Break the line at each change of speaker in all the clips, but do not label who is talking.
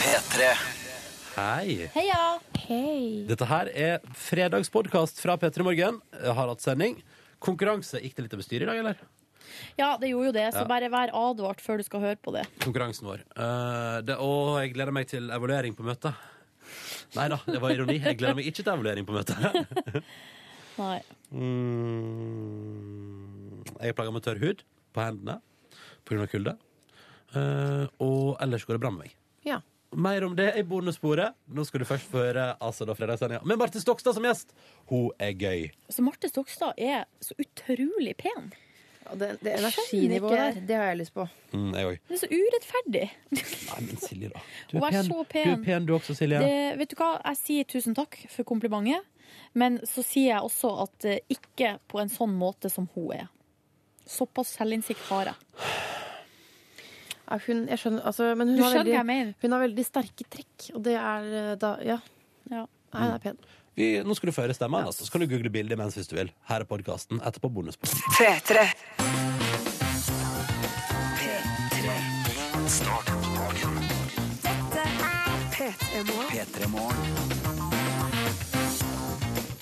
P3.
Hei.
Heia!
Hei.
Dette her er fredagspodkast fra P3 Morgen. Jeg har hatt sending. Konkurranse. Gikk det litt over styret i dag, eller?
Ja, det gjorde jo det, så
Ja.
bare vær advart før du skal høre på det.
Konkurransen vår. Eh, det, og jeg gleder meg til evaluering på møtet. Nei da, det var ironi. Jeg gleder meg ikke til evaluering på møtet.
Nei.
Mm, jeg plager med tørr hud på hendene pga. kulde. Eh, og ellers går det bra med meg.
Ja.
Mer om det i bonussporet. Nå skal du først få høre altså, da fredagssendinga med Marte Stokstad som gjest. Hun er gøy.
Så Marte Stokstad er så utrolig pen.
Og det, det
Skjønner
energinivået
ikke.
der, det har jeg lyst på.
Mm, jeg òg.
Hun er så urettferdig.
Nei, men Silje, da. Du
Hun er
pen.
så pen.
Du er pen du også, Silje.
Det, vet du hva, jeg sier tusen takk for komplimentet, men så sier jeg også at eh, ikke på en sånn måte som hun er. Såpass selvinnsikt har jeg.
Ja, hun, jeg skjønner, altså, men hun
Du
har,
skjønner hva jeg
veldig,
mener.
hun har veldig sterke trekk, og det er eh, da Ja.
Ja.
Nei, hun er pen.
Vi, nå skal du få høre stemmen, altså. så kan du google bildet imens hvis du vil. Her er podkasten. Etterpå bonusspor.
P3.
P3 Morgen.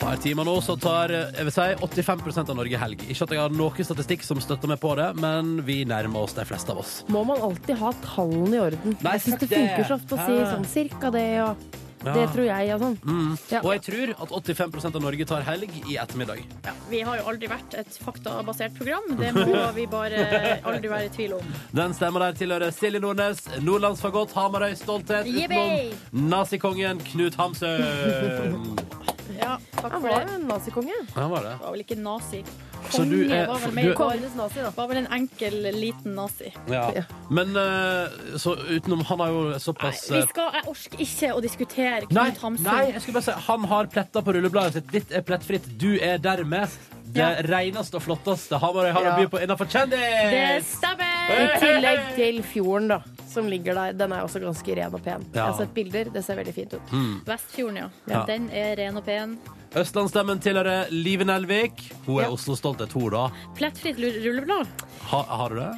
par timer nå så tar eh, jeg vil si, 85 av Norge helg. Ikke at jeg har noe statistikk som støtter meg på det, men vi nærmer oss de fleste av oss.
Må man alltid ha tallene i orden?
Nei,
jeg syns
fuck
det
det.
funker så ofte å si
Ja.
sånn cirka det og
Ja. Mm.
det tror jeg og sånn. Ja.
Og jeg tror at 85 av Norge tar helg i ettermiddag.
Vi har jo aldri vært et faktabasert program. Det må vi bare aldri være i tvil om.
Den stemmer der tilhører Silje Nordnes, Nordlandsfagott, Hamarøy Stolthet,
Yippee!
utenom nazikongen Knut Hamsun.
Ja, takk
Han
for
var
det.
jo en nazikonge.
Ja, var det.
Det var vel ikke nazi.
Så du
Konge
er-
var vel
du
med
er-
i går.
Kongenes nazi, da.
Var vel en enkel, liten nazi.
Ja. Men eh, så utenom Han har jo såpass
Vi
eh,
skal, jeg orker ikke å diskutere
Nei,
Knut Hamsun.
nei, jeg skulle bare si han har pletter på rullebladet sitt. Ditt er plettfritt. Du er dermed det
Ja.
reneste og flotteste Hamarøy har å by
Ja.
på innenfor
Det
kjendis!
I
stemmer!
tillegg til fjorden, da, som ligger der. Den er også ganske ren og pen. Jeg
Ja. Mm.
har sett bilder, det ser veldig fint ut.
Vestfjorden, ja.
Ja.
Den er ren og pen.
Østlandsstemmen tilhører Live Nelvik. Hun er Oslo-stolthet, hun, da.
Plettfritt lu- rulleblad.
Ha, har du det?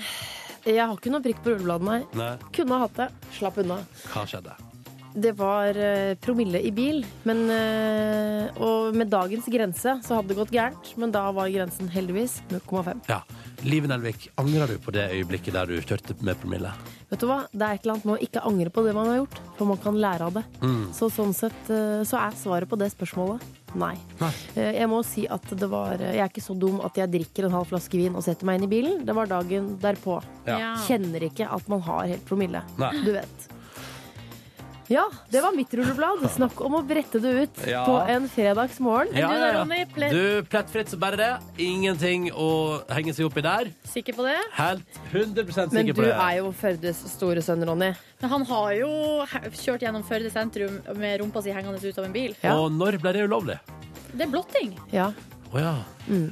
Jeg har ikke noe prikk på rullebladet, nei.
Nei.
Kunne ha hatt det. Slapp unna.
Hva skjedde?
Det var eh, promille i bil, men, eh, og med dagens grense så hadde det gått gærent. Men da var grensen heldigvis 0,5.
Ja. Live Nelvik, angrer du på det øyeblikket der du kjørte med promille?
Vet du hva? Det er et eller annet med å ikke angre på det man har gjort, for man kan lære av det. Så sånn sett eh, så er svaret på det spørsmålet nei.
Nei.
Eh, Jeg må si at det var eh, Jeg er ikke så dum at jeg drikker en halv flaske vin og setter meg inn i bilen. Det var dagen derpå.
Ja.
Kjenner ikke at man har helt promille.
Nei.
Du vet. Ja, det var mitt rulleblad. Snakk om å brette det ut
Ja.
på en fredagsmorgen.
Ja,
du
ja,
da,
ja.
Ronny? Ple-
Du, plettfritt så bare det. Ingenting å henge seg opp i der.
Sikker på det?
Helt 100
Men
sikker
du
på det.
er jo Førdes store sønn, Ronny.
Men han har jo he- kjørt gjennom Førde sentrum med rumpa si hengende ut av en bil.
Ja.
Og når ble det ulovlig?
Det er blotting.
Ja,
Å ja.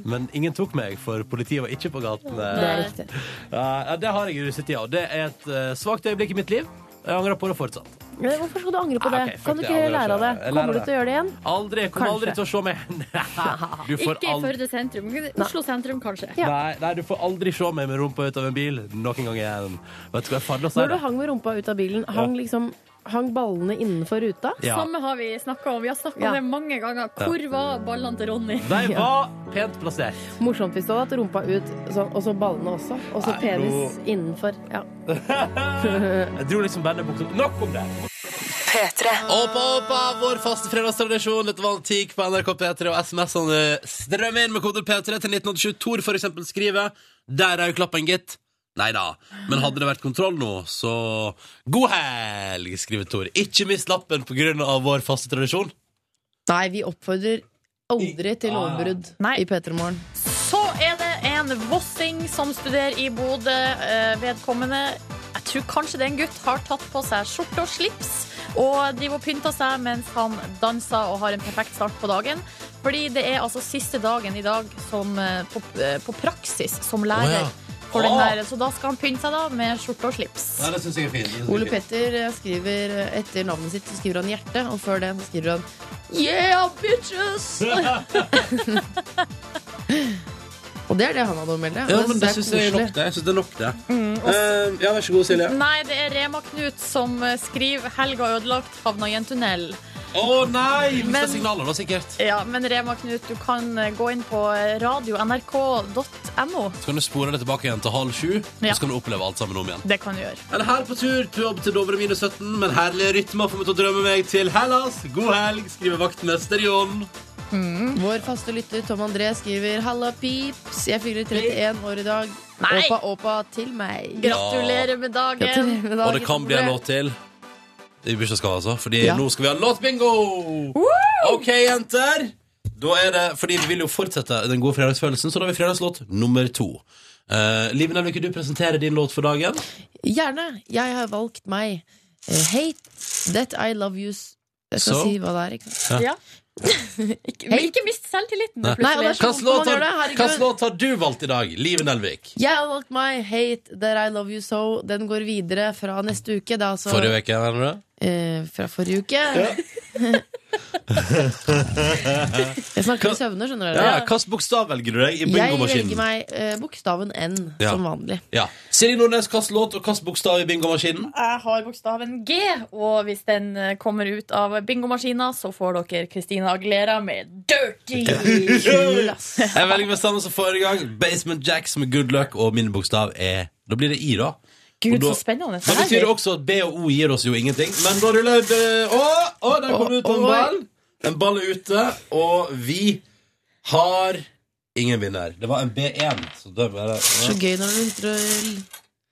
Men ingen tok meg, for politiet var ikke på gatene.
det er riktig.
Ja, ja, det har jeg ruset i, og det er et uh, svakt øyeblikk i mitt liv. Jeg angrer på det fortsatt.
Men hvorfor skal du angre på det?
Nei, Ah, ok, fuck
kan du
det,
ikke
jeg
heller lære
angrer
av det?
ikke. Jeg lærer
Kommer du
det.
til å gjøre det igjen?
Aldri, jeg kommer
Kanskje.
aldri til å se meg Du får
Ikke i
aldri-
Førde sentrum. Oslo sentrum, kanskje.
Ja.
Nei, nei, du får aldri se meg med rumpa ut av en bil noen gang igjen. Vet du hva jeg fadler
Når
sier?
du hang med rumpa ut av bilen, hang, liksom, hang ballene innenfor ruta?
Ja.
Samme har vi snakka om. Vi har snakka
Ja.
om det mange ganger. Hvor var ballene til Ronny?
De var pent plassert.
Morsomt hvis du hadde hatt rumpa ut, sånn, og så ballene også. Og så
Nei,
penis innenfor. Ja.
Jeg dro liksom bandet bort som- Nok om det!
P3.
Åpa, åpa, vår faste fredagstradisjon. Dette var antikk på NRK P3, og SMS-ene strømmer inn med kode P3 til 1987. Tor for eksempel skriver Der er jo klappen, gitt. Nei da. Men hadde det vært kontroll nå, så God helg, skriver Tor. Ikke mist lappen på grunn av vår faste tradisjon.
Nei, vi oppfordrer aldri til
Ah.
lovbrudd
Nei.
i P3 Morgen.
Så er det en vossing som studerer i Bodø. eh, Vedkommende Jeg tror kanskje det er en gutt. Har tatt på seg skjorte og slips og driver og pynter seg mens han danser og har en perfekt start på dagen. Fordi det er altså siste dagen i dag som, eh, på, eh, på praksis som lærer.
Å, ja.
For den
Å.
der. Så da skal han pynte seg da med skjorte og slips.
det syns jeg er fint.
Ole Petter eh, skriver etter navnet sitt så skriver han hjerte, og før det så skriver han
Yeah, bitches!
Og det er det han hadde å melde.
Ja,
og
men det syns jeg er nok, det. Jeg synes det er nok det. Eh, ja, vær så god, Silje.
Nei, det er Rema Knut som eh, skriver 'Helga ødelagt, havna i en tunnel'.
Å nei! Mista
Men-
signaler, da, sikkert.
Ja, men Rema Knut, du kan eh, gå inn på radio.nrk.no.
Så kan du spore det tilbake igjen til halv sju,
Ja.
og så kan du oppleve alt sammen om igjen.
Det kan du gjøre.
Eller her på tur på jobb til Dovre minus 17, men herlige rytmer får meg til å drømme meg til Hellas. God helg, skriver vaktmester Jon.
Vår faste lytter Tom André skriver Halla pips, jeg fyller 31 år i dag
Nei!
Åpa, åpa til meg
Gratulerer med dagen.
Gratulerer med
Og
dagen,
det kan bli en låt til i bursdagsgave, altså. Fordi
Ja.
nå skal vi ha låtbingo! OK, jenter. Da er det, fordi Vi vil jo fortsette den gode fredagsfølelsen, så da har vi fredagslåt nummer to. Uh, Liv Nelvik, vil du presentere din låt for dagen?
Gjerne, jeg har valgt meg eh, Hate that I love you s- Jeg skal
So?
si hva det er, ikke sant?
Ja. Ikke, men ikke mist selvtilliten.
Nei.
plutselig.
Nei, og det er så-
Hvilken låt,
man
har-
gjør det, herregud.
hvilken låt har du valgt i dag, Liv Nelvik?
Jeg har valgt meg Hate that I love you so Den går videre fra neste uke det er altså,
Forrige uke, mener du?
eh, Fra forrige uke Jeg snakker i søvne,
Ja,
skjønner dere
ja. Hvilken bokstav velger du deg i
Jeg velger
bingomaskinen?
meg eh, bokstaven N
Ja.
Som vanlig
Ja. Silje Nordnes, hvilken låt og hvilken bokstav i bingomaskinen?
Jeg har bokstaven G, og hvis den eh, kommer ut av bingomaskina, så får dere Christina Aguilera med 'Dirty'.
Kul, ass
Jeg velger med samme som forrige gang. Basement Jacks med good luck, og min bokstav er Da blir det I, da.
Gud,
Og da-
så spennende.
Da betyr det også at B og O gir oss jo ingenting. Men da ruller jeg det- Å, å, der kom det ut en
Oi.
ball. En ball er ute, og vi har ingen vinner. Det var en B1, så det var det.
Så gøy når du begynte å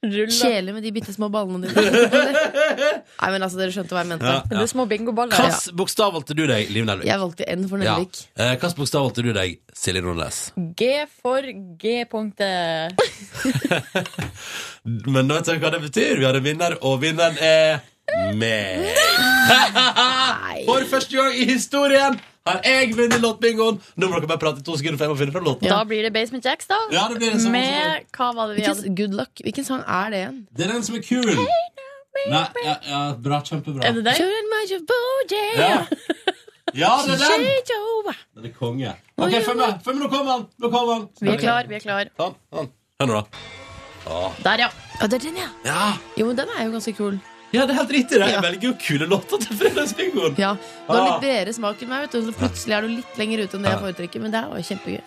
Ruller.
kjele med de bitte små ballene dine. Nei, men altså, Dere skjønte hva jeg mente.
Ja, ja.
Det er små bingoballer. Ja.
Hvilken bokstav valgte du deg, Liv Nelvik?
Jeg valgte N for Nelvik.
Ja. Eh, Hvilken bokstav valgte du deg, Silje Nordnes?
G for G-punktet.
Men nå vet jeg hva det betyr. Vi har en vinner, og vinneren er meg. For første gang i historien har jeg vunnet låtbingoen. Nå må dere bare prate i to sekunder, for jeg må finne fram låten.
Da blir det Basement Jacks, da.
Ja, det blir det samme
med hva var det vi hadde?
Hvilken, good luck. Hvilken sang er det igjen?
Det er den som er kul. Nei, ja, ja, bra, kjempebra.
Er det den?
Turn my body,
Ja. ja, det er den.
change over.
Den er konge. Ok, følg med. Følg med, nå kommer han. Nå kommer han.
Vi er klar, vi er klar.
Han, han. Hør nå, da.
Der, ja.
Ja, det er den, ja.
Ja.
Jo, men den er jo ganske kul.
ja, det er helt riktig. det. Jeg
Ja.
velger jo kule låter til fredagsbingoen.
Ja, Det var
Ah.
litt bredere smak enn meg, vet du. Så plutselig er du litt lenger ute enn det jeg foretrekker. Men det er jo kjempegøy.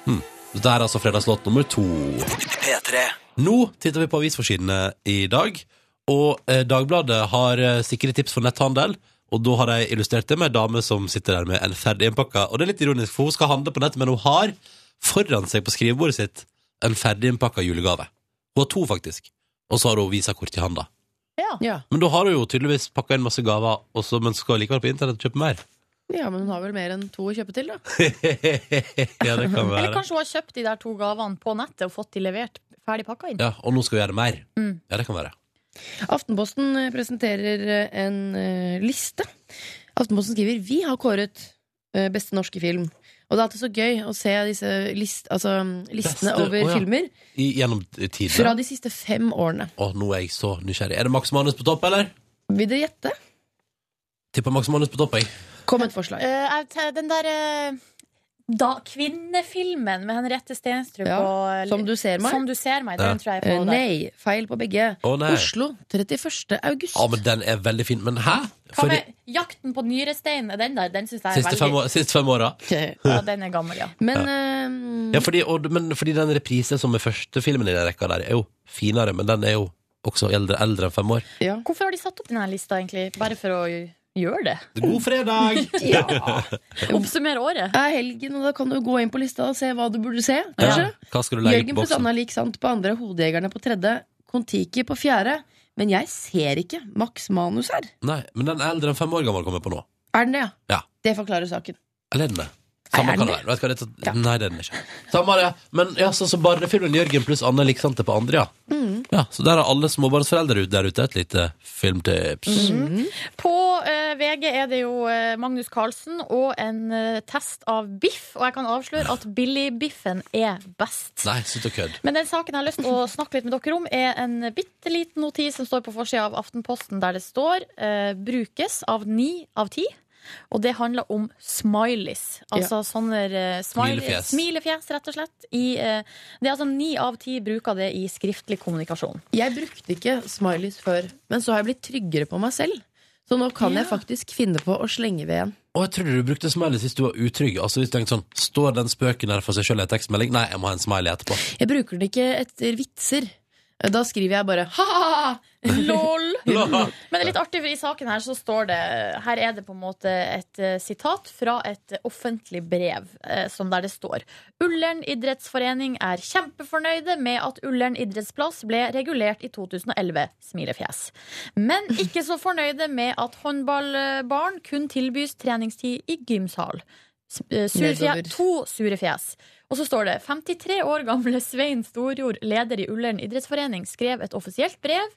Det er altså fredagslåt nummer to.
P3.
Nå titter vi på avisforsidene i dag, og eh, Dagbladet har eh, sikre tips for netthandel. Og da har de illustrert det med ei dame som sitter der med en ferdig innpakka. Og det er litt ironisk, for hun skal handle på nett, men hun har foran seg på skrivebordet sitt en ferdig innpakka julegave. Hun har to, faktisk. Og så har hun visakort i handa.
Ja.
Men da har hun jo tydeligvis pakka inn masse gaver, og så- men skal likevel på internett og kjøpe mer.
ja, men hun har vel mer enn to å kjøpe til, da.
ja, det kan
Eller
være.
kanskje hun har kjøpt de der to gavene på nettet og fått de levert ferdig pakka inn?
Ja, og nå skal hun gjøre mer.
Mm.
Ja, det kan være.
Aftenposten eh, presenterer eh, en eh, liste. Aftenposten skriver Vi har kåret eh, beste norske film. Og det er alltid så gøy å se disse list, altså, mm, listene
Beste,
over
å ja.
filmer
I, gjennom tidene.
fra de siste fem årene.
Å, nå er jeg så nysgjerrig. Er det Max Manus på topp, eller?
Vil dere gjette?
Tipper Max Manus på topp, jeg.
Kom med et forslag.
Eh, jeg te- den der eh, da, kvinnefilmen med Henriette Stenstrup
Ja,
og
Som du ser meg.
Som du ser meg.
Ja.
Den tror jeg
Eh,
på. der.
nei. Feil på begge.
Å, nei.
Oslo 31. august.
Ja, men den er veldig fin. Men hæ?
Hva
Fordi
med Jakten på nyrestein? Er Den der, den syns jeg er
siste
veldig
fem, år, siste fem åra?
Ja, den er gammel, ja.
Men eh,
Ja, fordi, og, men fordi den reprisen som er første filmen i den rekka der, er jo finere, men den er jo også eldre, eldre enn fem år.
ja.
Hvorfor har de satt opp denne lista, egentlig? Bare for å gjøre det?
God fredag!
Oppsummere året?
Det er helgen, og da kan du gå inn på lista og se hva du burde se.
ja.
Kanskje?
Hva skal du legge
Jørgen
på boksen?
Pesanna lik sant på andre, Hodejegerne på tredje, Kon-Tiki på fjerde. Men jeg ser ikke Max Manus her.
Nei, men den er eldre enn fem år gammel kommer jeg på nå.
Er den det, ja?
Ja.
Det forklarer saken.
Eller er den det?
Nei,
Samme
er
kan
den
det
det?
være. Vet du hva, det er
Ja.
tatt... Nei, det er den ikke. Samme det. Men ja, sånn som barnefilmen Jørgen pluss Anne Liksante på andre, ja.
Mm.
ja. Så der har alle småbarnsforeldre ut- der ute et lite filmtips.
Mm.
På eh, VG er det jo eh, Magnus Carlsen og en eh, test av biff, og jeg kan avsløre at billigbiffen er best.
Nei, slutt å kødde.
Men den saken jeg har lyst til å snakke litt med dere om, er en bitte liten notis som står på forsida av Aftenposten, der det står eh, 'brukes av ni av ti'. Og det handler om smileys. Altså sånne eh, smile,
Smilefjes.
smilefjes. rett og slett. I, eh, det er altså Ni av ti bruker det i skriftlig kommunikasjon.
Jeg brukte ikke smileys før, men så har jeg blitt tryggere på meg selv. Så nå kan jeg faktisk finne på å slenge ved en.
Og jeg trodde du brukte smileys hvis du var utrygg. Altså hvis du tenkte sånn, Står den spøken der for seg sjøl i en tekstmelding? Nei, jeg må ha en smiley etterpå.
Jeg bruker den ikke etter vitser. Da skriver jeg bare ha-ha-ha!
Lol!
La-
Men det er litt artig, for i saken her så står det Her er det på en måte et eh, sitat fra et eh, offentlig brev, eh, som der det står Ullern idrettsforening er kjempefornøyde med at Ullern idrettsplass ble regulert i 2011. Smilefjes. Men ikke så fornøyde med at håndballbarn kun tilbys treningstid i gymsal. S- eh, sure fje-
Nedover.
To sure fjes. Og så står det 53 år gamle Svein Storjord, leder i Ullern idrettsforening, skrev et offisielt brev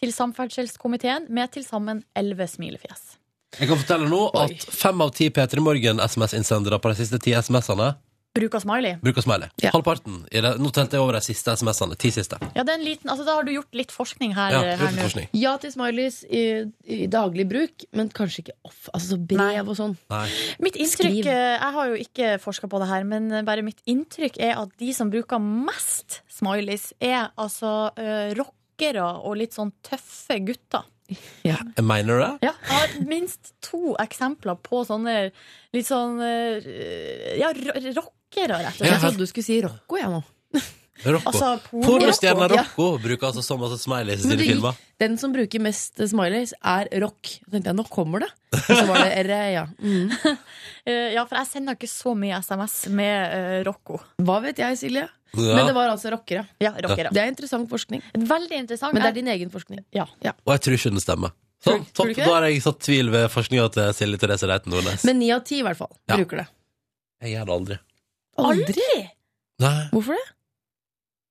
til samferdselskomiteen med til sammen 11 smilefjes.
Jeg kan fortelle nå
Oi.
at fem av ti P3 Morgen-SMS-innsendere på de siste ti SMS-ene
Bruk av smiley.
bruker smiley.
Ja.
Halvparten. i det- Nå telte jeg over de siste SMS-ene. Ti siste.
Ja, det er en liten, altså, da har du gjort litt forskning her. eh,
Ja,
her
uten
nå.
forskning.
Ja til smileys i, i daglig bruk, men kanskje ikke off. Altså så brev og sånn.
Nei.
Mitt inntrykk,
Skriv.
eh, Jeg har jo ikke forska på det her, men eh, bare mitt inntrykk er at de som bruker mest smileys, er altså eh, rockere og litt sånn tøffe gutter.
Jeg mener det.
Ja, jeg har minst to eksempler på sånne litt sånn eh, Ja, ro- rockere, rett og
Ja.
slett.
Jeg trodde du skulle si Rocco, jeg nå.
Rocco.
Altså, porno-
Pornostjerna
Ja.
Rocco bruker altså så masse smileys i
Men
sine
det gikk-
filmer.
Den som bruker mest smileys, er rock. Så tenkte jeg, nå kommer det. Og så var det re, ja. Mm.
Eh, ja, for jeg sender ikke så mye SMS med eh, Rocco.
Hva vet jeg, Silje? Men
Ja.
det var altså rockere.
Ja, rockere.
Det er interessant forskning.
Veldig interessant.
Men det er din egen forskning.
Og jeg tror ikke den stemmer. Sånn,
Tror du
topp.
ikke det?
Da har jeg satt tvil ved forskninga til Silje Therese Reiten Nordnes.
Men ni av ti, i hvert fall,
Ja.
bruker det.
Jeg gjør det aldri.
Aldri!
Nei,
Hvorfor det?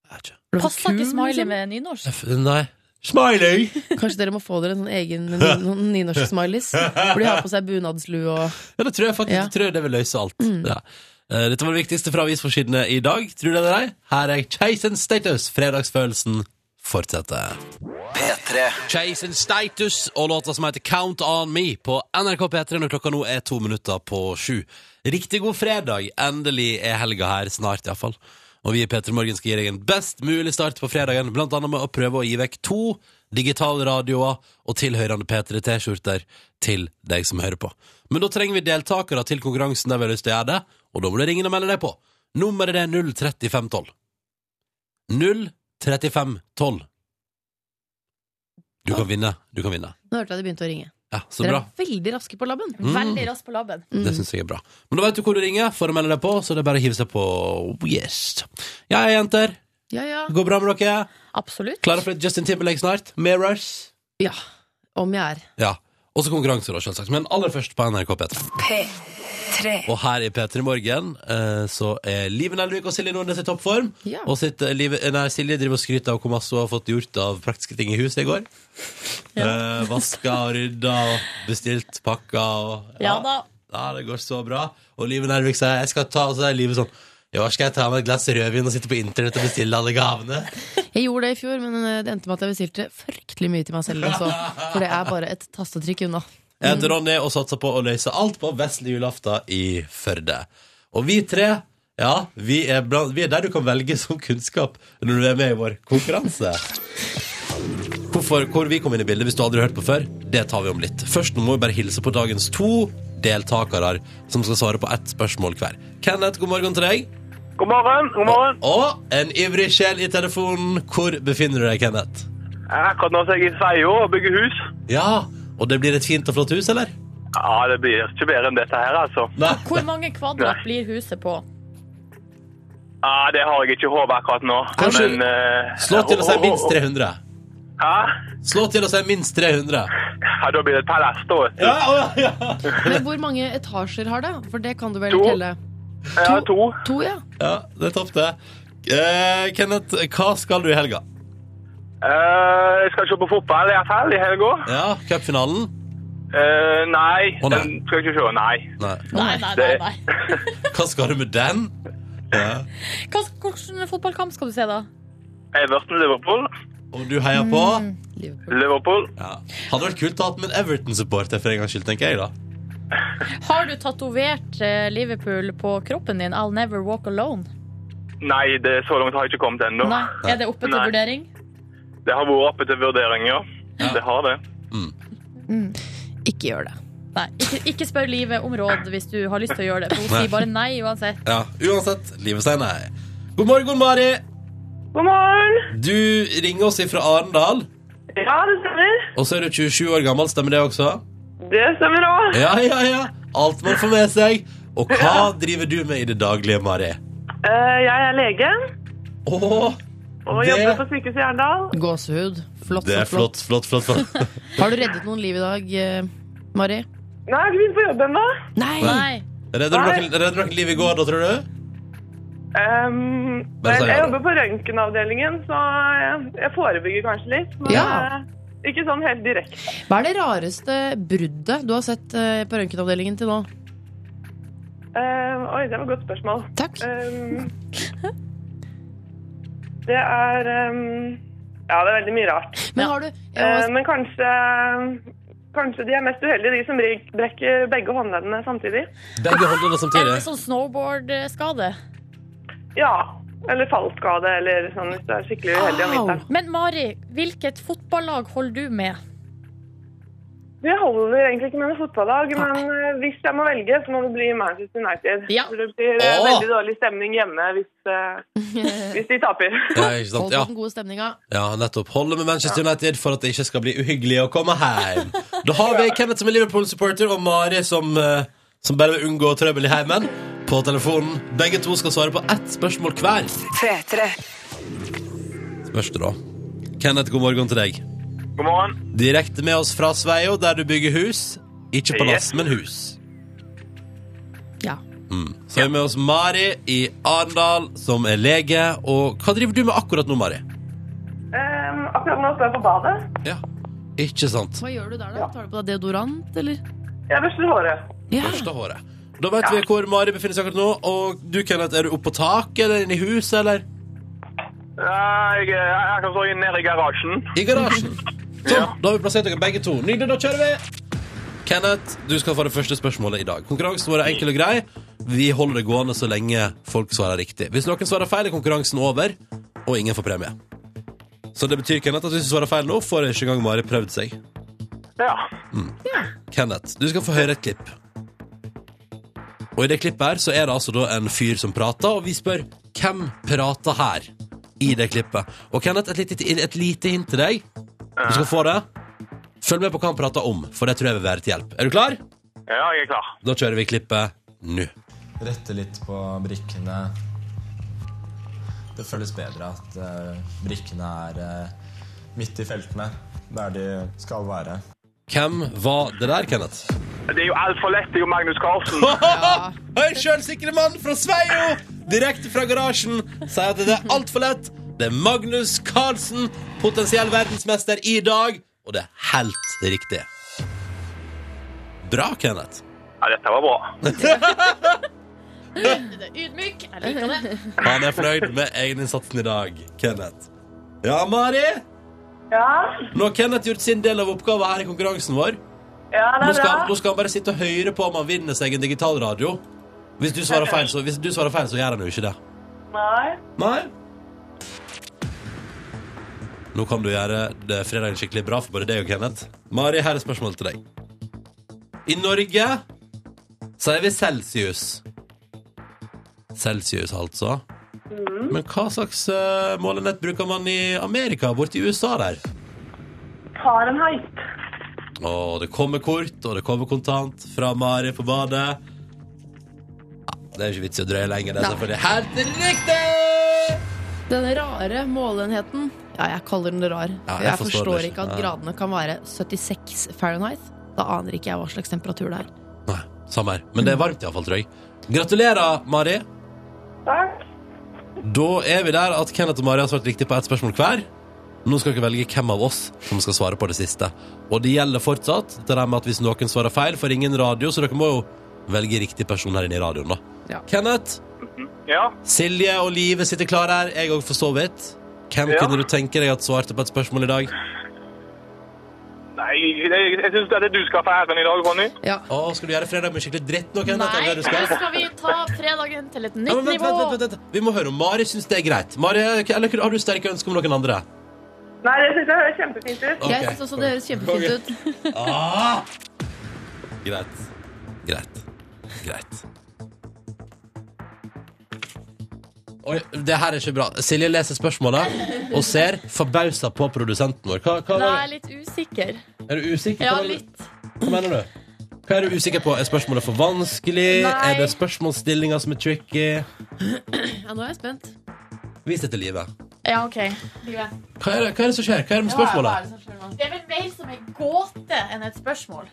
jeg er ikke.
Er du for
Passer
kul,
ikke smiley
liksom?
med nynorsk.
Jeg f- Nei. Smiley!
Kanskje dere må få dere en sånn egen noen nynorske smileys? Hvor de har på seg bunadslue og
Ja, det tror jeg faktisk
Ja. Mm.
jeg tror det vil løse alt. Ja. Eh, Dette var det viktigste fra avisforsidene i dag. Tror du det er deg? Her er Chase and Status. Fredagsfølelsen fortsetter.
P3
Chase and Status og låta som heter Count On Me på NRK P3 når klokka nå er to minutter på sju. Riktig god fredag. Endelig er helga her snart, iallfall. Og vi i P3 Morgen skal gi deg en best mulig start på fredagen, blant annet med å prøve å gi vekk to digitale radioer og tilhørende P3 T-skjorter til deg som hører på. Men da trenger vi deltakere til konkurransen der vi har lyst til å gjøre det, og da må du ringe og melde deg på. Nummeret det er 03512. 03512. Du kan vinne. Du kan vinne.
Nå hørte jeg de begynte å ringe.
Ja, så
Dere
bra. Mm.
er veldig raske på labben.
Veldig raskt på labben.
Det syns jeg er bra. Men da vet du hvor du ringer for å melde deg på, så det er bare å hive seg på. Yes. Ja, jenter.
Ja, ja.
Går bra med dere?
Absolutt.
Klare for litt Justin Timberlake snart? Mirrors?
ja. Om jeg er.
Ja. Også konkurranser, da, selvsagt. Men aller først på NRK P3.
P3.
Og her i P3 Morgen eh, så er Live Nelvik og Silje Nordnes i toppform.
Ja.
Og sitt, Live, nei, Silje driver og skryter av hvor masse hun har fått gjort av praktiske ting i huset i går. Eh, vaska og rydda og bestilt pakka og
Ja da.
Ja, det går så bra. Og Live Nervik sier jeg skal ta, og så er livet sånn ja, skal jeg ta meg et glass rødvin og sitte på internett og bestille alle gavene?
Jeg gjorde det i fjor, men eh, det endte med at jeg bestilte fryktelig mye til meg selv også. For det er bare et tastetrykk unna.
Jeg heter Ronny og satser på å løse alt på vesle julaften i Førde. Og vi tre, ja, vi er, blant, vi er der du kan velge som kunnskap når du er med i vår konkurranse. Hvorfor, hvor vi kom inn i bildet hvis du aldri har hørt på før, det tar vi om litt. Først nå må vi bare hilse på dagens to deltakere som skal svare på ett spørsmål hver. Kenneth, god morgen til deg.
God morgen, god morgen.
Og en ivrig sjel i telefonen. Hvor befinner du deg, Kenneth?
Akkurat nå så er jeg i Sveio og bygger hus.
Ja, og det blir et fint og flott hus, eller?
Ja, det blir ikke bedre enn dette her, altså.
Nei.
Hvor mange kvadrat blir huset på?
Ja, det har jeg ikke i hodet akkurat nå.
Kanskje-
Men, eh,
Slå til å si minst 300.
Hæ?
Slå til å si minst 300.
Ja, da blir det et palass, da. vet du.
Ja, å, ja.
Men hvor mange etasjer har det? For det kan du vel
To.
telle?
Ja, to.
To, ja.
ja, det er topp, det. Eh, Kenneth, hva skal du i helga?
Eh, jeg skal se på fotball i hvert fall i helga.
Ja, Cupfinalen?
Eh, nei,
Å, nei.
den skal jeg ikke se. Nei.
Nei.
Nei, nei, nei.
Det-
nei.
Hva skal du med den? Ja.
Hva, hvilken fotballkamp skal du se, da?
Everton-Liverpool.
Og du heier på?
Liverpool.
Liverpool.
Ja. Hadde vært kult å ha hatt med en Everton-supporter for en gangs skyld, tenker jeg, da.
Har du tatovert eh, Liverpool på kroppen din? I'll never walk alone.
Nei, det så langt har jeg ikke kommet ennå.
Nei. Er det oppe til
Nei.
vurdering?
Det har vært oppe til vurdering, ja. Det har det.
Ikke gjør det.
Nei. Ikke, ikke spør livet om råd hvis du har lyst til å gjøre det. For hun
Nei.
sier bare nei uansett.
Ja, uansett, livet sier nei. God morgen, Mari.
God morgen!
Du ringer oss ifra Arendal,
Ja, det stemmer.
og så er du 27 år gammel, stemmer det også?
Det stemmer òg.
Ja, ja, ja. Alt man får med seg. Og hva driver du med i det daglige, Mari?
Eh, Jeg er lege
Åh,
og
Det-
jobber på sykehuset i Arendal.
Gåsehud. Flott,
det er
flott,
flott, flott, flott. flott.
flott. Har du reddet noen liv i dag, eh, Mari?
Nei, jeg har ikke begynt på jobb ennå.
Nei!
Nei.
Redder du noen- redder du noen liv i går, da, tror du?
Ehm,
Bare så
vel, jeg
gjør det.
jobber på røntgenavdelingen, så jeg, jeg forebygger kanskje litt. Men
Ja.
eh, ikke sånn helt direkte.
Hva er det rareste bruddet du har sett eh, på røntgenavdelingen til nå?
Ehm, oi, det var et godt spørsmål.
Takk.
Ehm, det er ehm, Ja, det er veldig mye rart.
Men har du
Eh, men kanskje Kanskje de er mest uheldige, de som brik- brekker begge håndleddene samtidig.
Begge håndene
Er
samtidig.
det sånn snowboardskade?
Ja. Eller fallskade, eller sånn hvis du er skikkelig uheldig om
Au.
vinteren.
Men Mari, hvilket fotballag holder du med?
Jeg holder egentlig ikke med noe fotballag, men eh, hvis jeg må velge, så må det bli Manchester United.
Ja.
For det blir eh,
Åh!
veldig dårlig stemning hjemme hvis, eh, hvis de taper.
Ja, ikke sant?
Hold på
Ja.
den gode stemninga.
ja, nettopp. Holde med Manchester United for at det ikke skal bli uhyggelig å komme hjem. Da har vi Kenneth som er Liverpool-supporter, og Mari som, eh, som bare vil unngå trøbbel i heimen. På telefonen. Begge to skal svare på ett spørsmål hver.
P3.
Spørs det, da. Kenneth, god morgen til deg.
God morgen.
Direkte med oss fra Sveio, der du bygger hus. Ikke palass,
Yes.
men hus.
Ja.
Mm. Så er vi med oss Mari i Arendal, som er lege. Og hva driver du med akkurat nå, Mari?
Em, akkurat nå står jeg på badet.
Ja. Ikke sant?
Hva gjør du der, da? Tar du på deg deodorant, eller?
Jeg børster håret.
Ja.
Børste håret. Da vet vi hvor Mari befinner seg akkurat nå. Og du, Kenneth, er du oppe på taket eller inne i huset, eller?
Ja, Jeg jeg er akkurat så nede i garasjen.
I garasjen. Sånn, da har vi plassert dere begge to. Nydelig, da kjører vi! Kenneth, du skal få det første spørsmålet i dag. Konkurransen vår er enkel og grei. Vi holder det gående så lenge folk svarer riktig. Hvis noen svarer feil, er konkurransen over, og ingen får premie. Så det betyr Kenneth, at hvis du svarer feil nå, får ikke engang Mari prøvd seg.
Ja.
Kenneth, du skal få høre et klipp. Og i det klippet her så er det altså da en fyr som prater, og vi spør hvem prater her? I det klippet. Og Kenneth, et lite, et lite hint til deg. Du skal få det. Følg med på hva han prater om, for det tror jeg vil være til hjelp. Er du klar?
ja, jeg er klar.
Da kjører vi klippet nå.
Rette litt på brikkene. Det føles bedre at eh, brikkene er eh, midt i feltene, der de skal være.
Hvem var det der, Kenneth?
Det er jo altfor lett. Det er jo Magnus Carlsen.
Høy sjølsikre mann fra Sveio, direkte fra garasjen, sier at det er altfor lett. Det er Magnus Carlsen, potensiell verdensmester i dag, og det er helt riktig. Bra, Kenneth.
Ja, dette var bra.
Det er Ydmyk. Jeg liker det.
Han er fornøyd med egeninnsatsen i dag, Kenneth. Ja, Mari?
Ja,
Nå har Kenneth gjort sin del av oppgaven her i konkurransen vår.
ja det
Nå
er
skal, han-
bra.
nå skal han bare sitte og høre på om han vinner seg en digital radio. Hvis du svarer feil, så, hvis du svarer feil, så gjør han jo ikke det.
Nei.
Nei. Nå kan du gjøre det fredagen skikkelig bra for både deg og Kenneth. Mari, her er spørsmålet til deg. I Norge sier vi celsius. Celsius, altså. Men hva slags eh, målenett bruker man i Amerika, borti USA der?
Fahrenheit.
Og det kommer kort, og det kommer kontant fra Mari på badet. Ja, det er ikke vits i å drøye lenger. Det er selvfølgelig helt riktig!
Den rare målenheten Ja, jeg kaller den rar.
Ja, jeg
jeg,
forstår
forstår,
det ikke.
ikke at
Nei.
gradene kan være 76 Fahrenheit. Da aner ikke jeg hva slags temperatur det er.
Nei, samme her. Men det er varmt iallfall, tror jeg. Gratulerer, Mari.
Takk.
Da er vi der at Kenneth og Mari har svart riktig på ett spørsmål hver. Nå skal dere velge hvem av oss som skal svare på det siste. Og det gjelder fortsatt det der med at hvis noen svarer feil, får ingen radio, så dere må jo velge riktig person her inne i radioen, da.
Ja.
Kenneth,
Ja.
Silje og Live sitter klar her. Jeg òg, for så vidt. Hvem
Ja.
kunne du tenke deg at svarte på et spørsmål i dag?
Nei, jeg, jeg syns det er det du skal få æren i dag, Ronny.
Å, skal du gjøre fredag med skikkelig dritt nå, Kenneth? Er det
Nei,
det
nå
du skal?
skal vi ta fredagen til et
Ja,
nytt
men vent,
nivå.
vent, vent, vent, vent. Vi må høre om Mari syns det er greit. Mari, eller har du sterke ønsker om noen andre?
Nei, det syns jeg høres kjempefint ut.
Jeg syns også det høres kjempefint ut.
Ah! Greit. Greit. Greit. Oi, det her er ikke bra. Silje leser spørsmålet og ser forbausa på produsenten vår. Hva, hva
Nei,
var
jeg er litt usikker.
det? Er du usikker?
Ja,
Hva var det-
litt.
Hva mener du? Hva er du usikker på? Er spørsmålet for vanskelig?
Nei.
Er det spørsmålsstillinga som er tricky?
Ja, nå er jeg spent.
Vis det til livet.
Ja, OK. Livet.
Hva er det, hva er det som skjer? Hva er det med spørsmålet?
Det er vel mer som en gåte enn et spørsmål.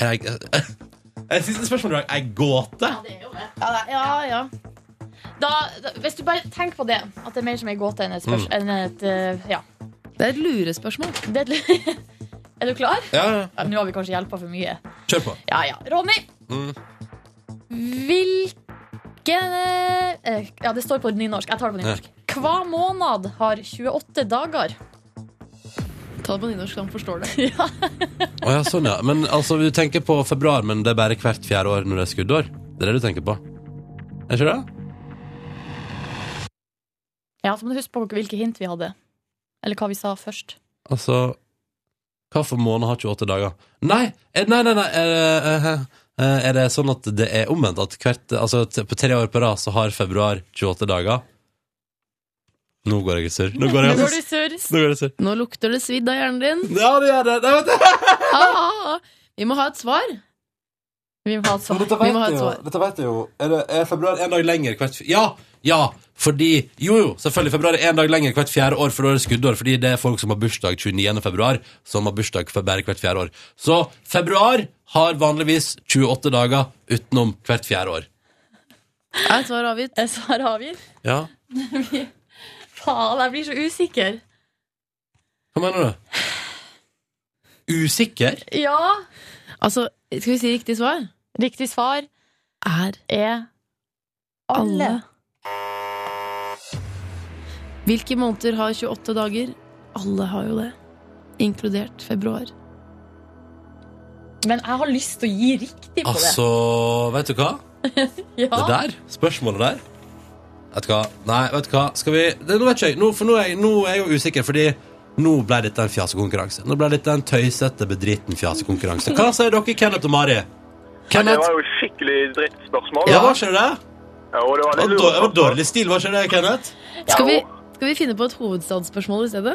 Jeg, jeg synes spørsmålet er en gåte.
Ja, da- ja. ja. Da, da, hvis du bare tenker på det, at det er mer som en gåte enn et spørsmål
Mm.
enn et, eh, Ja.
Det er et lurespørsmål.
Det er, et- er du klar?
Ja, ja.
Ja, Nå har vi kanskje hjelpa for mye.
Kjør på.
Ja, ja. Ronny!
Mm.
Hvilke eh, Ja, det står på nynorsk. Jeg tar det på nynorsk. Hva måned har 28 dager?
Ta det på nynorsk, så han forstår det.
Å ja, sånn, ja. Men altså, du tenker på februar, men det er bare hvert fjerde år når det er skuddår? Det er det du tenker på? Er ikke det?
Ja, så må du huske på hvilke hint vi hadde. Eller hva vi sa først.
Altså Hva for måned har 28 dager? Nei! eh, Nei, nei, nei. Er, det, eh, eh, er det sånn at det er omvendt? At hvert, altså, t- på tre år på rad så har februar 28 dager? Nå går jeg i surr. Nå går
Nå
jeg
går
altså
du sur.
Nå går jeg i surr.
Nå lukter det svidd av hjernen din.
Ja, det gjør det! Nei, vet du.
Ah, ah, ah. Vi må ha et svar.
Vi må ha et svar.
Dette
Vi må ha
vet
et
jeg jo.
svar.
Dette vet jeg jo. Er, det, er februar en dag lenger hvert fj- Ja! Ja! Fordi Jo, jo, selvfølgelig. Februar er en dag lenger hvert fjerde år, for da er det skuddår. Fordi det er folk som har bursdag 29. februar, som har bursdag for bare hvert fjerde år. Så februar har vanligvis 28 dager utenom hvert fjerde år.
Er et svar avgitt?
Er Svaret avgitt?
Ja.
Faen, jeg blir så usikker.
Hva mener du? Usikker?
Ja.
Altså, skal vi si riktig svar?
Riktig svar
Er
er alle.
alle. Hvilke måneder har 28 dager? Alle har jo det. Inkludert februar.
Men jeg har lyst til å gi riktig på det.
Altså, vet du hva?
Ja.
Det der, spørsmålet der Vet du hva? Nei, vet du hva? Skal vi det, Nå vet ikke jeg, nå, for nå er, jeg- nå er jeg jo usikker Fordi nå ble dette en fjasekonkurranse Nå ble dette en tøysete, bedriten fjasekonkurranse Hva sier dere, Kenneth og Mari?
Det
Kenneth?
var jo et skikkelig drittspørsmål.
Ja, var ikke det?
Ja, og det var
Det var,
litt
dår- det var
lurt.
dårlig stil, var ikke det, Kenneth?
Skal vi, skal vi finne på et hovedstadsspørsmål i stedet?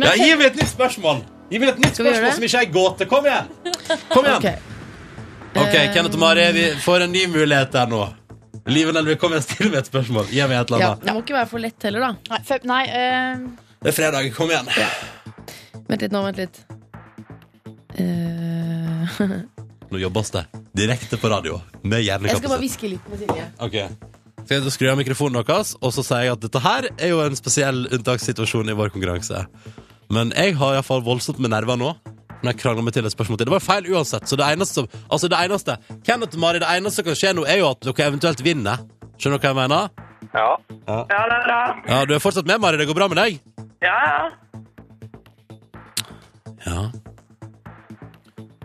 Ja, gi meg et nytt spørsmål Gi meg et nytt
Skal vi
spørsmål
gjøre det?
som ikke er gåte Kom igjen Kom igjen
Ok.
Ok,
Eh,
Kenneth og Mari, vi får en ny mulighet der nå Liven Elvi, kom igjen, still med et spørsmål Gi meg et eller
Ja,
annet
det må ikke være for lett heller, da.
Nei, fe- nei eh,
Det er fredag, kom igjen
Vent litt nå, vent litt. Eh,
Nå jobbes det direkte på radio Med
jeg skal
hjernekapasitet
bare hviske litt med Silje.
Ok Skal jeg skru av mikrofonen deres Og så sier jeg at dette her er jo en spesiell unntakssituasjon i vår konkurranse Men jeg har i hvert fall voldsomt med nerver nå Når jeg krangler meg til et spørsmål til Det var feil uansett Så det eneste, som- altså det eneste Kenneth og Mari, det eneste som kan skje nå Er jo at dere eventuelt vinner Skjønner du hva jeg mener?
Ja.
Ah.
Ja, det er bra.
Ja, du er fortsatt med Mari, det går bra med deg
Ja, ja.
Ja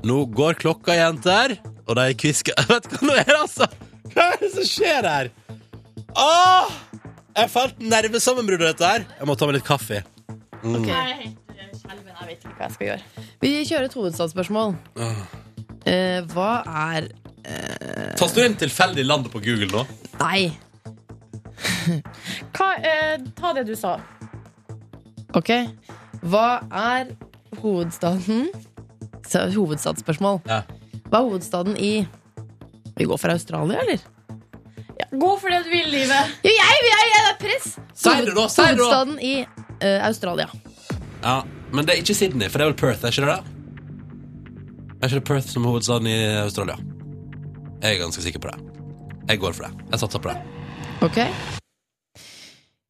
Nå går klokka, jenter Og de kvisker Vet du hva nå er det, altså? Hva er det som skjer her? Åh Jeg falt nervesammenbrudd av dette her Jeg må ta meg litt kaffe
Jeg er helt eh, skjelven. Jeg vet ikke hva jeg skal gjøre.
Vi kjører et hovedstadsspørsmål. Eh, hva er
Taster du inn tilfeldig landet på Google nå?
Nei.
Hva, eh, ta det du sa.
Ok. Hva er hovedstaden Så, Hovedstadsspørsmål.
Ja.
Hva er hovedstaden i Vi går for Australia, eller?
Ja, gå for det du vil, livet.
Jo, jeg, jeg, jeg er press!
Si det da, si det da.
Hovedstaden i eh, Australia.
Ja, men det er ikke Sydney, for det er vel Perth, er ikke det det? Er ikke det Perth som er hovedstaden i Australia? Jeg er ganske sikker på det Jeg går for det, jeg satser på det
Ok.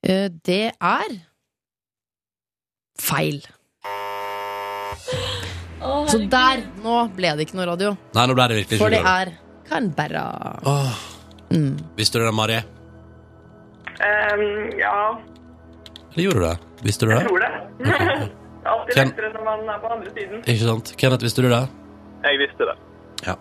Eh, det er feil. Så der, nå ble det ikke noe radio.
Nei, nå ble det virkelig
For det
Google.
er Mm. Canberra.
Åh Visste du det, Mari?
Ehm, ja,
Eller gjorde du det? Visste du det?
tror det. Det er alltid
Ken-
lettere når man er på andre siden.
Ikke sant? Kenneth, visste du det?
Jeg visste det.
Ja.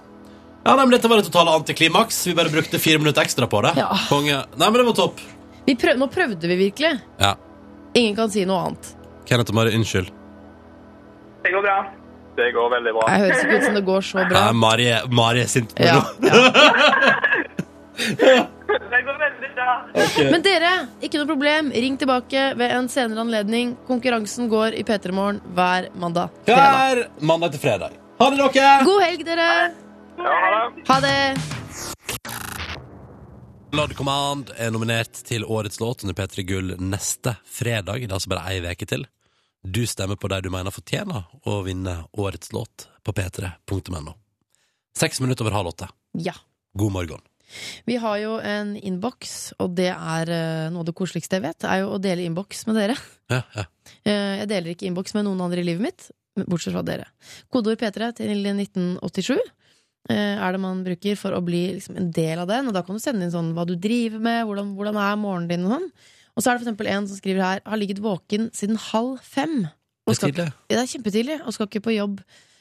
Ja, nei, men Dette var det totale antiklimaks. Vi bare brukte fire minutter ekstra på det.
Ja.
Konge. Nei, men det var topp.
Vi prøv, nå prøvde vi virkelig.
Ja.
Ingen kan si noe annet.
Kenneth og Mari, unnskyld.
Det går bra.
Det går veldig bra.
Jeg høres ikke ut som det går så bra.
Nei, Mari, er- Mari er sint på meg
Ja,
nå.
ja.
Det går veldig bra.
Men dere, ikke noe problem. Ring tilbake ved en senere anledning. Konkurransen går i P3 Morgen hver mandag. fredag.
Hver mandag til fredag. Ha det, dere!
God helg, dere!
Ja, ha det.
Ha det!
Blood Command er nominert til årets låt under P3 Gull neste fredag. Det er altså bare ei uke til. Du stemmer på de du mener fortjener å vinne årets låt på p3.no. Seks minutter over halv åtte.
Ja.
God morgen.
Vi har jo en innboks, og det er eh, noe av det koseligste jeg vet, er jo å dele innboks med dere.
Ja, ja.
Eh, Jeg deler ikke innboks med noen andre i livet mitt, bortsett fra dere. Kodeord P3 til 1987 eh, er det man bruker for å bli liksom en del av den. Og da kan du sende inn sånn hva du driver med, hvordan, hvordan er morgenen din og sånn. Og så er det for eksempel en som skriver her har ligget våken siden halv fem.
Det
Og
er
skal,
tidlig.
Ja, det er kjempetidlig, og skal ikke på jobb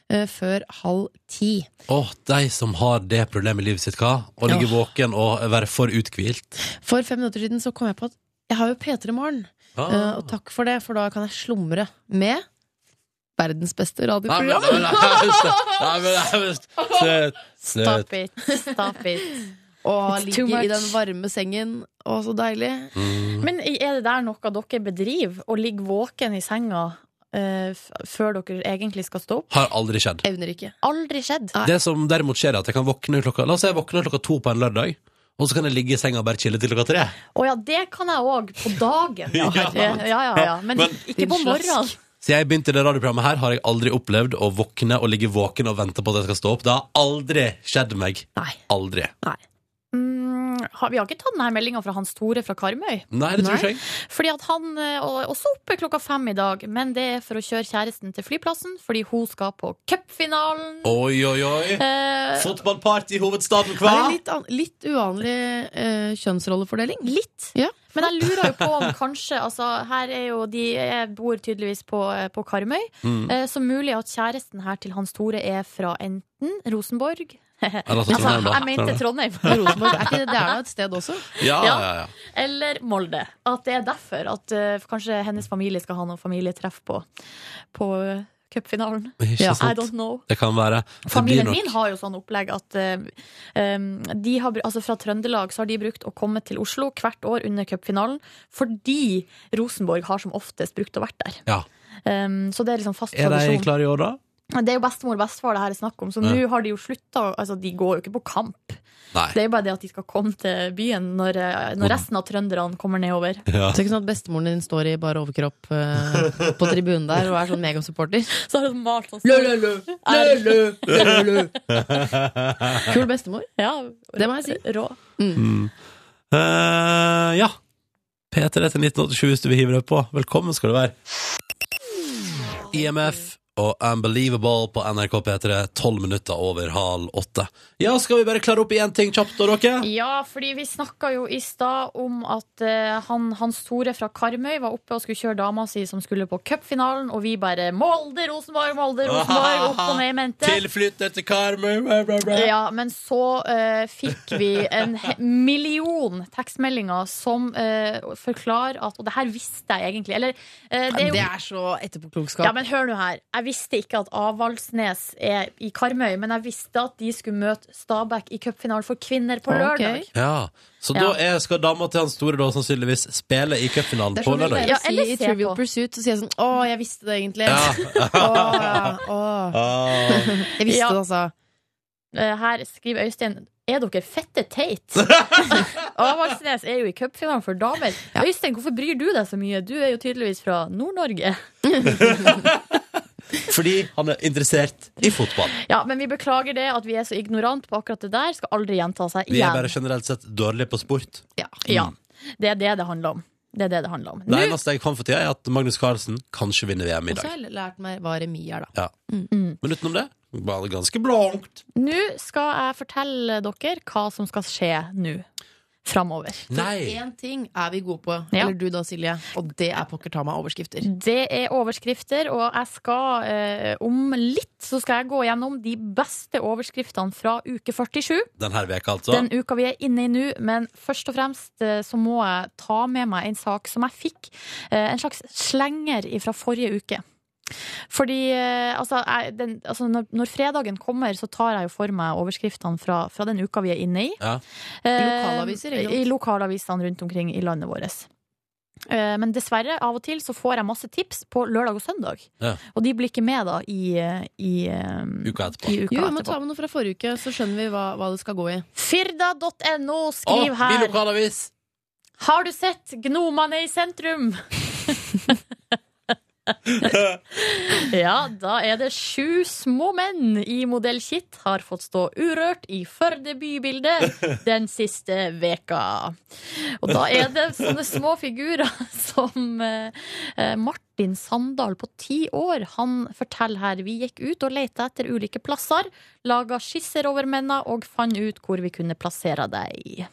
eh, før halv ti.
Å, de som har det problemet i livet sitt, hva? Å ligge våken og være for uthvilt.
For fem minutter siden så kom jeg på at jeg har jo P3 Morgen. Eh,
Ah.
og takk for det, for da kan jeg slumre med verdens beste
Nei, men, nei,
radioprogram.
men, nei, men, nei, men, nei, men, Søt, søt.
Stop it. Stop it.
Og
It's too
ligge i
much.
den varme sengen. Å, så deilig.
Mm.
Men er det der noe dere bedriver? Å ligge våken i senga eh, f- før dere egentlig skal stå opp?
Har aldri skjedd.
Evner ikke.
Aldri skjedd.
Nei.
Det som derimot skjer, er at jeg kan våkne klokka La oss si jeg våkner klokka to på en lørdag, og så kan jeg ligge i senga og bare chille til klokka tre.
Å ja, det kan jeg òg. På dagen.
Ja.
ja, ja, ja. Men,
Men-
ikke på morgenen.
Så jeg begynte i det radioprogrammet her, har jeg aldri opplevd å våkne og ligge våken og vente på at jeg skal stå opp. Det har aldri skjedd meg.
Nei.
Aldri.
Mm, har- vi har ikke tatt denne meldinga fra Hans Tore fra Karmøy.
Nei, det tror ikke jeg.
Fordi at han eh, er også oppe klokka fem i dag, men det er for å kjøre kjæresten til flyplassen, fordi hun skal på cupfinalen.
Oi, oi, oi.
Eh,
Fotballparty i hovedstaden, hva?
Er det litt, an litt uvanlig eh, kjønnsrollefordeling?
litt.
Ja.
Men jeg lurer jo på om kanskje altså, Her er jo de jeg bor tydeligvis på, på Karmøy,
Mm.
eh, så mulig at kjæresten her til Hans Tore er fra enten Rosenborg
Eller altså,
Altså,
Trondheim, da.
jeg mente Trondheim.
Rosenborg, er ikke det, det er da et sted også?
Ja, ja, ja.
Eller Molde. At det er derfor at eh, kanskje hennes familie skal ha noe familietreff på, på eh, cupfinalen.
Ikke
I
sant?
don't know.
Det kan være. Det blir
Familien
nok-
min har jo sånn opplegg at eh, um, de har, br- altså fra Trøndelag så har de brukt å komme til Oslo hvert år under cupfinalen fordi Rosenborg har som oftest brukt å vært der.
Ja.
Um, så det er liksom fast
Er de
tradisjon.
klare i år, da?
Det er jo bestemor og bestefar det her er snakk om, så
Ja.
nå har de jo slutta. Altså, de går jo ikke på kamp.
Nei.
Det er jo bare det at de skal komme til byen når, eh, når resten av trønderne kommer nedover.
Ja.
Så det er ikke sånn at bestemoren din står i bare overkropp eh, på tribunen der og er sånn megasupporter?
Så har hun malt sånn
Kul bestemor.
Ja,
Det må jeg si.
Rå.
Eh, ja. P3 til 1987 hvis du vil hive deg på. Velkommen skal du være. IMF og Unbelievable på NRK P3, tolv minutter over halv åtte. Ja, skal vi bare klare opp i én ting kjapt, da, dere?
Ja, fordi vi snakka jo i stad om at eh, han, Hans Tore fra Karmøy var oppe og skulle kjøre dama si som skulle på cupfinalen, og vi bare Molde, Rosenborg, Molde, Rosenborg, opp og ned i mente.
Tilflytter til Karmøy bra, bra, bra.
Ja, men så eh, fikk vi en he- million tekstmeldinger som eh, forklarer at Og det her visste jeg egentlig. Eller eh, det er jo
Det er så etterpåklokskap.
Ja, men hør nå her. Jeg visste ikke at Avaldsnes er i Karmøy, men jeg visste at de skulle møte Stabæk i cupfinalen for kvinner på
Ok.
lørdag.
Ja, Så da er, skal dama til Hans Store da sannsynligvis spille i cupfinalen
Det er
på
sånn du
lørdag?
pleier
Ja,
å si
eller
i
se
Trivial
på.
Pursuit, så sier jeg sånn Å, jeg visste det egentlig.
Ja.
Å, å.
Ah.
Jeg visste
Ja.
det, altså.
Eh, Her skriver Øystein Er dere fette teit? Avaldsnes er jo i cupfinalen for damer. Øystein, hvorfor bryr du deg så mye? Du er jo tydeligvis fra Nord-Norge.
Fordi han er interessert i fotball.
Ja, men vi beklager det at vi er så ignorant på akkurat det der. Skal aldri gjenta seg
Vi er
igjen.
bare generelt sett dårlige på sport.
Ja, det er det det handler om. Det er det det handler om.
Det eneste jeg kan for tida, er at Magnus Carlsen kanskje vinner VM i
Og så
dag.
har jeg lært meg hva remis er, da.
Ja.
Mm.
Men utenom det var det ganske blankt.
Nå skal jeg fortelle dere hva som skal skje nå. framover.
Nei!
Én ting er vi gode på,
Ja.
eller du da, Silje, og det er pokker ta meg overskrifter.
Det er overskrifter, og jeg skal eh, om litt så skal jeg gå gjennom de beste overskriftene fra uke 47.
Denne veka, altså.
Den uka vi er inne i nå, men først og fremst eh, så må jeg ta med meg en sak som jeg fikk. eh, En slags slenger fra forrige uke. Fordi eh, altså, jeg, den, altså når, når fredagen kommer, så tar jeg jo for meg overskriftene fra, fra den uka vi er inne i.
Ja.
Eh,
lokalaviser, ikke sant?
I lokalavisene rundt omkring i landet vårt. Eh, Men dessverre, av og til så får jeg masse tips på lørdag og søndag.
Ja.
Og de blir ikke med da i, eh, i, eh,
Uka etterpå.
i uka
Jo, vi må
etterpå.
ta med noe fra forrige uke, så skjønner vi hva, hva det skal gå i.
Firda.no,
Å,
skriv her.
Min lokalavis!
Har du sett gnomene i sentrum? ja, da er det sju små menn i modell Kitt har fått stå urørt i Førde bybilde den siste veka. Og da er det sånne små figurer som eh, eh, Martin Sandal på ti år. Han forteller her vi gikk ut og lette etter ulike plasser, laga skisser over mennene og fant ut hvor vi kunne plassere deg.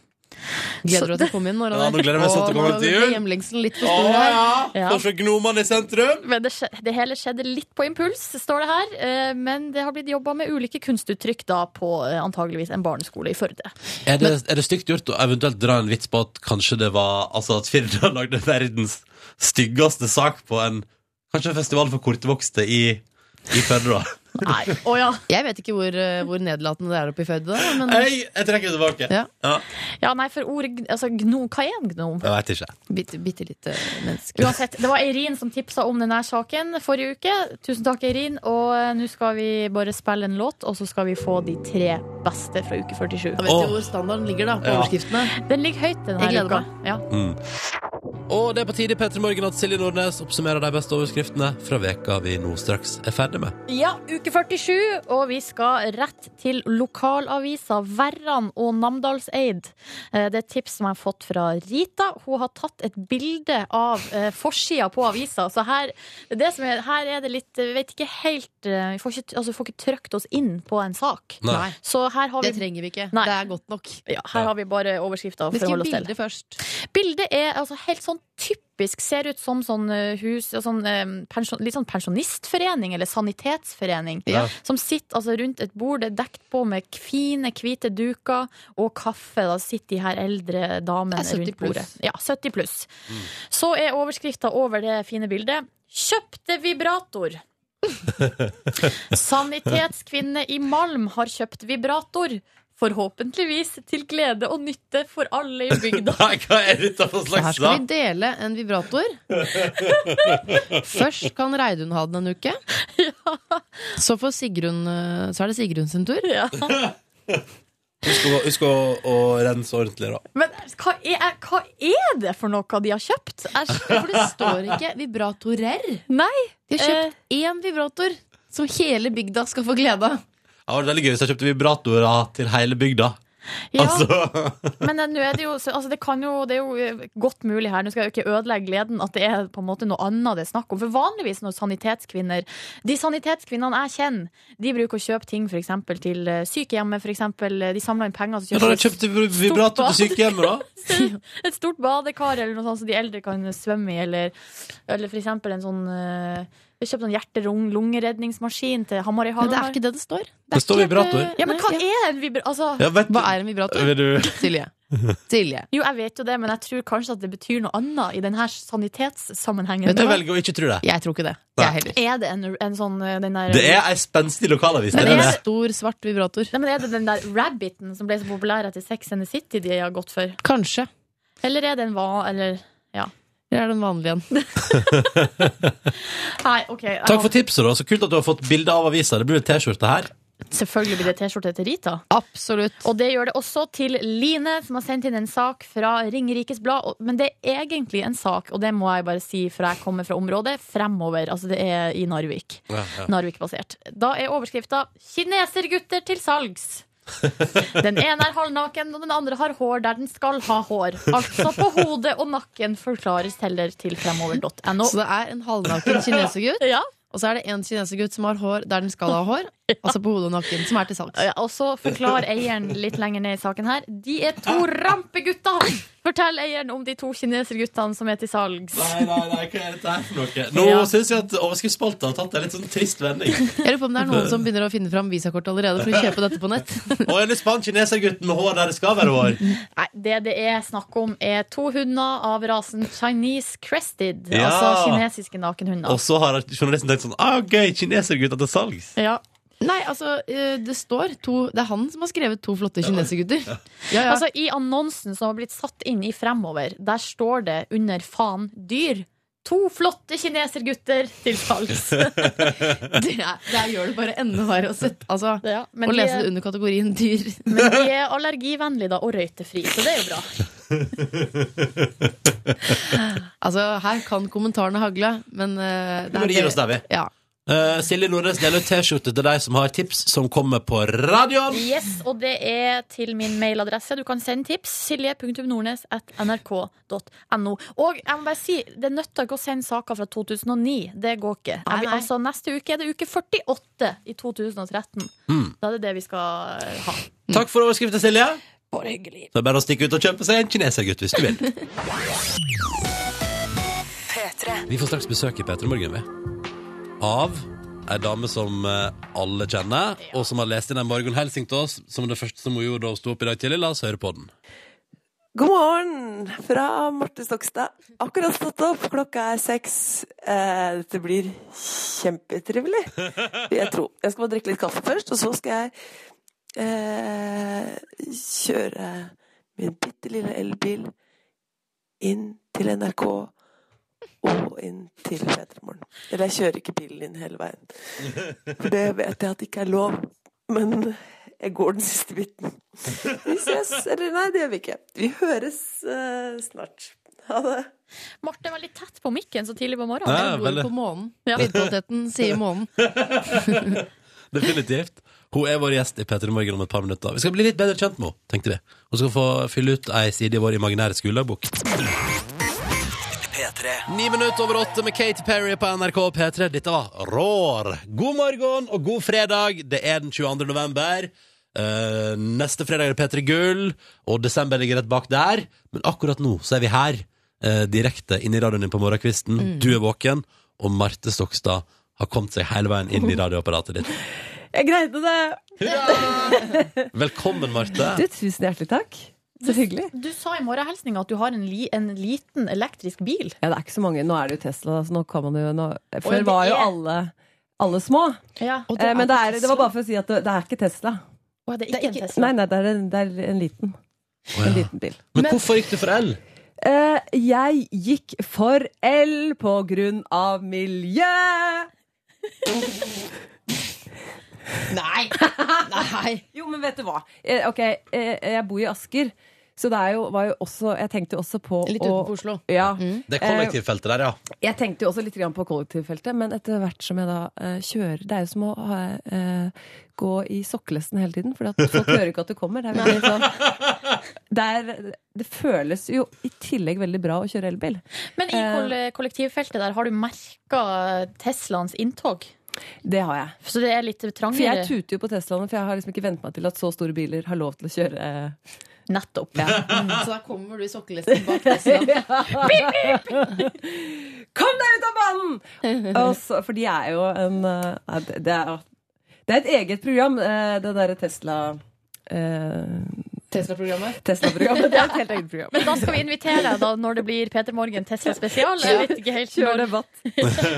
Gleder du deg til å komme inn?
Ja, nå gleder jeg meg sånn til å komme til jul.
Hjemlengselen litt for
Å
stor her.
ja!
Ja.
Får se gnomene i sentrum!
Men det, skje- det hele skjedde litt på impuls, står det her. Eh, Men det har blitt jobba med ulike kunstuttrykk da på eh, antageligvis en barneskole i Førde.
Er det, er det stygt gjort å eventuelt dra en vits på at kanskje det var Altså at Firda lagde verdens styggeste sak på en Kanskje en festival for kortvokste i, i Førde, da?
Nei, å ja.
Jeg vet ikke hvor, eh, hvor nedlatende det er oppe i Førde, da, men
Hei, jeg trekker tilbake.
Ja.
ja. Nei, for ordet gn- altså, gnom, Hva er en gnom?
Jeg veit ikke.
bitte, bitte lite menneske.
Uansett, det var Eirin som tipsa om denne saken forrige uke. Tusen takk, Eirin. Og eh, nå skal vi bare spille en låt, og så skal vi få de tre beste fra uke 47.
Da vet
Åh.
du hvor standarden ligger, da, på
Ja.
overskriftene.
Den ligger høyt denne
Jeg gleder
uka. Ja.
Og det er på tide i P3 Morgen at Silje Nordnes oppsummerer de beste overskriftene fra veka vi nå straks er ferdig med.
Ja, uke 47, og vi skal rett til lokalavisa Verran og Namdalseid. Eh, Det er et tips som jeg har fått fra Rita. Hun har tatt et bilde av eh, forsida på avisa. Så her, det er det som er, her er det litt eh, Vi vet ikke helt eh, Vi får ikke, altså, vi får ikke trykt oss inn på en sak.
Nei.
Så her har
Det
vi,
trenger vi ikke.
Nei.
Det er godt nok.
ja, her har vi bare overskrifta.
Vi
for å
skriver
holde oss til.
bildet først.
Bildet er altså helt sånn typisk, ser ut som sånn eh, hus ja, sånn, eh, pensjon, Litt sånn pensjonistforening eller sanitetsforening.
Ja.
Som sitter altså rundt et bord, det er dekt på med k- fine, hvite duker og kaffe. Da sitter de her eldre damene
Det er 70
rundt bordet.
pluss.
Ja, 70 pluss. Så er overskrifta over det fine bildet 'Kjøpte vibrator'. Sanitetskvinne i Malm har kjøpt vibrator. Forhåpentligvis til glede og nytte for alle i bygda.
Nei, hva er dette for
Så her
slags
skal
sak?
vi dele en vibrator. Først kan Reidun ha den en uke. Så, får Sigrun, eh, så er det Sigrun sin tur.
Ja.
Husk, å- husk å, å rense ordentlig, da.
Men hva er, hva er det for noe de har kjøpt? Jeg skj-
For det står ikke vibratorer.
Nei.
De har
Eh.
kjøpt én vibrator som hele bygda skal få glede av.
Ja, det var veldig gøy hvis jeg kjøpte vibratorer til hele bygda.
Ja,
Altså,
men eh, nå er det jo, så- altså det, kan jo, det er jo eh, godt mulig her, nå skal jeg jo ikke ødelegge gleden, at det er på en måte noe annet det er snakk om. For vanligvis når sanitetskvinner, de sanitetskvinnene jeg kjenner, de bruker å kjøpe ting for eksempel til eh, sykehjemmet, for eksempel, eh, de samler inn penger, så
ja, da
kjøper
har jeg kjøpt vibrator til sykehjemmet, da.
et stort badekar eller noe sånt som de eldre kan svømme i, eller, eller for eksempel en sånn... eh, Vi kjøpte sånn hjerte-lungeredningsmaskin til Hamar i
Men det
Hamar.
er ikke det det står.
Det står
ikke-
vibrator.
Ja, men hva
Nei,
er en vibra... Altså,
Ja, vet
Hva er en vibrator?
Vil du
Silje. Silje.
Jo, jeg vet jo det, men jeg tror kanskje at det betyr noe annet i denne sanitetssammenhengen.
Vet du
Jeg
hva?
velger å ikke tro det.
Jeg tror ikke det.
Nei.
Jeg heller.
Er det en, en sånn eh, den der
Det er ei spenstig lokalavis. Det
Men
er
en
det.
stor, svart vibrator.
Nei, men Er det den der rabbiten som ble så populær etter Sex and the City de har gått for?
Kanskje.
Eller er det en hva... Eller
Eller er det en vanlig en?
Nei, OK. jeg
Takk
har-
for tipset, da. Så kult at du har fått bilde av avisa. Det blir vel T-skjorte her.
Selvfølgelig blir det T-skjorte til Rita.
Absolutt.
Og det gjør det også til Line, som har sendt inn en sak fra Ringerikes Blad. Og- Men det er egentlig en sak, og det må jeg bare si fra jeg kommer fra området, fremover. Altså det er i Narvik. Narvik-basert. Da er overskrifta 'Kinesergutter til salgs'. Den ene er halvnaken, og den andre har hår der den skal ha hår. Altså på hodet og nakken, forklares heller til fremover.no.
Så det er en halvnaken kinesergutt,
Ja,
og så er det en kinesergutt som har hår der den skal ha hår, Altså på hodet og nakken, som er til salgs.
Ja, og så forklarer Eh, altså, eieren litt lenger ned i saken her. De er to rampegutter! Fortell eieren om de to kineserguttene som er til salgs.
Nei, nei, nei, hva er dette her for noe? Nå
Ja.
synes jeg at overskuddsspalta har tatt en litt sånn trist vending.
Jeg lurer på om det er noen som begynner å finne fram visakort allerede for å kjøpe dette på nett.
Og jeg har lyst på han kinesergutten med hår der det skal være hår.
Nei, det det er snakk om, er to hunder av rasen Chinese Crested.
Ja.
Altså kinesiske nakenhunder.
Og så har journalisten tenkt sånn ah, Gøy, kinesergutter til salgs.
Ja.
Nei, altså, eh, det står to Det er han som har skrevet to flotte kinesergutter. Ja, ja.
Altså, I annonsen som har blitt satt inn i Fremover, der står det under faen dyr. To flotte kinesergutter til salgs.
det, er, det er- gjør det bare enda verre å sette Altså,
Ja, men,
å
de
lese det
er,
under kategorien dyr.
men de er allergivennlige da, og røytefri, så det er jo bra.
Altså, her kan kommentarene hagle, men eh,
Vi bare gir oss der, vi.
Ja.
Eh, Silje Nordnes deler ut T-skjorte til deg som har tips som kommer på radioen.
Yes, og det er til min mailadresse. Du kan sende tips. silje.nordnes.nrk.no. Og jeg må bare si, det nytter ikke å sende saker fra 2009. Det går ikke. Jeg,
Nei,
vil-
nei.
altså, neste uke er det uke 48 i 2013. Da er det det vi skal eh, ha.
Takk for overskriften, Silje.
Bare hyggelig.
Så er det bare å stikke ut og kjøpe seg en kinesergutt hvis du vil.
P3.
Vi får straks besøk i P3 Morgen, vi. Av ei dame som eh, alle kjenner, og som har lest inn en morgenhilsing til oss som det første som hun gjorde da hun sto opp i dag tidlig. La oss høre på den.
God morgen fra Marte Stokstad. Akkurat stått opp, klokka er seks. Eh, dette blir kjempetrivelig, vil jeg tro. Jeg skal bare drikke litt kaffe først, og så skal jeg eh, kjøre min bitte lille elbil inn til NRK og inn til Petremorgen. Eller jeg kjører ikke bilen inn hele veien. For det vet jeg at ikke er lov. Men jeg går den siste biten. Vi ses. Eller nei, det gjør vi ikke. Vi høres eh, snart. Ha det.
Marte er veldig tett på mikken så tidlig på morgenen.
Ja,
Bor
veldig.
på månen.
Ja.
Lydkvaliteten sier månen.
Definitivt. Hun er vår gjest i P3 Morgen om et par minutter. Vi skal bli litt bedre kjent med henne, tenkte vi. Hun skal få fylle ut ei side i vår imaginære skoledagbok.
P3.
Ni minutter over åtte med Katy Perry på NRK P3. Dette var Rår. God morgen og god fredag. Det er den 22. november. Eh, neste fredag er det P3 Gull, og desember ligger rett bak der. Men akkurat nå så er vi her, eh, direkte inn i radioen din på morgenkvisten. Du er våken, og Marte Stokstad har kommet seg hele veien inn i radioapparatet ditt.
Jeg greide det.
Velkommen,
Du,
Marte.
tusen hjertelig takk. Så hyggelig.
Du sa i morgenhilsninga at du har en, li, en liten elektrisk bil.
Ja, det er ikke så mange. Nå er det jo Tesla, så nå kan man jo nå,
Oi,
Før
det
var jo
er-
alle, alle små.
Ja.
Og
Eh, men det, er, det
Tesla.
var bare for å si at det, det er ikke Tesla.
Og det er ikke en Tesla.
Nei, nei, det er en, det er en liten.
Å,
En
ja.
liten bil.
Men hvorfor gikk du for L?
Eh, jeg gikk for L på grunn av miljø.
Nei! Nei.
Jo, men vet du hva? Eh, ok, eh, jeg bor i Asker, så det er jo, var jo også Jeg tenkte jo også på
Litt
å
utenfor Oslo.
ja,
Mm.
Det kollektivfeltet der, ja.
Jeg tenkte jo også litt grann på kollektivfeltet, men etter hvert som jeg da eh, kjører Det er jo som å ha, eh, gå i sokkelesten hele tiden, for folk hører ikke at du kommer. Det, er veldig sånn, det, er, det føles jo i tillegg veldig bra å kjøre elbil.
Men i
Eh.
koll- kollektivfeltet der, har du merka Teslaens inntog?
Det har jeg.
Så det er litt
For
trangere?
jeg tuter jo på Teslaene, for jeg har liksom ikke vent meg til at så store biler har lov til å kjøre. eh,
Nettopp.
Så da kommer du i sokkelesten bak Tesla.
Kom deg ut av banen! Og så, for de er jo en eh, nei, det, det, er, det er et eget program, eh, det derre Tesla eh,
Tesla-programmet.
Tesla-programmet. Det er et helt eget program.
Men da skal vi invitere deg da når det blir Peter Morgen Tesla spesial. Jeg vet ikke helt
Kjør
når.
debatt.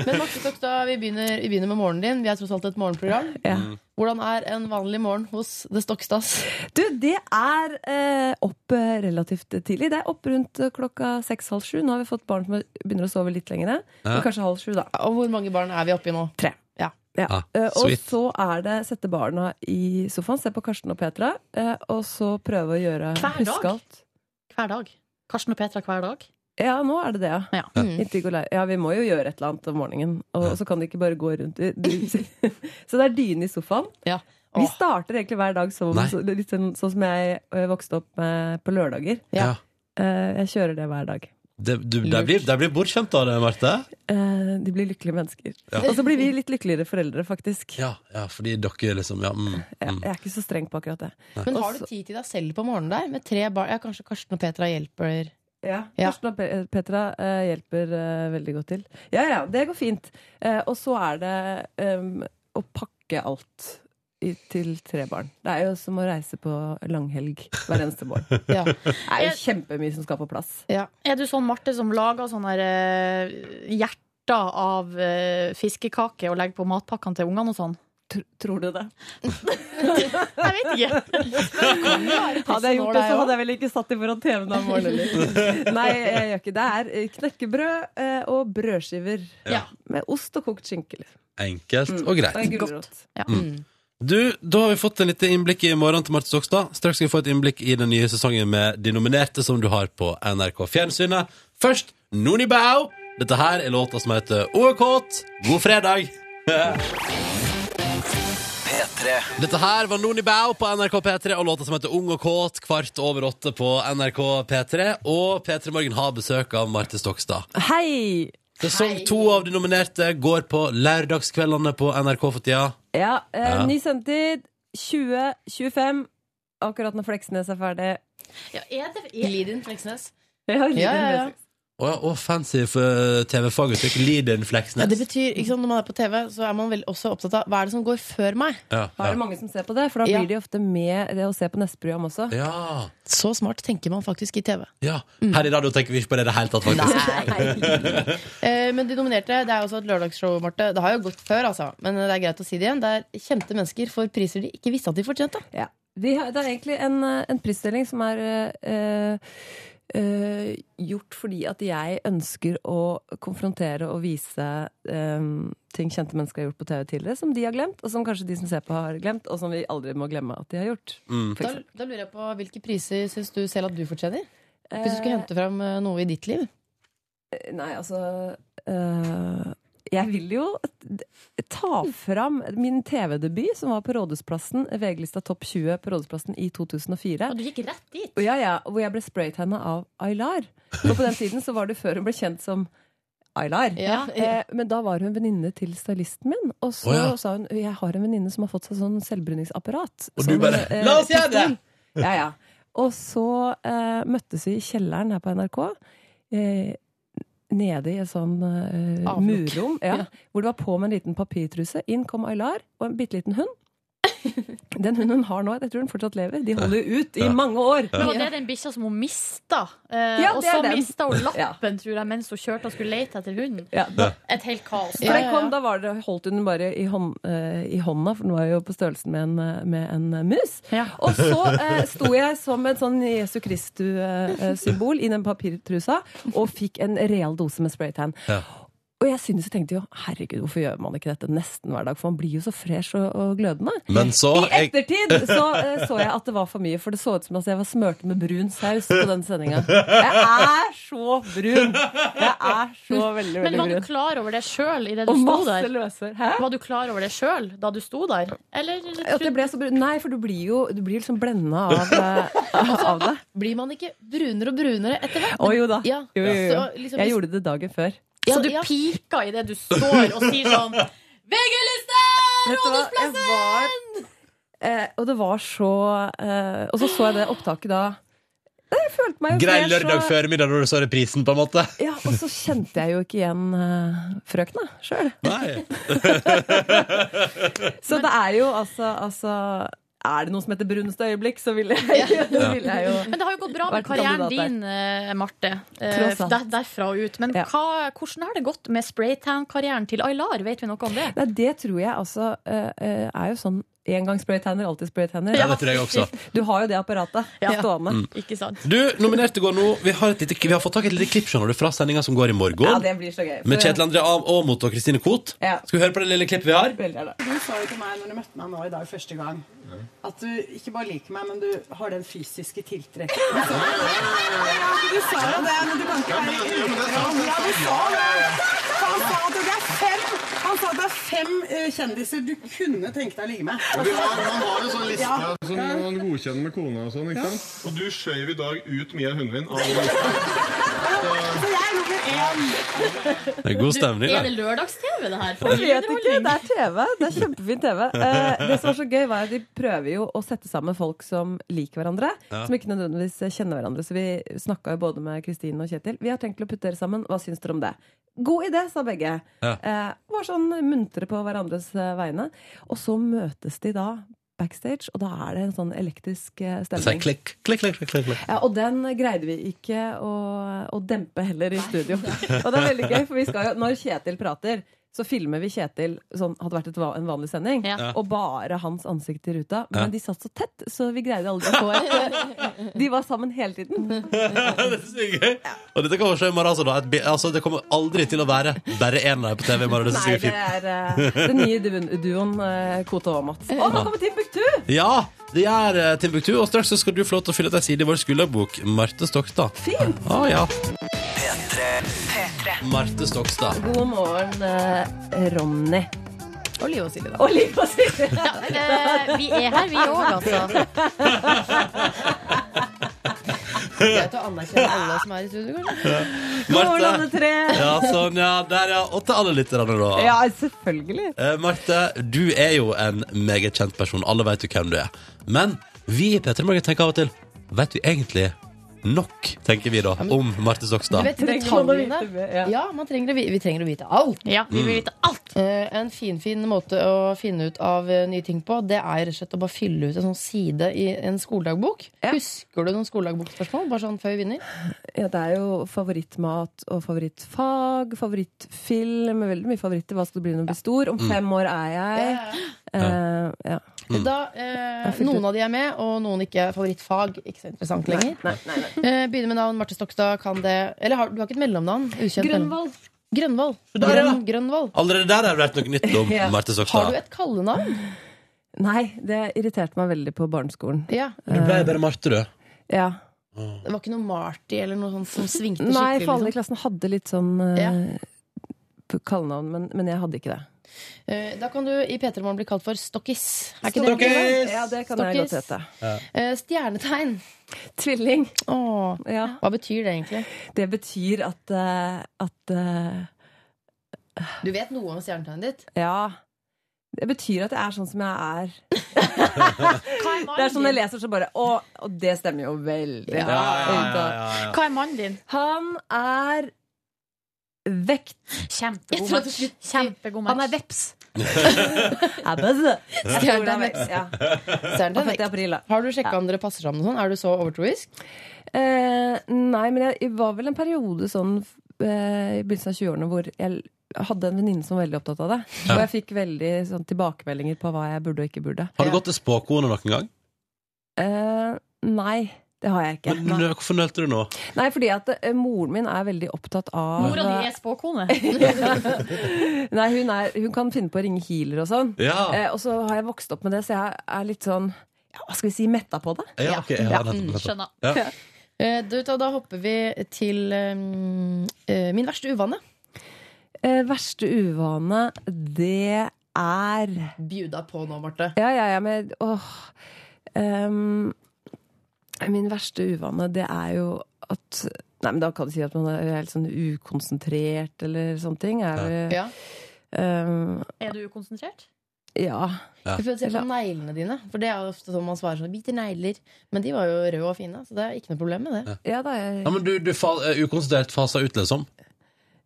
Men Marte Tokstad, vi begynner, vi begynner med morgenen din. Vi er tross alt et morgenprogram.
Ja.
Hvordan er en vanlig morgen hos The Stokstads?
Du, det er eh, opp eh, relativt tidlig. Det er opp rundt eh, klokka seks-halv sju. Nå har vi fått barn som begynner å sove litt lenger. Men Kanskje halv sju, da.
Og hvor mange barn er vi oppe i nå?
Tre.
Ja.
Ja.
Ah,
Eh, og
sweet.
så er det sette barna i sofaen, se på Karsten og Petra, eh, og så prøve å gjøre
Hver dag?
huske alt.
Hver dag. Karsten og Petra hver dag.
Ja, nå er det det, ja.
Ja.
Mm.
Inntil Nicolai- Ja, vi må jo gjøre et eller annet om morgenen. Og så kan de ikke bare gå rundt i- du- Så det er dyne i sofaen.
Ja.
Vi
Åh.
starter egentlig hver dag som,
Nei.
så, eh, litt sånn, sånn som jeg ø, vokste opp med på lørdager.
Ja.
Eh, Jeg kjører det hver dag.
Det, du, de, blir, de blir bortskjemt av det, Marte.
Eh, de blir lykkelige mennesker.
Ja.
Og så blir vi litt lykkeligere foreldre, faktisk.
Ja, ja, fordi dere liksom ja, mm, mm.
Jeg er ikke så streng på akkurat det.
Men har du tid til deg selv på morgenen der? Med tre barn? Ja, kanskje Karsten og Petra hjelper?
Ja. Karsten og Pe- Petra eh, hjelper eh, veldig godt til. Ja, ja, det går fint. Eh, og så er det em, å pakke alt i, til tre barn. Det er jo som å reise på langhelg hver eneste morgen.
Ja.
Det er jo kjempemye som skal på plass.
Er du sånn Marte som lager sånne her, eh, hjerter av eh, fiskekake og legger på matpakkene til ungene og sånn?
Tror du det?
jeg vet ikke.
Hadde jeg gjort det, så hadde jeg vel ikke satt i foran TV-en om morgenen heller. Nei, jeg gjør ikke det. Det er knekkebrød eh, og brødskiver.
Ja.
Med ost og kokt skinke. liksom.
Enkelt
Mm.
og greit.
Og en gulrot.
Mm. Du, Da har vi fått en lite innblikk i morgenen til Marte Stokstad. Straks skal vi få et innblikk i den nye sesongen med de nominerte som du har på NRK Fjernsynet. Først Noni Bao. Dette her er låta som heter OKT. God fredag!
P3.
Dette her var Noni Bao på NRK P3 og låta som heter Ung og kåt kvart over åtte på NRK P3. Og P3 Morgen har besøk av Marte Stokstad.
Hei!
Sesong to av de nominerte går på lørdagskveldene på NRK for tida.
Ja, eh,
Ja.
ny sendetid 2025. Akkurat når Fleksnes er ferdig.
Ja, er det, er...
Liden Fleksnes.
Ja, Liden
Ja, ja, ja.
Fleksnes.
Å ja, å, fancy for eh, TV-faguttrykk. Leaden
Ja,
Fleksnes.
det betyr, ikke sant, Når man er på TV, så er man vel også opptatt av hva er det som går før meg.
Ja,
Da er det mange som ser på det, for da
Ja.
blir de ofte med det å se på neste program også.
Ja.
Så smart tenker man faktisk i TV.
Ja, Her i radio tenker vi ikke på det i det hele tatt, faktisk.
Eh, men de nominerte det er også et lørdagsshow, Marte. Det har jo gått før, altså. Men det er greit å si det igjen. Det er kjente mennesker for priser de ikke visste at de fortjente.
Ja. De har, det er egentlig en, eh, en prisdeling som er eh, eh, gjort fordi at jeg ønsker å konfrontere og vise eh, ting kjente mennesker har gjort på TV tidligere, som de har glemt, og som kanskje de som ser på, har glemt, og som vi aldri må glemme at de har gjort.
Mm.
For
Da,
eksempel.
da lurer jeg på Hvilke priser syns du selv at du fortjener? Hvis du skulle
Eh,
hente fram eh, noe i ditt liv?
Nei, altså øh, Jeg vil jo t- ta fram min TV-debut, som var på Rådhusplassen. VG-lista Topp 20 på Rådhusplassen i 2004.
Og du gikk rett dit?
Og ja, ja, hvor jeg ble spraytanna av Aylar. Og på den tiden så var det før hun ble kjent som Aylar.
Ja,
Eh, men da var hun venninne til stylisten min, og så
Å, ja.
sa hun jeg har en venninne som har fått seg sånn selvbruningsapparat.
Og du
Sånn,
bare,
eh,
«La oss gjøre det!»
pistol. Ja, ja. Og så eh, møttes vi i kjelleren her på NRK. Eh, Nede i et sånn eh,
Avlukk.
murrom, ja,
Ja.
hvor det var på med en liten papirtruse. Inn kom Aylar og en bitte liten hund. Den hunden hun har nå, jeg tror hun fortsatt lever, de holder jo ut i mange år.
Men var det den bikkja som hun mista? Eh,
Ja,
og
det er
så
den.
mista hun
Ja.
lappen, tror jeg, mens hun kjørte og skulle lete etter hunden.
Ja, da,
Et helt kaos.
da den kom, da var det, holdt hun den bare i, hånd, eh, i hånda, for den var jo på størrelsen med en, eh, med en eh, mus. Og så eh, sto jeg som et sånn Jesu Kristu-symbol i den papirtrusa og fikk en real dose med spraytan.
Ja.
Og jeg synes jeg tenkte jo, herregud, hvorfor gjør man ikke dette nesten hver dag? For man blir jo så fresh og, og glødende.
Men så
I ettertid så, eh, så jeg at det var for mye, for det så ut som at jeg var smørt med brun saus på den sendinga. Jeg er så brun! Jeg er så veldig,
Men
veldig
var du
brun.
klar over det sjøl idet du
Og
sto
masse
der?
løser. Hæ?
Var du klar over det sjøl da du sto der? Eller
At jeg ble så brun. Nei, for du blir jo du blir liksom blenda av, eh, av det.
Blir man ikke brunere og brunere etter hvert?
Å jo da.
Ja.
Jo, jo, jo.
Så liksom-
Jeg gjorde det dagen før.
Så
Ja,
du
ja.
pika idet du står og sier sånn VG-lista!
Vet du hva? Jeg var eh, Og det var så eh, Og så så jeg det opptaket da. Jeg følte meg jo
Grei
fresh,
lørdag
og-
før middag når du så reprisen, på en måte.
Ja, og så kjente jeg jo ikke igjen eh, frøkna sjøl.
Nei.
Så det er jo altså, altså Er det noe som heter bruneste øyeblikk, så vil jeg, så vil jeg jo
Men det har jo gått bra med
Vært kandidat
karrieren din, eh, Marte. Eh,
Tross alt.
der, derfra og ut. Men
Ja.
hva, hvordan har det gått med spraytan-karrieren til Aylar? Vet vi noe om det?
Nei, det tror jeg altså eh, eh, er jo sånn engangsspraytanner, alltid spraytanner.
Ja, det tror jeg også.
Du har jo det apparatet stående.
Ikke sant?
Du, nominerte går nå. Vi har, et lite, vi har fått tak i et lite klipp skjønner du, fra sendinga som går i morgen.
Ja, det blir så gøy.
Med Kjetil André Am- Aamodt og Kristine Koht.
Ja.
Skal vi høre på det lille klippet vi har?
Veldig gjerne.
Du sa jo til meg når du møtte meg nå i dag første gang, at du ikke bare liker meg, men du har den fysiske tiltrekningen. Ja, du sa jo det, men du kan ikke være utrolig. Ja, du sa det. Han sa at det er fem, han sa at det er fem eh, kjendiser du kunne tenke deg å ligge med.
Vi har, man har jo sånn liste
Ja.
som man godkjenner med kona og sånn, ikke sant? Og du skjøv i dag ut Mia Hundvin av den lista.
Og Så jeg er nummer én.
Det er god stemning,
Er det
da.
lørdags-TV, det her?
Jeg vet ikke, det er TV. Det er kjempefin TV. Eh, det som var så gøy, var at de prøver jo å sette sammen folk som liker hverandre.
Ja.
Som ikke nødvendigvis kjenner hverandre. Så vi snakka jo både med Kristine og Kjetil. Vi har tenkt å putte dere sammen. Hva syns dere om det? God idé, sa begge.
Ja.
Eh, var sånn muntre på hverandres eh, vegne. Og så møtes de da backstage, og da er det en sånn elektrisk eh,
Det sier
stemning.
klikk, klikk, klikk, klikk, klikk.
Ja, og den greide vi ikke å, å dempe heller i studio. Og det er veldig gøy, for vi skal jo, når Kjetil prater, så filmer vi Kjetil sånn hadde vært et, va- en vanlig sending,
Ja.
og bare hans ansikt i ruta.
Ja.
Men de satt så tett, så vi greide aldri å få et De var sammen hele tiden.
det synes jeg er gøy. Og dette kommer til å skje i morgen, altså. Da. Et, bi- altså det kommer aldri til å være bare én av dem på TV i morgen. Det
Nei,
synes
det
jeg er
er eh,
fint.
den nye duoen, duoen eh, Kote og Mats. Å, nå kommer Timbuktu!
Ja, det er eh, Timbuktu, og straks så skal du få lov til å fylle ut ei side i vår skulderbok. Marte Stokstad.
Fint!
Ah, ja.
P3.
Marte Stokstad.
God morgen, eh, Ronny.
Og Liv og Silje, da.
Og Liv og Silje.
Ja, eh, vi er her, vi òg, altså.
Greit å anerkjenne alle som er i studio, kanskje.
Marte.
morgen, alle tre.
Ja, sånn, ja. Der, ja. Og til alle lytterne, da.
Ja, selvfølgelig.
Eh, Marte, du er jo en meget kjent person. Alle vet jo hvem du er. Men vi i P3 Morgen tenker av og til Vet vi egentlig nok, tenker vi da, om Marte
Du
Stokstad?
vet detaljene. Ja, man trenger å, vi, vi trenger å vite alt. Eh,
Ja,
vi vil Mm. vite
alt.
en finfin måte å finne ut av eh, nye ting på, det er rett og slett å bare fylle ut en sånn side i en skoledagbok. Husker du noen skoledagbokspørsmål? Bare sånn før vi vinner?
Ja, det er jo favorittmat og favorittfag, favorittfilm, veldig mye favoritter. Hva skal det bli når du blir stor? Om
Mm.
fem år er jeg Eh, ja.
Da, eh, noen av de er med, og noen ikke. Favorittfag. Ikke så interessant lenger. Eh, begynner med navn. Marte Stokstad kan det Eller har, du har ikke et mellomnavn? Ukjent
Grønvoll.
mellom- Grønvoll.
Der, ja.
Grønn, Grønvoll.
Allerede der har det vært noe nytt om
Ja.
Marte
Har du
Stokstad.
et kallenavn?
Nei, det irriterte meg veldig på barneskolen.
Ja.
Du ble bare Marte, du.
ja.
Det var ikke noe Marty eller noe sånt som svingte skikkelig?
Nei, for alle i
liksom.
klassen hadde litt sånn eh, kallenavn, men, men jeg hadde ikke det.
Eh, Da kan du i P3 Morgen bli kalt for Stokkis. Er ikke det en fin
Stokkis!
navn?
Ja, det kan jeg
Stokkis.
godt hete.
Eh, Stjernetegn.
Tvilling.
Åh, Hva betyr det egentlig?
Det betyr at, eh, at eh,
Du vet noe om stjernetegnet ditt?
Ja. Det betyr at jeg er sånn som jeg er. det er
mannen
sånn jeg
din?
leser, så bare Å, og det stemmer jo veldig.
Ja,
bra
ja, ja, ja,
ut,
ja.
da.
Hva er mannen din?
Han er vekt.
Jeg
Kjempegod
trodde du skulle- Kjempegod match. Han er
veps. Stjernetegn
Stjernetegn
vekst. Ja.
Stjernetegn
Og født i april, da.
Har du sjekka
Ja.
om dere passer sammen og sånn? Er du så overtroisk?
Eh, nei, men jeg, jeg var vel en periode sånn eh, i begynnelsen av 20-årene hvor jeg l- hadde en venninne som var veldig opptatt av det.
Ja.
Og jeg fikk veldig sånn, tilbakemeldinger på hva jeg burde og ikke burde.
Har du gått til spåkone noen gang?
Eh, nei, det har jeg ikke.
Men,
eh,
nø- hvorfor nølte du nå?
Nei, fordi at eh, moren min er veldig opptatt av
Mora di er spåkone.
Nei, hun, er, hun kan finne på å ringe healer og sånn.
Ja.
Eh, og så har jeg vokst opp med det, så jeg er litt sånn ja, Hva skal vi si? Metta på det.
Ja, ok, ja, nettopp, nettopp. Skjønner. Ja.
Eh, Du, da, da hopper vi til um, eh, min verste uvane.
Eh, verste uvane, det er
Bjuda på nå, Marte.
Ja, ja, ja, men åh. Ehm, min verste uvane, det er jo at Nei, men da kan du si at man er helt sånn ukonsentrert eller sånne ting. Er, vel-
Ja.
Ehm,
Er du ukonsentrert?
ja.
Du får se på neglene dine. For det er jo ofte sånn man svarer sånn Biter negler. Men de var jo røde og fine, så det er ikke noe problem med det.
Ja, da er
Ja, men du, du fa eh, ukonsentrert fasa ut, liksom?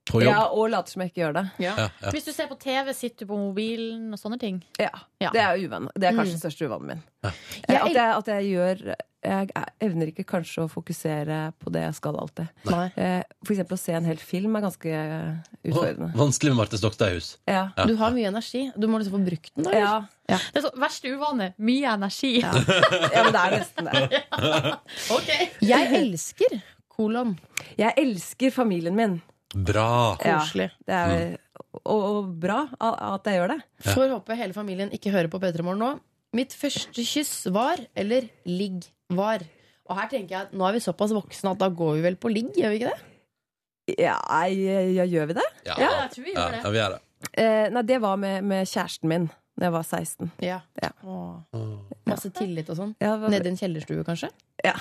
På jobb?
Ja, og later som jeg ikke gjør det.
Ja, ja.
Hvis du ser på TV, sitter du på mobilen og sånne ting?
Ja. Det er, uvanen. Det er kanskje den største uvanen min. Eh, At, jeg, at jeg gjør Jeg evner ikke kanskje å fokusere på det jeg skal alltid.
Nei.
Eh, For eksempel å se en hel film er ganske eh, utfordrende.
Vanskelig med Marte Stokstad i hus.
Ja.
Ja.
Du har mye energi. Du må liksom få brukt den. Da,
Ja.
Det er så, verste uvane. Mye energi. Ja.
men det er nesten det.
Jeg elsker kolon.
Jeg elsker familien min.
Bra.
Ja, det er, og, og bra a- at jeg gjør det.
Får håpe hele familien ikke hører på P3 Morgen nå. Mitt første kyss var, eller ligg var. Og her tenker jeg at nå er vi såpass voksne at da går vi vel på ligg, gjør vi ikke det?
Ja, jeg, ja, gjør vi det?
Ja, ja, ja, vi gjør det.
Eh, nei, det var med, med kjæresten min da jeg var 16.
Ja. Masse tillit og sånn. Nede i en kjellerstue, kanskje?
Ja.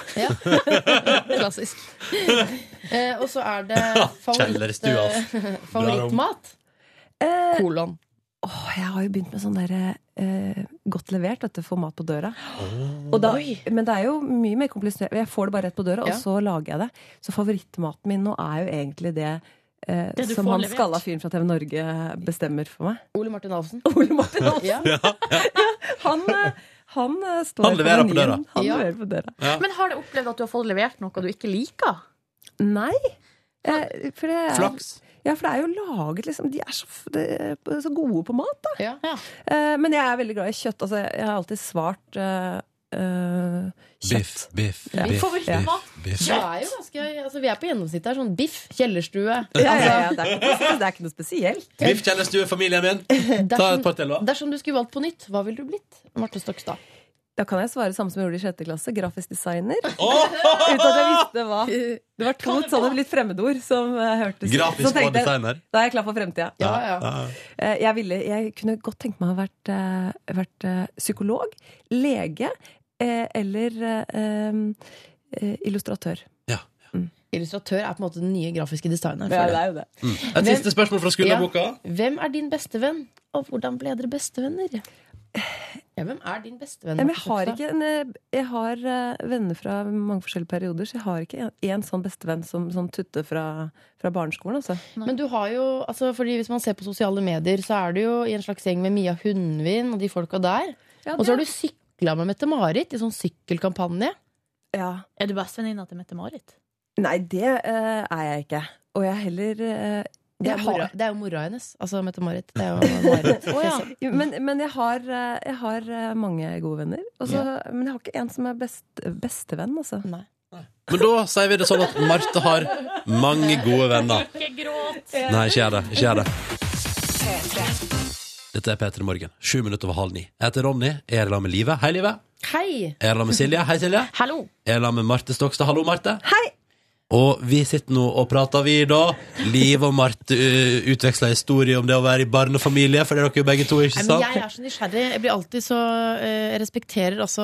Klassisk. Eh, og så er det favoritt,
Kjellerstua, ass.
eh, favorittmat.
Eh,
Kolon.
Åh, jeg har jo begynt med sånn der eh, godt levert, dette få mat på døra. Og da, men det er jo mye mer komplisert. Jeg får det bare rett på døra,
Ja.
og så lager jeg det. Så favorittmaten min nå er jo egentlig det eh,
Det du
som
får
han
levert.
skalla fyren fra TV Norge bestemmer for meg.
Ole Martin Alfsen.
Ja. Han, eh, han eh, står
Han leverer på
menyen.
døra.
Han
Ja.
leverer på døra.
Ja.
Men har du opplevd at du har fått levert noe du ikke liker?
Nei. Eh, for det er,
Flaks.
Ja, for det er jo laget liksom De er så, f- de er så gode på mat, da.
Ja.
Eh, men jeg er veldig glad i kjøtt. Altså, jeg har alltid svart eh, eh,
Biff, biff,
Ja.
biff.
Favorittmat?
biff.
Det er jo ganske, altså, vi er på gjennomsnittet her. Sånn biff, kjellerstue.
Ja, ja, ja,
Altså,
det, er ikke, noe- det er ikke noe spesielt.
Biff kjennes du er familien min. Ta et par til, da.
Altså, dersom du skulle valgt på nytt, hva ville du blitt? Marte Stokstad.
Da kan jeg svare samme som jeg gjorde i sjette klasse. Grafisk designer.
Oh!
Uten at jeg visste hva. Det var to sånne litt fremmedord som eh, hørtes
Grafisk
Så tenkte
og
jeg,
designer.
Da er jeg klar for fremtida.
Ja, ja.
Eh, Jeg, ville, jeg kunne godt tenkt meg å ha vært, eh, vært eh, psykolog, lege eh, eller eh, em, eh, illustratør.
Illustratør er på en måte den nye grafiske designeren.
Ja,
føler
det er
jeg.
jo det.
Mm. Et siste spørsmål fra skulderboka.
Hvem er din bestevenn, og hvordan ble dere bestevenner? Ja, hvem er din bestevenn?
Nei, men jeg
Marte
har
Stokstad?
ikke en, eh, jeg har eh, venner fra mange forskjellige perioder, så jeg har ikke en, en sånn bestevenn som sånn tutte fra, fra barneskolen, altså.
Men du har jo, altså fordi hvis man ser på sosiale medier, så er du jo i en slags gjeng med Mia Hundvin og de folka der.
Ja,
Og så
det-
har du sykla med Mette-Marit i sånn sykkelkampanje.
Er du bestevenninna til Mette-Marit?
Nei, det eh, er jeg ikke. Og jeg heller eh,
Det er,
jeg
mora, det er jo mora hennes, altså Mette-Marit. Det er jo Marit. sånn,
Å, ja. Jo, Men, men jeg, har, eh, jeg har eh, mange gode venner. og så- Men jeg har ikke en som er best, bestevenn, altså.
«Mm, Nei.
Men da sier vi det sånn at Marte har mange gode venner.
Ikke gråt!
Nei, ikke gjør det. Ikke gjør det. Dette er P3 Morgen. Sju minutter over halv ni. Jeg heter Ronny. Jeg er i lag med Live. Hei, Live.
Hei!
Jeg er i lag med Silje. Hei, Silje.
Hallo.
Jeg er i lag med Marte Stokstad. Hallo, Marte. Hei. Og vi sitter nå og prater, vi, da. Live og Marte uh, utveksler historier om det å være i barnefamilie, for det er dere jo begge to, ikke
Nei,
sant?
men jeg er så nysgjerrig. Jeg blir alltid så eh, Jeg respekterer altså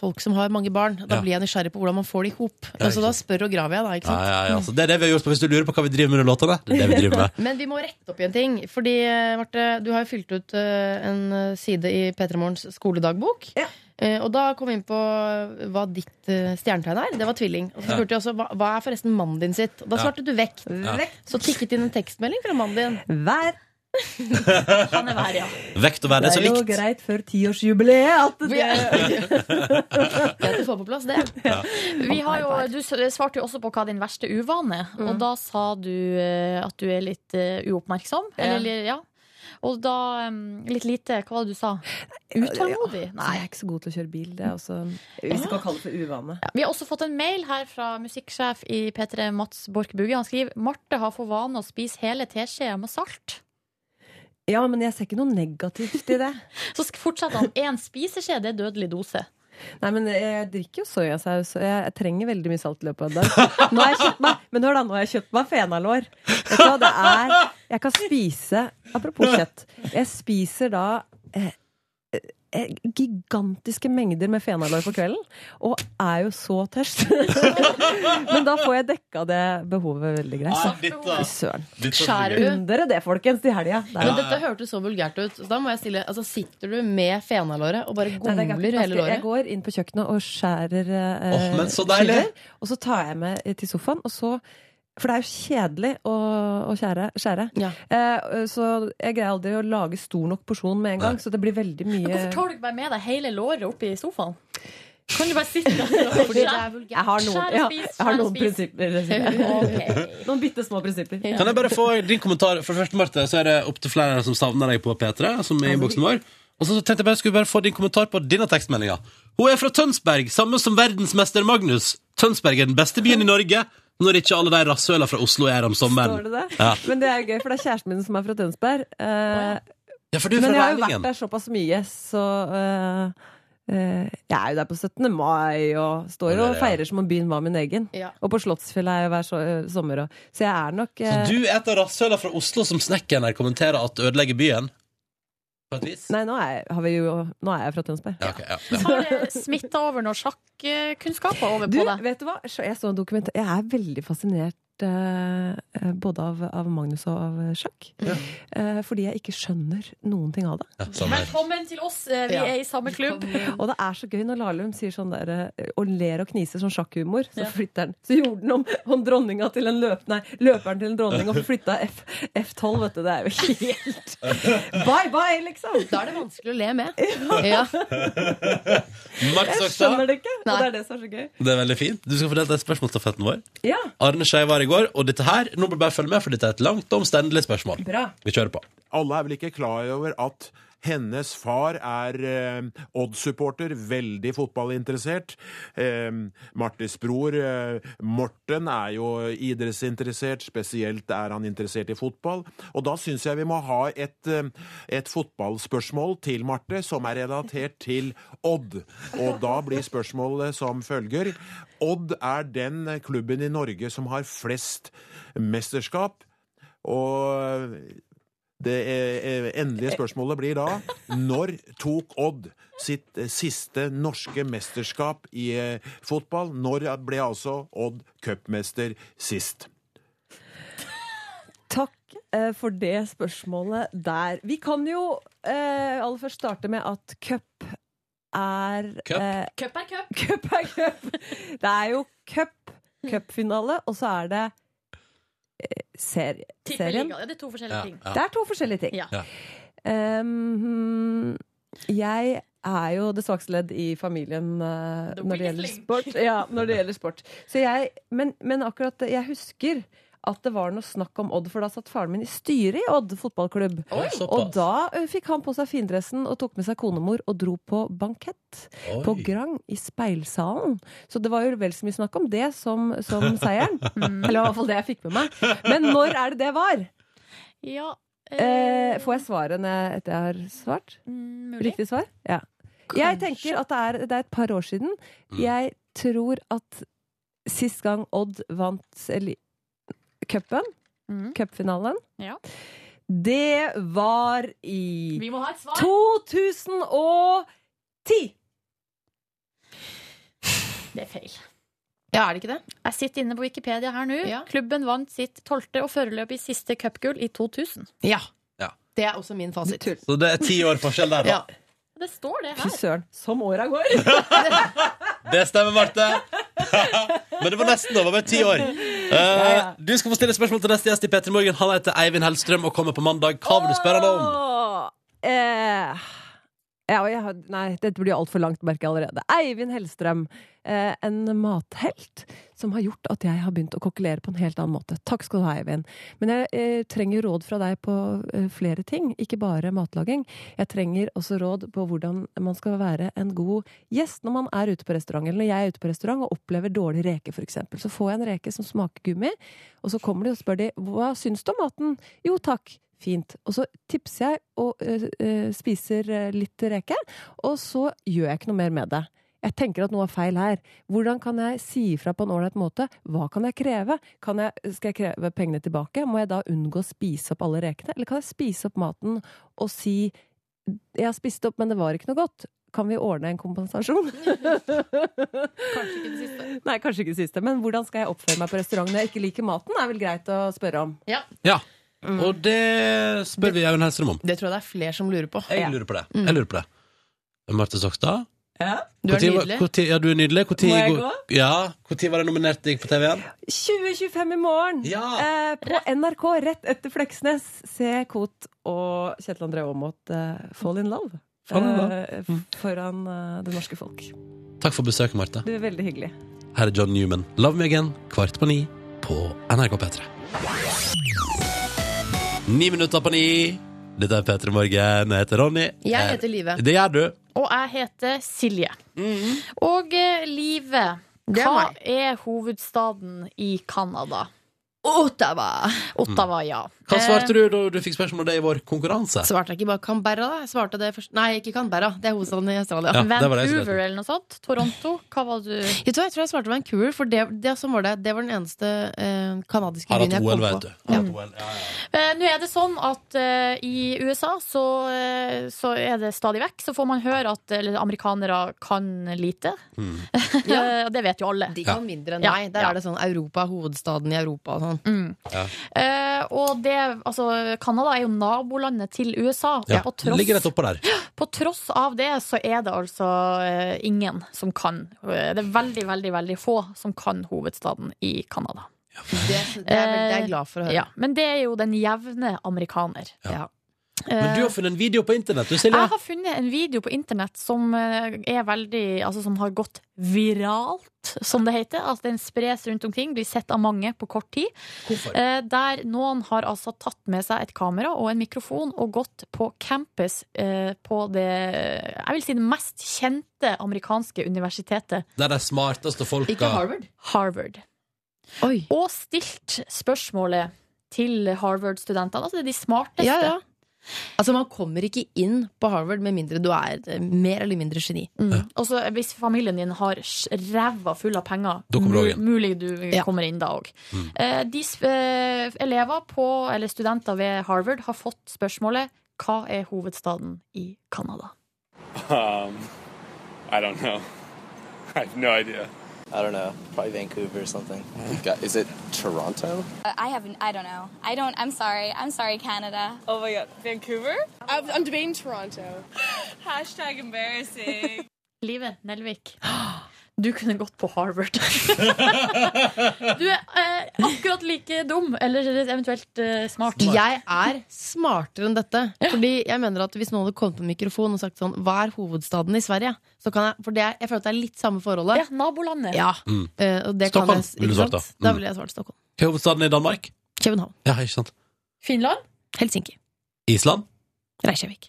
folk som har mange barn. Da
Ja.
blir jeg nysgjerrig på hvordan man får det i
Ja,
hop. Så
ikke
da spør og graver jeg, da.
Ja,
Ikke sant?
ja, ja. Så det er det vi har gjort. og Hvis du lurer på hva vi driver med under låtene, det er det vi driver med.
Men vi må rette opp i en ting. Fordi, eh, Marte, du har jo fylt ut eh, en eh, side i P3 Morgens skoledagbok. Eh, Og da kom vi inn på hva ditt eh, stjernetegn er. Det var tvilling. Og så
Ja.
spurte jeg også hva, hva er forresten mannen din sitt. Og da
Ja.
svarte du vekt.
Ja. Vekt.
Så tikket inn en tekstmelding fra mannen din.
Vær.
Han Sånn er vær, ja.
Vekt og vær, det er så likt.
greit før tiårsjubileet at
Greit å få på plass det.
Vi har jo, du s- svarte jo også på hva din verste uvane er.
Mm.
Og da sa du eh, at du er litt eh, uoppmerksom. Eller, ja. Og da em, litt lite Hva var det du sa? Utålmodig? Nei.
Så Altså, jeg er ikke så god til å kjøre bil. Det er også Hvis du kan kalle det for uvane.
Vi har også fått en mail her fra musikksjef i P3 Mats Borch Bugge. Han skriver Marte har for vane å spise hele teskjea med salt.
Ja, men jeg ser ikke noe negativt i det.
Så sk- fortsetter han. Én spiseskje, det er dødelig dose.
Nei, men jeg drikker jo soyasaus, og jeg trenger veldig mye salt i løpet av en dag. Nå har jeg kjøpt meg, men hør da, nå har jeg kjøpt meg fenalår. Vet du hva, det er Jeg kan spise Apropos kjøtt. Jeg spiser da eh, eh, gigantiske mengder med fenalår på kvelden, og er jo så tørst. men da får jeg dekka det behovet veldig
Ja,
greit.
ditt da.
Fy Søren.
Ditt da,
Skjærer du?
Unn dere det, folkens, til helga. Der.
Men dette hørtes så vulgært ut. Så da må jeg stille altså, Sitter du med fenalåret og bare
Nei, det er
gomler hele
ganske- Jeg
låret?
går inn på kjøkkenet og skjærer eh,
Åh, men så deilig!
skiver, Og så tar jeg med til sofaen, og så for det er jo kjedelig å, å skjære. skjære. Eh, så jeg greier aldri å lage stor nok porsjon med en gang. Så det blir veldig
Men
mye
Hvorfor tar du ikke bare med deg hele låret opp i sofaen? Kan du bare sitte der?
Fordi det er vulgært. Jeg har noen,
Skjær og
ja,
spis,
jeg har
skjær og
noen
spis.
prinsipper. Noen bitte små prinsipper.
Kan jeg bare få din kommentar? For det første, Marte, så er det opptil flere som savner deg på P3, som er i innboksen vår. Og så tenkte jeg bare, skulle vi bare få din kommentar på denne tekstmeldinga. Hun er fra Tønsberg, samme som verdensmester Magnus. Tønsberg er den beste byen i Norge når ikke alle de rasshøla fra Oslo er her om
Står
sommeren.
det det?
Ja.
Men det er jo gøy, for det er kjæresten min som er fra Tønsberg. Eh,
Ja, for du er
men
fra
jeg har jo
Rælingen.
vært der såpass mye, så eh, eh, jeg er jo der på 17. mai og står
Ja, det er
og
det, ja.
feirer som om byen var min egen. Og på Slottsfjell er jeg hver so eh, sommer òg. Så jeg er nok
Så
eh,
du er et av rasshøla fra Oslo som snekkeren her kommenterer at ødelegger byen? På et vis?
Nei, nå er, jeg- har vi jo, nå er jeg fra Tønsberg.
Ja, ok, ja.
Har det smitta over noen sjakkunnskaper over
Du,
på deg?
vet du hva? Så Jeg så en dokument Jeg er veldig fascinert eh, både av, av Magnus og av sjakk. Eh, fordi jeg ikke skjønner noen ting av det.
Velkommen til oss, eh, vi
Ja.
er i samme klubb.
Og det er så gøy når Lahlum sier sånn der, eh, og ler og kniser sånn sjakkhumor. Så flytter han Så gjorde han om, om dronninga til en løp, nei, løperen til en dronning og flytta F, F12, vet du. Det er jo helt Bye bye, liksom!
Da er det vanskelig å le med.
Ja.
Mart
Jeg
Sakstad,
skjønner det ikke, og det er det som er så gøy.
det er veldig fint. Du skal få delta i spørsmålsstafetten vår.
Ja,
Arne Skei var i går, og dette her Nå må du bare følge med, for dette er et langt og omstendelig spørsmål.
Bra.
Vi kjører på.
Alle er vel ikke klar over at hennes far er eh, Odd-supporter, veldig fotballinteressert. Eh, Martes bror eh, Morten er jo idrettsinteressert, spesielt er han interessert i fotball. Og da syns jeg vi må ha et, eh, et fotballspørsmål til Marte som er relatert til Odd. Og da blir spørsmålet som følger. Odd er den klubben i Norge som har flest mesterskap. Og det eh, eh, endelige spørsmålet blir da Når tok Odd sitt eh, siste norske mesterskap i eh, fotball? Når ble altså Odd cupmester sist?
Takk eh, for det spørsmålet der. Vi kan jo eh, aller først starte med at cup er
Cup?
eh,
Cup er cup.
Cup er cup. Det er jo cup, cupfinale, og så er det eh, serie,
Tippeliga.
serien.
Ja, det er to forskjellige Ja, ting. ja.
Det er to forskjellige ting.
Ja. Ja.
Um, jeg er jo det svakeste ledd i familien eh, når det gjelder sport. Ja, når det gjelder sport. Så jeg, men, men akkurat det- jeg husker at det var noe snakk om Odd, for da satt faren min i styret i Odd fotballklubb.
Oi.
og da eh, fikk han på seg findressen og tok med seg konemor og dro på bankett
Oi.
på Grang i Speilsalen. Så det var jo vel så mye snakk om det som, som seieren.
Mm.
Eller i hvert fall det jeg fikk med meg. Men når er det det var?
Ja,
Eh, får jeg svaret når jeg- etter jeg har svart?
mm,
Riktig svar? Ja. Jeg tenker at det er, det er et par år siden.
Mm.
Jeg tror at sist gang Odd vant eller, cupen, cupfinalen
Ja.
det var i
Vi må ha et svar.
2010!
det er feil.
Ja, er det ikke det?
Jeg sitter inne på Wikipedia her nå. Klubben vant sitt tolvte og foreløpig siste cupgull i 2000.
Ja.
Ja.
Det er også min fasit.
Så det er ti år forskjell der, da.
Det står det
Fy
her.
søren, som åra går!
Det stemmer, Marte. Men det var nesten. Det var bare ti år. Eh, Du skal få stille spørsmål til neste gjest i P3 Morgen. Han heter Eivind Hellstrøm og kommer på mandag. Hva vil du spørre han om?
Åh, eh, ja, og jeg, har- nei, dette blir altfor langt, merker jeg allerede. Eivind Hellstrøm, eh, en mathelt som har gjort at jeg har begynt å kokkelere på en helt annen måte. Takk skal du ha, Eivind. Men jeg eh, trenger råd fra deg på eh, flere ting, ikke bare matlaging. Jeg trenger også råd på hvordan man skal være en god gjest når man er ute på restaurant. Eller når jeg er ute på restaurant og opplever dårlig reke, f.eks. Så får jeg en reke som smaker gummi, og så kommer de og spør de, hva syns du om maten? Jo takk. Fint. Og så tipser jeg og øh, øh, spiser øh, litt reke, og så gjør jeg ikke noe mer med det. Jeg tenker at noe er feil her. Hvordan kan jeg si ifra på en ålreit måte? Hva kan jeg kreve? Kan jeg, skal jeg kreve pengene tilbake? Må jeg da unngå å spise opp alle rekene? Eller kan jeg spise opp maten og si 'jeg har spist opp, men det var ikke noe godt'? Kan vi ordne en kompensasjon? kanskje ikke det siste. Nei, kanskje ikke det siste. Men hvordan skal jeg oppføre meg på restaurant når jeg ikke liker maten? er vel greit å spørre om.
Ja.
Ja.
Mm.
Og det spør vi Eivind Hellstrøm om.
Det tror jeg det er flere som lurer på.
Jeg lurer på det.
Mm.
Jeg lurer på det. Marte Sokstad?
Du er
Hvor tid-
nydelig.
hvor tid- Ja, du er nydelig. Hvor tid
Må jeg
går-
gå?
Ja. Når var det nominert til gikk på TV-en?
2025 i morgen eh, på NRK, rett etter Fleksnes. Se Kot og Kjetil André Aamodt eh, Fall in love.
Fall in love. Mm.
Eh, foran eh, det norske folk.
Takk for besøket, Marte.
Du er veldig hyggelig.
Her er John Newman. Love me again, kvart på ni på NRK P3. Ni minutter på ni. Dette er P3 Morgen. Jeg heter Ronny.
Jeg heter Live.
Det gjør du.
Og jeg heter Silje.
Mm.
Og eh, Live, hva er hovedstaden i Canada?
Ottawa.
Ottawa, ja. Eh,
Hva svarte du da du fikk spørsmål om det i vår konkurranse?
Svarte jeg ikke bare Canberra, da? Jeg svarte det først. Nei, ikke Canberra. Det er hovedstaden i Australia.
Ja, det var det jeg
Vancouver.
svarte.
eller noe sånt? Toronto? Hva var du
Vet du hva, jeg tror jeg svarte Vancouver, for det, det, sånn var det, det var den eneste eh, kanadiske
Har
byen
hatt
jeg
OL,
kom
vet
på.
du. Mm.
Ja.
Eh, Nå er det sånn at eh, i USA så, eh, så er det stadig vekk Så får man høre at eller, amerikanere kan lite.
Mm.
Eh, Det vet jo alle.
De kan mindre enn
Ja,
meg. Der
ja.
er det sånn Europa, hovedstaden i Europa og sånn.
Eh, og det, altså, Canada er jo nabolandet til USA. og
Ja.
På, tross,
Ligger rett oppå der.
på tross av det så er det altså eh, ingen som kan. Eh, Det er veldig, veldig, veldig få som kan hovedstaden i Canada.
Det, det er veldig, jeg er glad for å høre.
Ja, men det er jo den jevne amerikaner.
Ja.
Men du har funnet en video på internett, du, Silje.
Jeg har funnet en video på internett som eh, er veldig Altså som har gått viralt, som det heter. Altså den spres rundt omkring, blir sett av mange på kort tid.
Hvorfor?
Eh, Der noen har altså tatt med seg et kamera og en mikrofon og gått på campus eh, på det Jeg vil si det mest kjente amerikanske universitetet.
Det er de smarteste folka.
Harvard. Og stilt spørsmålet til Harvard-studentene. Altså det er de smarteste.
Ja, ja. Altså, man kommer ikke inn på Harvard med mindre du er eh, mer eller mindre geni.
Mm. Og så hvis familien din har s- ræva full av penger,
Da kommer du også
mu-
inn. Mm.
mulig du kommer inn da òg. Eh, de sp- eh, elever på, eller studenter ved Harvard har fått spørsmålet hva er hovedstaden i Canada?
Um, I don't know. I have no idea. I don't know. Probably Vancouver or something. Is it Toronto?
Uh, I haven't. I don't know. I don't. I'm sorry. I'm sorry, Canada.
Oh my god, Vancouver? I'm, I'm debating Toronto. Hashtag embarrassing.
Live Nelvik. Du kunne gått på Harvard. du er eh, akkurat like dum, eller eventuelt eh, smart.
Jeg er smartere enn dette. Fordi jeg mener at Hvis noen hadde kommet på en mikrofon og sagt sånn Hva er hovedstaden i Sverige? Så kan jeg, for det er, jeg føler at det er litt samme forholdet.
Ja, nabolandet.
Ja.
Mm.
Eh, og det
Stockholm,
kan jeg,
ville du
ikke
svart
sant?
da.
Da
Mm.
ville jeg svart Stockholm.
Hva er hovedstaden i Danmark?
København.
Ja, ikke sant.
Finland?
Helsinki.
Island?
Reykjavik.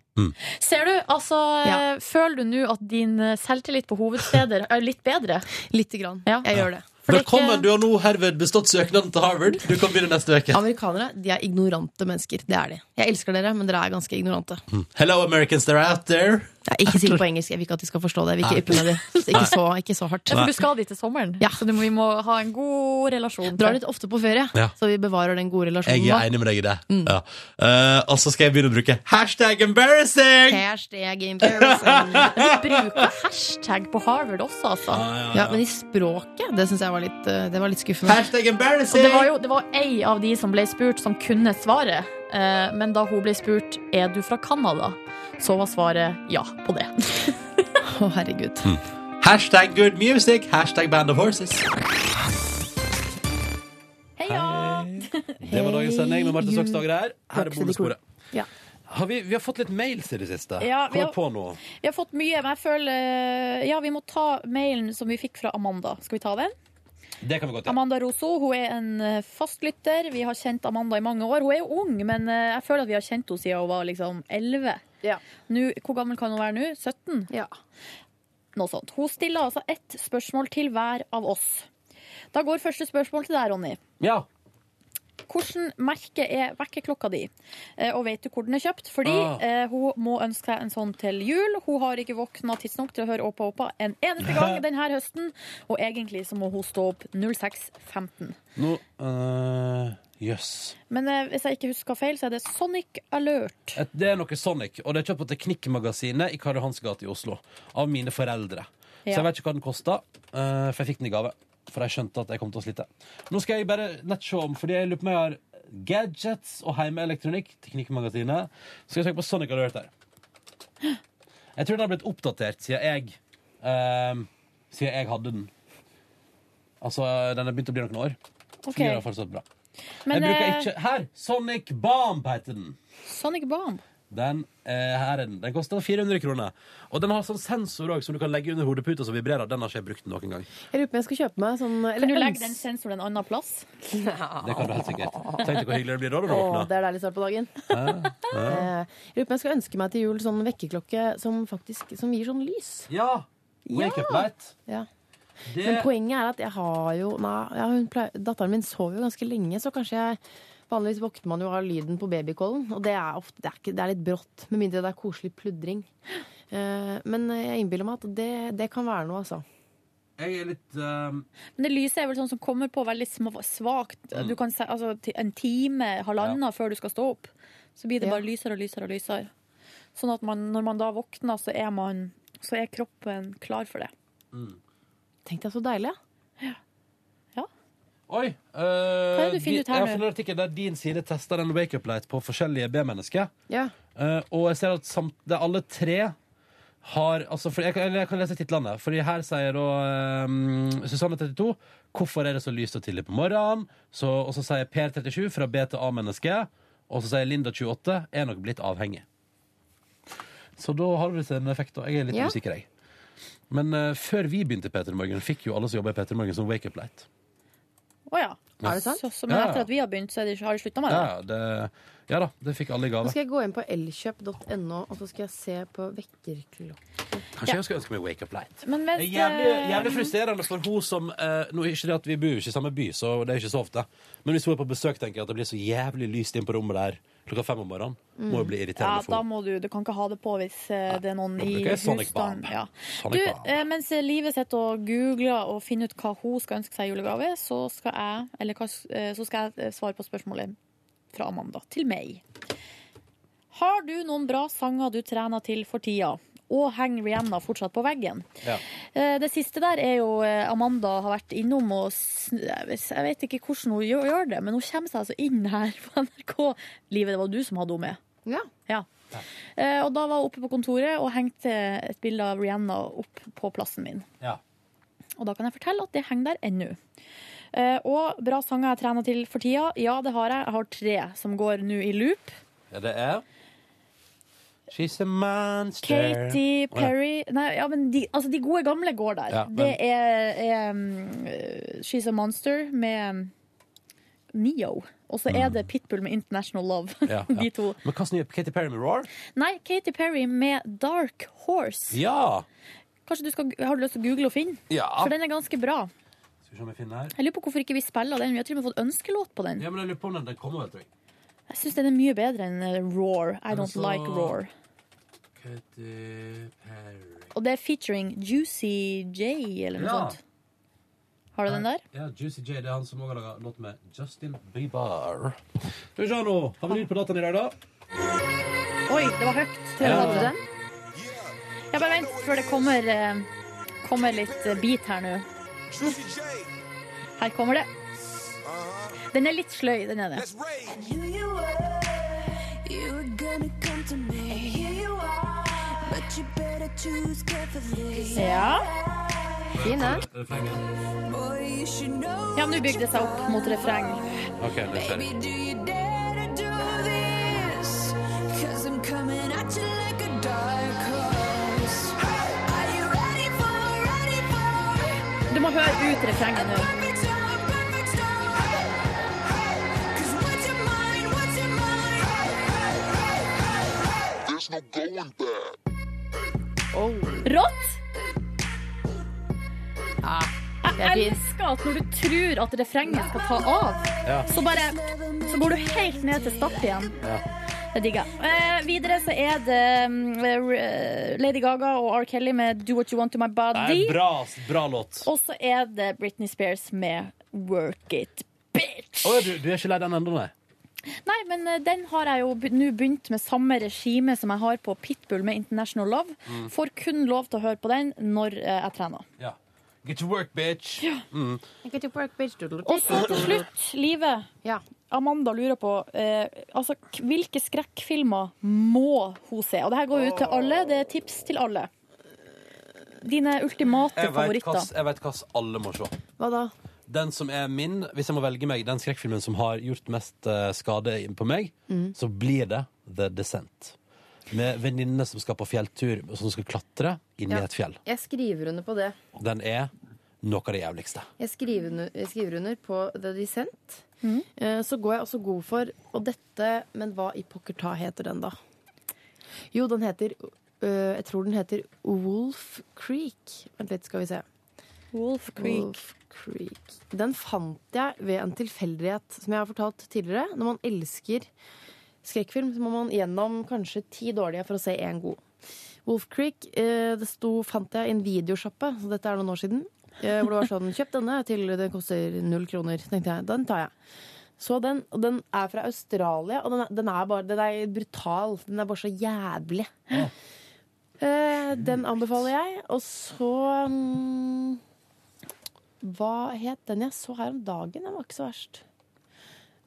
Ser du, altså eh, Føler du nå at din eh, selvtillit på hovedsteder er litt bedre?
Lite grann. Jeg gjør det.
Velkommen! Du har nå herved bestått søknaden til Harvard. Du kan begynne neste uke.
Amerikanere de er ignorante mennesker. Det er de. Jeg elsker dere, men dere er ganske ignorante.
Mm. Hello, Americans, they're out there.
Jeg er ikke si det på engelsk. Jeg vil ikke at de skal forstå det. Jeg vil ikke yppe meg i det. Ikke så, ikke så hardt.
Ja, for du skal dit til sommeren, så du må, vi må ha en god relasjon.
Drar litt ofte på ferie,
Ja.
så vi bevarer den gode relasjonen.
Jeg
da.
er enig med deg i det.
Mm.
Ja. Eh, og så skal jeg begynne å bruke hashtag embarrassing!
Hashtag embarrassing.
Men de bruker hashtag på Harvard også, altså.
ja. Ja, men i språket, det syns jeg var litt, eh, det var litt skuffende.
Hashtag
Og det var jo det var ei av de som ble spurt, som kunne svaret. Eh, Men da hun ble spurt er du fra Canada, så var svaret ja på det.
Å, herregud.
Hashtag good music, hashtag band of horses.
Heia!
Det var dagens sending med Marte Stokstager her. Her er bonusbordet.
Ja.
Har vi, vi har fått litt mails i det siste.
Ja, vi
Kommer
har-
på noe.
Vi har fått mye, men jeg føler eh, Ja, vi må ta mailen som vi fikk fra Amanda. Skal vi ta den?
Det kan vi godt gjøre.
Amanda Roso hun er en eh, fastlytter. Vi har kjent Amanda i mange år. Hun er jo ung, men eh, jeg føler at vi har kjent henne siden hun var liksom 11. Nå, hvor gammel kan hun være nå? 17? Noe sånt. Hun stiller altså ett spørsmål til hver av oss. Da går første spørsmål til deg, Ronny.
Ja.
Hvordan merke er vekkerklokka di, Eh, og vet du hvor den er kjøpt? Fordi
Ah.
eh, hun må ønske seg en sånn til jul. Hun har ikke våkna tidsnok til å høre Åpa Åpa en eneste gang denne høsten, og egentlig så må hun stå opp 06.15.
Nå eh, Jøss.
Men eh, hvis jeg ikke husker feil, så er det Sonic Alert.
Et- Det er noe Sonic, og det er kjøpt på Teknikkmagasinet i Karl Johans gate i Oslo. Av mine foreldre. Så
Ja.
jeg vet ikke hva den kosta, eh, for jeg fikk den i gave. For jeg skjønte at jeg kom til å slite. Nå skal jeg bare nett se om, fordi jeg lurer på om jeg har gadgets og heimeelektronikk. Teknikkmagasinet. Så skal jeg søke på Sonic Alert der. Jeg tror den har blitt oppdatert siden jeg eh, Siden jeg hadde den. Altså, den har begynt å bli noen år.
Ok.
Fungerer fortsatt bra.
Men,
jeg bruker
eh,
ikke Her! Sonic Bomb heter den.
Sonic Bomb.
Den, eh, her er den. den koster 400 kroner. Og den har sånn sensor også, som du kan legge under hodeputa som vibrerer. Den har ikke jeg brukt noen gang.
Jeg lurer på om jeg skal kjøpe meg sånn
Kan du legge den sensoren en annen plass?
Det kan du helt sikkert. Tenk deg hvor hyggelig det blir da når du
Å, det
våkner.
er deilig start på dagen.
Hæ? Hæ?
Eh, Jeg lurer på om jeg skal ønske meg til jul sånn vekkerklokke som faktisk som gir sånn lys.
Ja! Wake up light.
Ja.
Det
Men poenget er at jeg har jo Nei, ja, hun pleier, datteren min sover jo ganske lenge, så kanskje jeg Vanligvis våkner man jo av lyden på babykålen, og det er, ofte, det er, ikke, det er litt brått. Med mindre det er koselig pludring. Eh, men jeg innbiller meg at det, det kan være noe, altså.
Jeg er litt ehm,
Men det lyset er vel sånn som kommer på veldig sma- svakt.
Mm.
Du kan se, altså, ti- en time, halvannen før du skal stå opp. Så blir det bare lysere og lysere og lysere. Sånn at man, når man da våkner, så er, man, så er kroppen klar for det.
Tenk deg så deilig.
Oi! eh,
er det du finner ut her
jeg har
nå?
funnet en artikkel der din side tester en wake-up light på forskjellige B-mennesker.
Ja.
Eh, og jeg ser at samt, det er alle tre har altså, for jeg, kan- eller jeg kan lese titlene. Fordi her sier da eh, Susanne 32 Hvorfor er det så lyst og tidlig på morgenen? Så, og så sier Per 37 fra B til A-menneske. Og så sier Linda 28 er nok blitt avhengig. Så da har det en effekt. Og jeg er litt
Ja.
usikker, jeg. Men eh, før vi begynte i P3 Morgen, fikk jo alle som jobber i P3 Morgen, som wake-up light.
Å ja.
Ja. Er det sant?
Så, så, men
Ja, ja.
etter at vi har begynt, så er det, har det slutta med det.
Ja, det, ja da, det fikk alle i
Nå
gave.
skal jeg gå inn på elkjøp.no, og så skal jeg se på vekkerklokka.
Kanskje jeg skulle ønske meg Wake Up Light.
Men mens
det er jævlig,
det-
jævlig frustrerende for hun som eh, Nå er ikke det at Vi bor jo ikke i samme by, så det er ikke så ofte. Men hvis hun er på besøk, tenker jeg at det blir så jævlig lyst inn på rommet der klokka fem om morgenen. Må jo bli
Mm. Ja,
irriterende for
da
henne.
må du, du kan ikke ha det på hvis eh, det er noen i
bruker jeg Sonic
husstanden.
Bomb.
Ja. Du,
Sonic Bomb.
eh, mens Live sitter og googler og finner ut hva hun skal ønske seg i julegave, så skal jeg, eller hva, s- eh, så skal jeg eh, svare på spørsmålet fra Amanda til meg. Har du noen bra sanger du trener til for tida? Og henger Rihanna fortsatt på veggen?
Ja.
Eh, Det siste der er jo eh, Amanda har vært innom og sn- Jeg vet- jeg vet ikke hvordan hun gjør- gjør det, men hun kommer seg altså inn her på NRK. Livet, det var du som hadde henne med.
Ja.
Eh, Og da var hun oppe på kontoret og hengte et bilde av Rihanna opp på plassen min.
Ja.
Og da kan jeg fortelle at det henger der ennå. Eh, Og bra sanger jeg trener til for tida. Ja, det har jeg. Jeg har tre som går nå i loop.
Ja, det er She's a monster.
Katy Perry Nei, ja, men de, altså, de gode gamle går der.
Ja, men-
Det er, er um, eh, She's a Monster med um, Neo. Og så er det Pitbull med International Love.
Mm. Ja, ja.
De to.
Men hva som gjør Katy Perry med Roar?
Nei, Katy Perry med Dark Horse.
Ja!
Kanskje du skal, Har du lyst til å google og finne?
Ja.
For den er ganske bra.
Skal vi se om jeg finner her.
Jeg lurer på hvorfor ikke vi spiller den. Vi har til og med fått ønskelåt på den.
Ja, men jeg lurer på om den, den kommer, vet du.
Jeg syns den er mye bedre enn eh, Roar. I
Men
don't
så-
like Roar.
Katy Perry
Og det er featuring Juicy J, eller noe
Ja.
sånt. Har du den der?
Ja, Juicy J, det er han som også har laga låt med Justin Bieber. Skal vi se nå. Har vi lyd på dataen i dag, da?
Oi, det var høyt.
Ja.
Hørte du den? Ja, bare vent før det kommer, eh, kommer litt eh, beat her nå. Her kommer det. Den er litt sløy, den er det. Ja. Fin, den. Ja, nå bygde det seg opp mot refreng.
OK, det er ferdig.
Du må høre ut refrenget nå. Rått!
Ja, det er
Jeg
fint.
elsker at når du tror at refrenget skal ta av,
Ja.
så bare Så går du helt ned til start igjen.
Ja.
Det digger jeg. Eh, videre så er det mm, eh, Lady Gaga og R. Kelly med 'Do What You Want To My
Nei,
Body'.
bra, bra låt.
Og så er det Britney Spears med 'Work It'.
Å, du, du er ikke lei den ennå, nei?
Nei, men eh, den har jeg jo be- nå begynt med samme regime som jeg har på Pitbull med 'International Love'.
Mm.
Får kun lov til å høre på den når eh, jeg trener.
Ja. Get to work, bitch. Mm.
Og så til slutt, Live. Amanda lurer på eh, altså, k- hvilke skrekkfilmer må hun se? Og det her går jo ut til alle. Det er tips til alle. Dine ultimate
Jeg vet hva
favoritter.
s- jeg vet hva s- alle må se.
Hva da?
Den som er min, hvis jeg må velge meg, den skrekkfilmen som har gjort mest eh, skade på meg,
Mm.
så blir det The Descent. Med venninne som skal på fjelltur, og som skal klatre inni
Ja.
et fjell.
Jeg skriver under på det.
Den er noe av det jævligste.
Jeg skriver under, jeg skriver under på The Descent. Eh, Så går jeg også god for Og dette, men hva i pokker ta heter den, da? Jo, den heter øh, Jeg tror den heter Wolf Creek. Vent litt, skal vi se.
Wolf
Wolf Creek. Den fant jeg ved en tilfeldighet, som jeg har fortalt tidligere. Når man elsker skrekkfilm, så må man gjennom kanskje ti dårlige for å se én god. Wolf Creek eh, det sto, fant jeg i en videosjappe, så dette er noen år siden. Eh, hvor det var sånn Kjøp denne til den koster null kroner. Så tenkte jeg, den tar jeg. Så den, og den er fra Australia, og den er, den er bare den er brutal. Den er bare så jævlig. Eh, den anbefaler jeg. Og så mm, Hva het den jeg så her om dagen? Den var ikke så verst.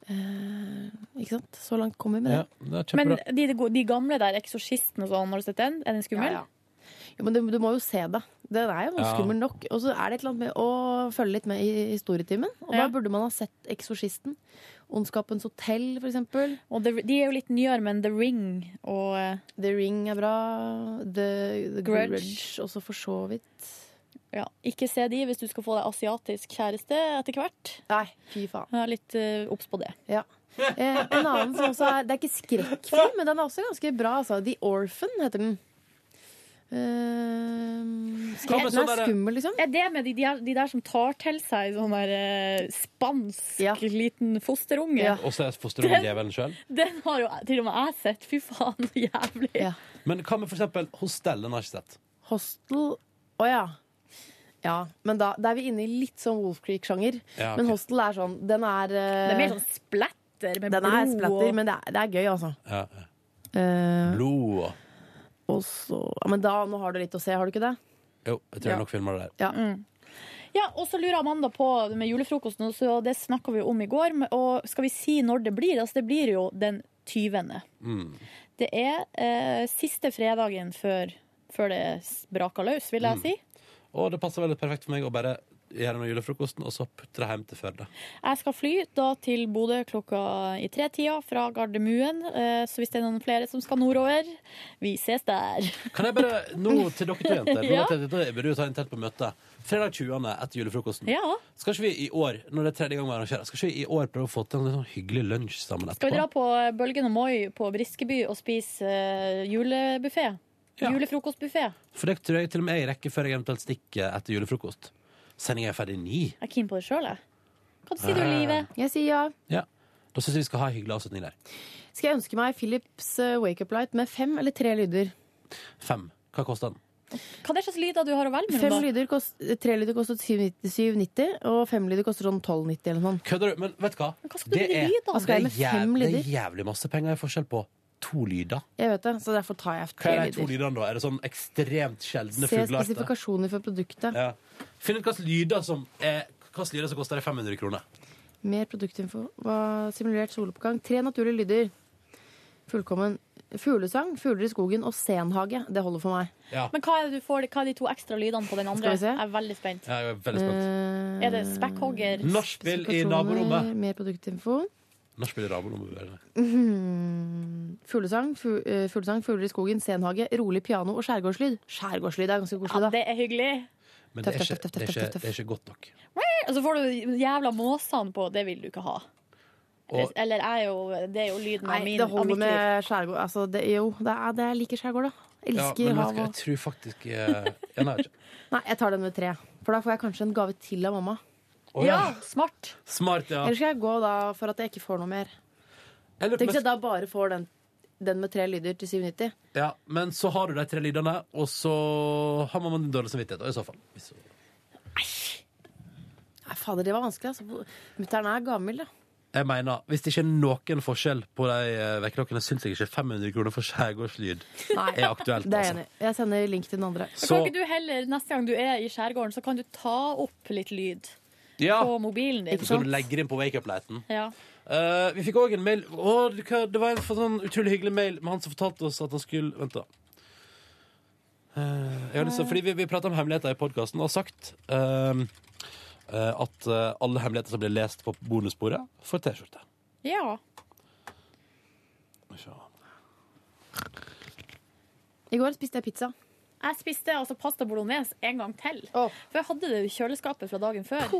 Eh, ikke sant? Så langt kom vi med det.
Men de, de gamle der, Eksorsisten og sånn, har du sett den? Er den skummel?
Ja, Jo, men du, du må jo se det. Den er jo
Ja.
skummel nok. Og så er det et eller annet med å følge litt med i historietimen. Og da burde man ha sett Eksorsisten. Ondskapens hotell, for eksempel.
Og The- de er jo litt nyere, men The Ring og eh,
The Ring er bra. The, The Grudge. også for så vidt.
Ja, Ikke se de hvis du skal få deg asiatisk kjæreste etter hvert.
Nei, fy faen.
Jeg er litt eh, obs på det.
Ja. Eh, en annen som også er Det er ikke skrekkfilm, men den er også ganske bra. Altså. The Orphan heter den. Eh, skrekk- den er skummel, liksom.
Er det med de, de, er, de der som tar til seg sånn der eh, spansk liten fosterunge?
Og så er fosterungen djevelen sjøl.
Den har jo eh, til og med jeg sett. Fy faen, så jævlig.
Men hva med for eksempel Hostel? Den har jeg ikke sett.
Hostel Å ja. Ja, men da, da er vi inne i litt sånn Wolf Creek-sjanger.
Ja, ok.
Men Hostel er sånn Den er eh,
Det er mer sånn splatter med
Den er
blod
splatter,
og-
men det er, det er gøy, altså.
Ja.
Eh,
Blod og
og så ja, Men da, nå har du litt å se, har du ikke det?
Jo, jeg tror jeg nok filmer det der.
Ja.
Mm. Ja, og så lurer Amanda på det med julefrokosten, og så det snakka vi jo om i går. men- Og skal vi si når det blir? Altså, det blir jo den 20.
Mm.
Det er eh, siste fredagen før, før det s- braker løs, vil jeg
Mm.
si.
Og det passer veldig perfekt for meg å bare gjøre noe julefrokosten, og så putte det hjem til Førde.
Jeg skal fly da til Bodø klokka i tretida fra Gardermuen. eh, Så hvis det er noen flere som skal nordover, vi ses der.
Kan jeg bare, nå til dere to jenter Nå
Ja.
vet jeg at dere burde jo ta en telt på møte Fredag 20. etter julefrokosten
Ja.
Skal ikke vi i år, når det er tredje gang vi arrangerer Skal ikke vi i år prøve å få til en sånn hyggelig lunsj sammen etterpå?
Skal vi dra på Bølgen og Moi på Briskeby og spise uh, julebuffé? Julefrokostbuffé.
For det tror jeg til og med jeg rekker før jeg eventuelt stikker etter julefrokost Sendingen er ferdig ni
Jeg er keen på det sjøl, jeg. Hva sier du,
Ja.
Live?
Jeg sier ja.
Ja, da synes jeg vi skal ha en hyggelig avslutning der
Skal jeg ønske meg Philips eh, Wake Up Light med fem eller tre lyder?
Fem, hva koster den?
Hva er det slags lyder du har å velge mellom,
Fem
da?
lyder kost, tre lyder koster 790, og fem lyder koster sånn 1290 eller noe sånt.
Kødder du? Men vet du hva?
skal du med
er,
lyd, da? Hva skal jeg
det
med
er jæv-
fem lyder?
Det er jævlig masse penger i forskjell på to lyder
Jeg vet det, så derfor tar jeg
Hva
tre
er de to
lyder.
lydene da? Er det sånn ekstremt sjeldne
Se
fuglearter?
spesifikasjoner for produktet.
Ja. Finn ut hvilke lyder som er hvilke lyder som koster deg 500 kroner.
Mer produktinfo. Hva simulert soloppgang? Tre naturlige lyder. Fullkommen. Fuglesang, fugler i skogen og senhage. Det holder for meg.
Men hva er, det du får, hva er de to ekstra lydene på den andre?
Skal vi se?
Jeg er veldig spent.
Ja, jeg er veldig spent.
Er det spekkhogger?
Nachspiel i
Spesifikasjoner,
naborommet.
Eh, Mer produktinfo.
Nachspiel i naborommet. bør være det.
Mhm. Fuglesang, fu eh, fuglesang, fugler i skogen, senhage, rolig piano og skjærgårdslyd. Skjærgårdslyd er ganske koselig, da.
Det er hyggelig.
Men det
Tøff,
er,
tøff,
ikke,
tøff,
det, er
tøff,
ikke,
tøff, tøff.
det er ikke godt nok.
Og så får du jævla måsene på. Det vil du ikke ha.
Og-
Eller jeg er jo, det er jo lyden av,
Nei,
min,
det
av
holder
mitt liv.
med skjærgård. Altså, det, jo, det er det jeg liker skjærgård, da.
Ja,
Elsker
men vet du
hav
hva, jeg
og
tror faktisk eh, ja, nei, jeg vet ikke.
Nei, jeg tar den med tre. For da får jeg kanskje en gave til av mamma.
Å, ja.
smart.
Smart, ja.
Eller skal jeg gå da for at jeg ikke får noe mer?
Eller-
Tenk hvis jeg da bare får den, den med tre lyder til 790.
ja. Men så har du de tre lydene, og så har man en dårlig samvittighet. Og i så fall. Hvis så-
Nei, fader, det var vanskelig, altså. Mutter'n er gammel, da.
Jeg mener, Hvis det ikke er noen forskjell på de eh, vekkerklokkene, syns jeg ikke 500 kroner for skjærgårdslyd
Nei,
er aktuelt.
Det er jeg
altså.
enig i. Jeg sender link til den andre.
Så-
Kan ikke du heller, neste gang du er i skjærgården, så kan du ta opp litt lyd
Ja.
på mobilen din?
Så
sånn-
skal du legge det inn på wake-up-lighten.
Ja.
Eh, vi fikk òg en mail Å, det hva- Det var en sånn utrolig hyggelig mail med han som fortalte oss at han skulle Vent, da. Eh, jeg har lyst til, fordi Vi, vi prata om hemmeligheter i podkasten og har sagt ehm, eh, at eh, alle hemmeligheter som blir lest på bonussporet, får T-skjorte.
ja.
Skal vi se.
I går spiste jeg pizza.
Jeg spiste altså pasta bolognese en gang til. For jeg hadde det i kjøleskapet fra dagen før.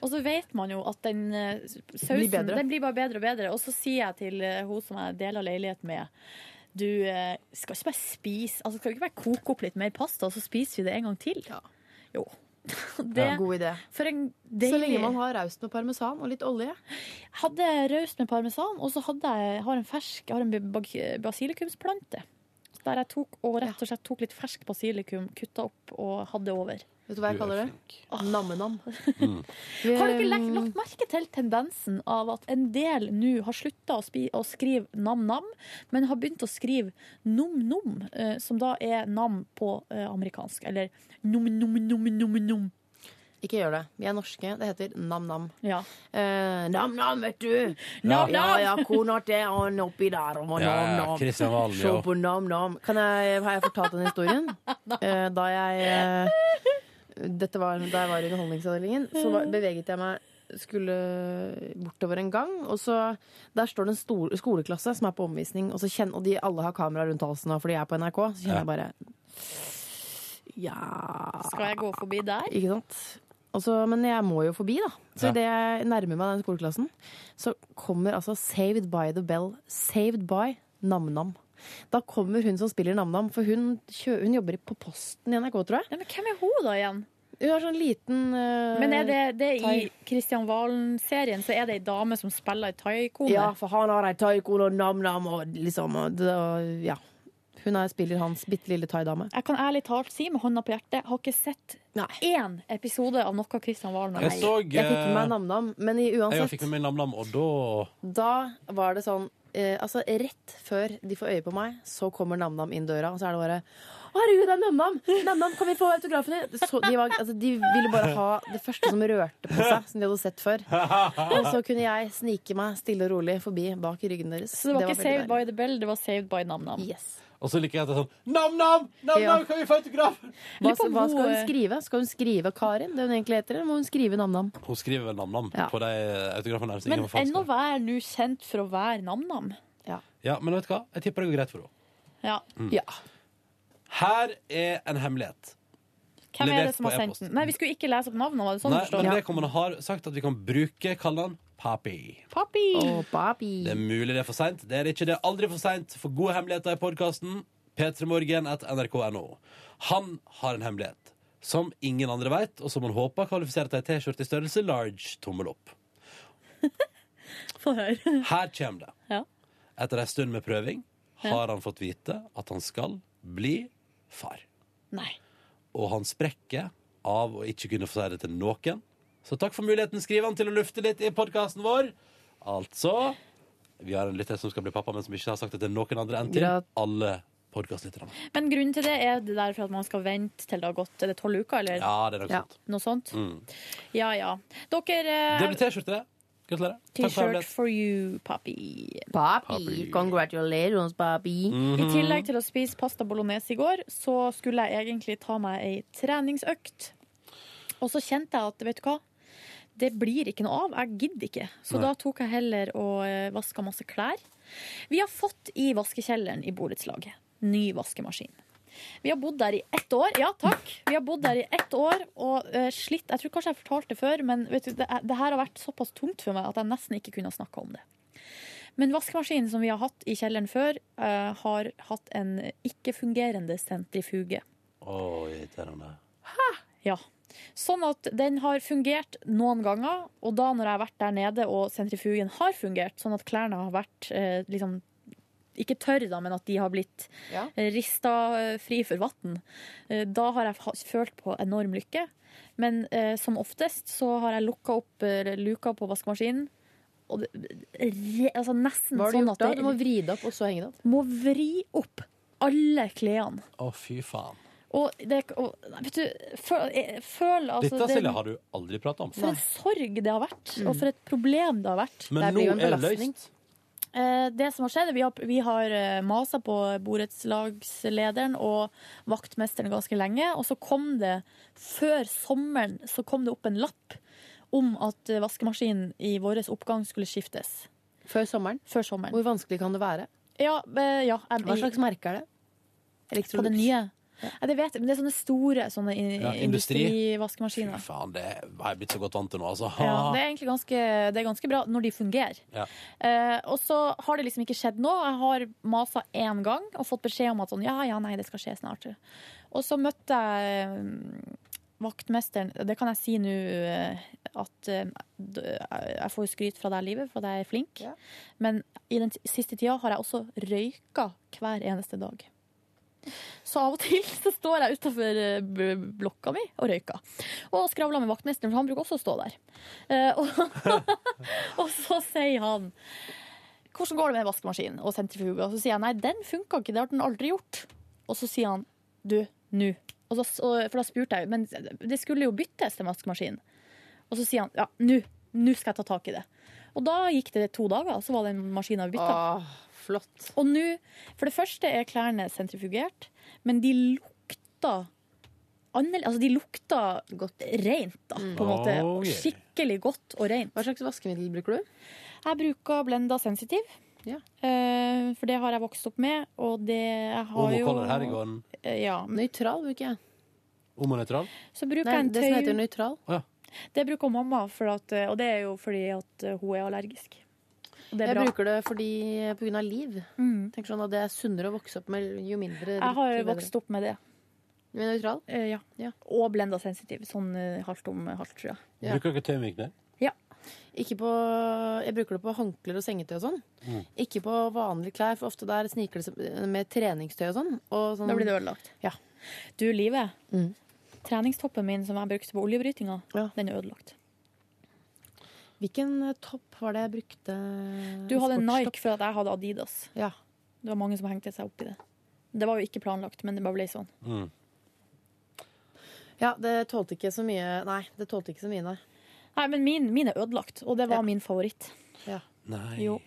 Og så vet man jo at den eh, sausen
Blir
blir,
bedre.
den blir bare bedre og bedre. Og så sier jeg til eh, hun som jeg deler leilighet med Du eh, skal ikke bare spise Altså skal du ikke bare koke opp litt mer pasta, og så spiser vi det en gang til? Jo. Det,
Ja. God idé.
For en
Så lenge man
har raust med parmesan og litt olje. Hadde raust med parmesan, og så hadde jeg har en fersk jeg har en bak- basilikumsplante. Der jeg tok, og rett og slett tok litt fersk basilikum, kutta opp og hadde over. Vet
du hva jeg Du er kaller det? Ah.
Namme-nam. Har du ikke lagt,
um,
lagt merke til tendensen av at en del nå har slutta å, spi- å skrive nam-nam, men har begynt å skrive nom-nom, eh, som da er nam på eh, amerikansk? Eller nom-nom-nom-nom-nom.
Ikke gjør det. Vi er norske. Det heter nam-nam. Eh,
Ja.
nam-nam, vet du!
Nam,
ja,
nam.
ja, kona til han oppi der og
Ja, ja,
nam-nam.
Kristian Valen,
Se
ja.
på nam-nam. Kan jeg, har jeg fortalt den historien? Eh, da jeg eh, dette var, Da jeg var i Underholdningsavdelingen, så var, beveget jeg meg skulle bortover en gang, og så Der står det en stor, skoleklasse som er på omvisning, og, så kjenn, og de alle har kamera rundt halsen nå, for de er på NRK. Så kjenner
Ja.
jeg bare Ja
Skal jeg gå forbi der?
Ikke sant? Og så- men jeg må jo forbi, da. Så
Ja.
idet jeg nærmer meg den skoleklassen, så kommer altså Saved by the Bell. Saved by Nam-Nam. Da kommer hun som spiller Nam-Nam, for hun, kjø, hun jobber på Posten i NRK, tror jeg.
men hvem er hun da igjen?
Hun har sånn liten eh,
Men er det, det er i
thai-
Kristian Valen-serien så er det ei dame som spiller ei taikone?
Ja, for han har ei taikone og Nam-Nam og liksom og, det- og, Ja. Hun er, spiller hans bitte lille thaidame.
Jeg kan ærlig talt si med hånda på hjertet, har ikke sett én episode av noe Kristian Valen har
Jeg så, eh,
Jeg fikk med meg Nam-Nam, men i,
Jeg
uansett
fikk med meg nam-nam, og da
Da var det sånn eh, Altså Rett før de får øye på meg, så kommer Nam-Nam inn døra, og så er det bare «Å, Herregud, det er Nam-Nam! Nam-Nam, kan vi få autografen din? Så de, var, altså, de ville bare ha det første som rørte på seg, som de hadde sett før. Og så kunne jeg snike meg stille og rolig forbi bak i ryggen deres.
Så det var ikke
veldig
Saved by the Bell, det var Saved by Nam-Nam.
Og så liker jeg at det er sånn Nam-nam! Nam-nam,
Ja.
kan vi få autograf?
Hva,
Lurer på eh, om
hva skal hun
hun-
skrive? Skal hun skrive Karin? Det hun egentlig heter, eller må hun skrive Nam-Nam?
Hun skriver vel nam-nam på de autografene der. så
Men
ingen får falske.
ennå vær nå kjent for å være Nam-Nam.
Ja, men vet du hva? Jeg tipper det går greit for henne.
Ja.
Mm. Her er en hemmelighet.
Hvem er
Levert
det som har
på
sendt
e-post.
den? Nei, vi skulle ikke lese opp navnet, var det sånn
Nei,
forstår
men
jeg?
vedkommende har sagt at vi kan bruke kallenavn Papi.
Papi!
Det er mulig det er for seint. Det er det ikke. Det er aldri for seint for gode hemmeligheter i podkasten. p3morgen.nrk.no. Han har en hemmelighet som ingen andre veit, og som han håper kvalifiserer til ei T-skjorte i størrelse large tommel opp.
Få høre.
Her kommer det.
Ja.
Etter ei stund med prøving
Ja.
har han fått vite at han skal bli far.
Nei.
Og han sprekker av å ikke kunne få si det til noen. Så takk for muligheten, skriver han, til å lufte litt i podkasten vår. Altså Vi har en lytter som skal bli pappa, men som ikke har sagt det til noen andre enn til
Grat-
alle podkastlytterne.
Men grunnen til det er det der for at man skal vente til det har gått Er det tolv uker, eller?
Ja, det er nok sant.
Noe sånt?
Mm.
Ja ja. Dere
Det
eh,
blir T-skjorte. Gratulerer. Takk for
T-shirt
hemmeligheten.
for you, papi. Mm.
Papi. Congratulations, papi.
Mhm.
I tillegg til å spise pasta bolognese i går, så skulle jeg egentlig ta meg ei treningsøkt. Og så kjente jeg at, vet du hva, det blir ikke noe av. Jeg gidder ikke. Så
Nei.
da tok jeg heller og eh, vaska masse klær. Vi har fått i vaskekjelleren i borettslaget ny vaskemaskin. Vi har bodd der i ett år. Ja, takk. Vi har bodd der i ett år og eh, slitt. Jeg tror kanskje jeg fortalte det før, men vet du, det, er- det her har vært såpass tungt for meg at jeg nesten ikke kunne ha snakka om det. Men vaskemaskinen som vi har hatt i kjelleren før, eh, har hatt en ikke-fungerende sentrifuge.
Å, irriterende.
Ja. Sånn at den har fungert noen ganger, og da når jeg har vært der nede og sentrifugen har fungert, sånn at klærne har vært eh, liksom ikke tørre, da, men at de har blitt
Ja.
eh, rista eh, fri for vann. Eh, da har jeg ha- følt på enorm lykke. Men eh, som oftest så har jeg lukka opp eh, luka på vaskemaskinen, og det, re, altså nesten
Hva har du
sånn at
gjort da? Du må vri det opp, og så henge det opp.
Må vri opp alle klærne.
Å, fy faen.
Og det og, nei, Vet du, føl, jeg føler altså
Dette,
det-
Silje, har du aldri prata om.
for en sorg det har vært, og for et problem det har vært.
Men nå er det løst.
Eh, Det som har skjedd, er vi har, vi har eh, masa på borettslagslederen og vaktmesteren ganske lenge, og så kom det, før sommeren, så kom det opp en lapp om at eh, vaskemaskinen i vår oppgang skulle skiftes.
Før sommeren? Hvor vanskelig kan det være?
Ja, eh, ja, jeg-
Hva slags merke er det?
På det nye? Ja, det vet jeg, men det er sånne store sånne in-
Ja, industri.
industrivaskemaskiner.
Faen, det har jeg blitt så godt vant til nå, altså.
Ja, det er egentlig ganske, det er ganske bra når de fungerer.
Ja.
Eh, og så har det liksom ikke skjedd nå. Jeg har masa én gang og fått beskjed om at sånn, ja, ja, nei, det skal skje snart. Og så møtte jeg mm, vaktmesteren Det kan jeg si nå eh, at eh, d- jeg får jo skryt fra deg, Livet, for at jeg er flink. Men i den siste tida har jeg også røyka hver eneste dag. Så av og til så står jeg utafor blokka mi og røyker. Og skravler med vaktmesteren, for han bruker også å stå der. Eh, og, og så sier han hvordan går det med vaskemaskinen og sentrifuga? Så sier jeg nei, den funka ikke, det har den aldri gjort. Og så sier han du, nå. Og så, og, for da spurte jeg, men det skulle jo byttes til vaskemaskin. Og så sier han ja, nå. Nå skal jeg ta tak i det. Og da gikk det to dager, så var den maskina
Ah.
bytta. Flott. Og nå, for det første er klærne sentrifugert, men de lukta annerledes, altså de lukta rent, da, på en måte.
Oh, yeah.
Skikkelig godt og rent. Hva slags vaskemiddel bruker du? Jeg bruker Blenda Sensitiv. Eh, for det har jeg vokst opp med, og det jeg har
Omo
jo
Color her i gården.
Eh, Ja. Nøytral bruker jeg.
Omo nøytral?
Så bruker
Nei,
jeg en
det
tøy...
som heter nøytral.
Å, ja.
Det bruker mamma, for at, eh, og det er jo fordi at eh, hun er allergisk. Og det er
jeg
bra. Mm.
bruker det fordi, på grunn av liv. Tenker sånn at Det er sunnere å vokse opp med jo mindre
Jeg har vokst opp med det.
Med nøytral?
ja. Og blenda sensitiv. Sånn eh, halvt om halvt, tror jeg.
Bruker dere tøymykner?
Ikke på, jeg bruker det på håndklær og sengetøy og sånn.
Mm.
Ikke på vanlige klær, for ofte der sniker det seg med treningstøy og sånn. Og sånn
Da blir det ødelagt.
Ja. Mm.
Du, livet. Treningstoppen min som jeg brukte på oljebrytinga, den er ødelagt.
Hvilken eh, topp var det jeg brukte?
Du hadde en
Sportstopp?
Nike for at jeg hadde Adidas. Det var mange som hengte seg opp i det. Det var jo ikke planlagt, men det bare ble sånn.
Ja, det tålte ikke så mye. Nei, det tålte ikke så mye, nei.
Nei, men min, min er ødelagt, og det var min favoritt.
Nei.
Jo.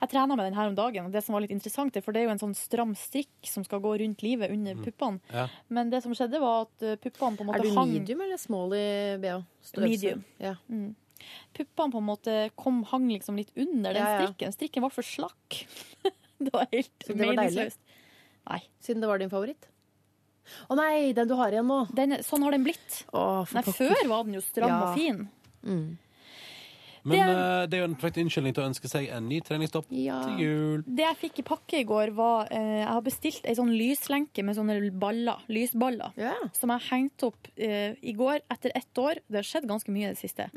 Jeg trena med den her om dagen, og det som var litt interessant, er- for det er jo en sånn stram strikk som skal gå rundt livet under puppene.
Ja.
Men det som skjedde, var at eh, puppene på en måte
Er du
hang
medium eller small i BH? Størrelse?
Medium.
Ja.
Mm. Puppene på en måte kom, hang liksom litt under den
Ja, ja.
strikken. Strikken var for slakk. det var helt
Så det var deilig?
meningsløst. Nei.
Siden det var din favoritt? Å nei, den du har igjen nå.
sånn har den blitt.
for
Nei,
pokker. Mm.
før var den jo stram
Ja.
og fin.
Men
Det
det
er-
er, det er jo en perfekt unnskyldning til å ønske seg en ny treningstopp til jul.
Det jeg fikk i pakke i går, var eh, Jeg har bestilt ei sånn lyslenke med sånne baller, lysballer, som jeg hengte opp eh, i går etter ett år. Det har skjedd ganske mye i det siste.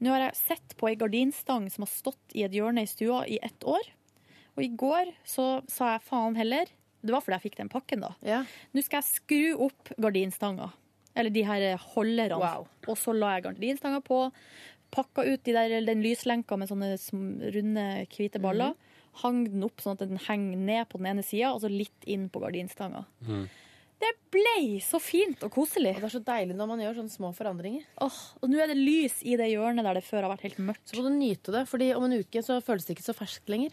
Nå har jeg sett på ei gardinstang som har stått i et hjørne i stua i ett år. Og i går så sa jeg faen heller Det var fordi jeg fikk den pakken, da. Nå skal jeg skru opp gardinstanga. Eller de her holderne. Og så la jeg gardinstanga på. Pakka ut de der, den lyslenka med sånne sm- runde, hvite baller.
Mhm.
Hang den opp sånn at den henger ned på den ene sida, og så litt inn på gardinstanga.
Mhm.
Det ble så fint og koselig.
Og det er så deilig når man gjør sånne små forandringer.
Åh, og nå er det lys i det hjørnet der det før har vært helt mørkt.
Så må du nyte det, fordi om en uke så føles det ikke så ferskt lenger.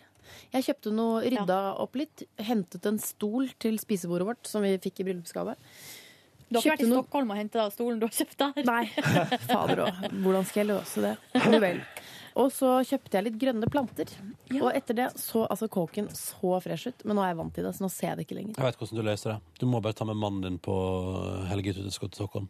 Jeg kjøpte noe, rydda opp litt, hentet en stol til spisebordet vårt som vi fikk i bryllupsgave.
Du har ikke vært i
Kjøpte noe-
Stockholm og henta stolen du har kjøpt der? Nei.
Fader òg. Hvordan skal jeg løse det? Jo vel. Og så kjøpte jeg litt grønne planter. Og etter det så altså kåken så fresh ut, men nå er jeg vant til det, så nå ser jeg det ikke lenger.
Jeg vet hvordan du løser det. Du må bare ta med mannen din på eh, helgetur til Skott- Stockholm.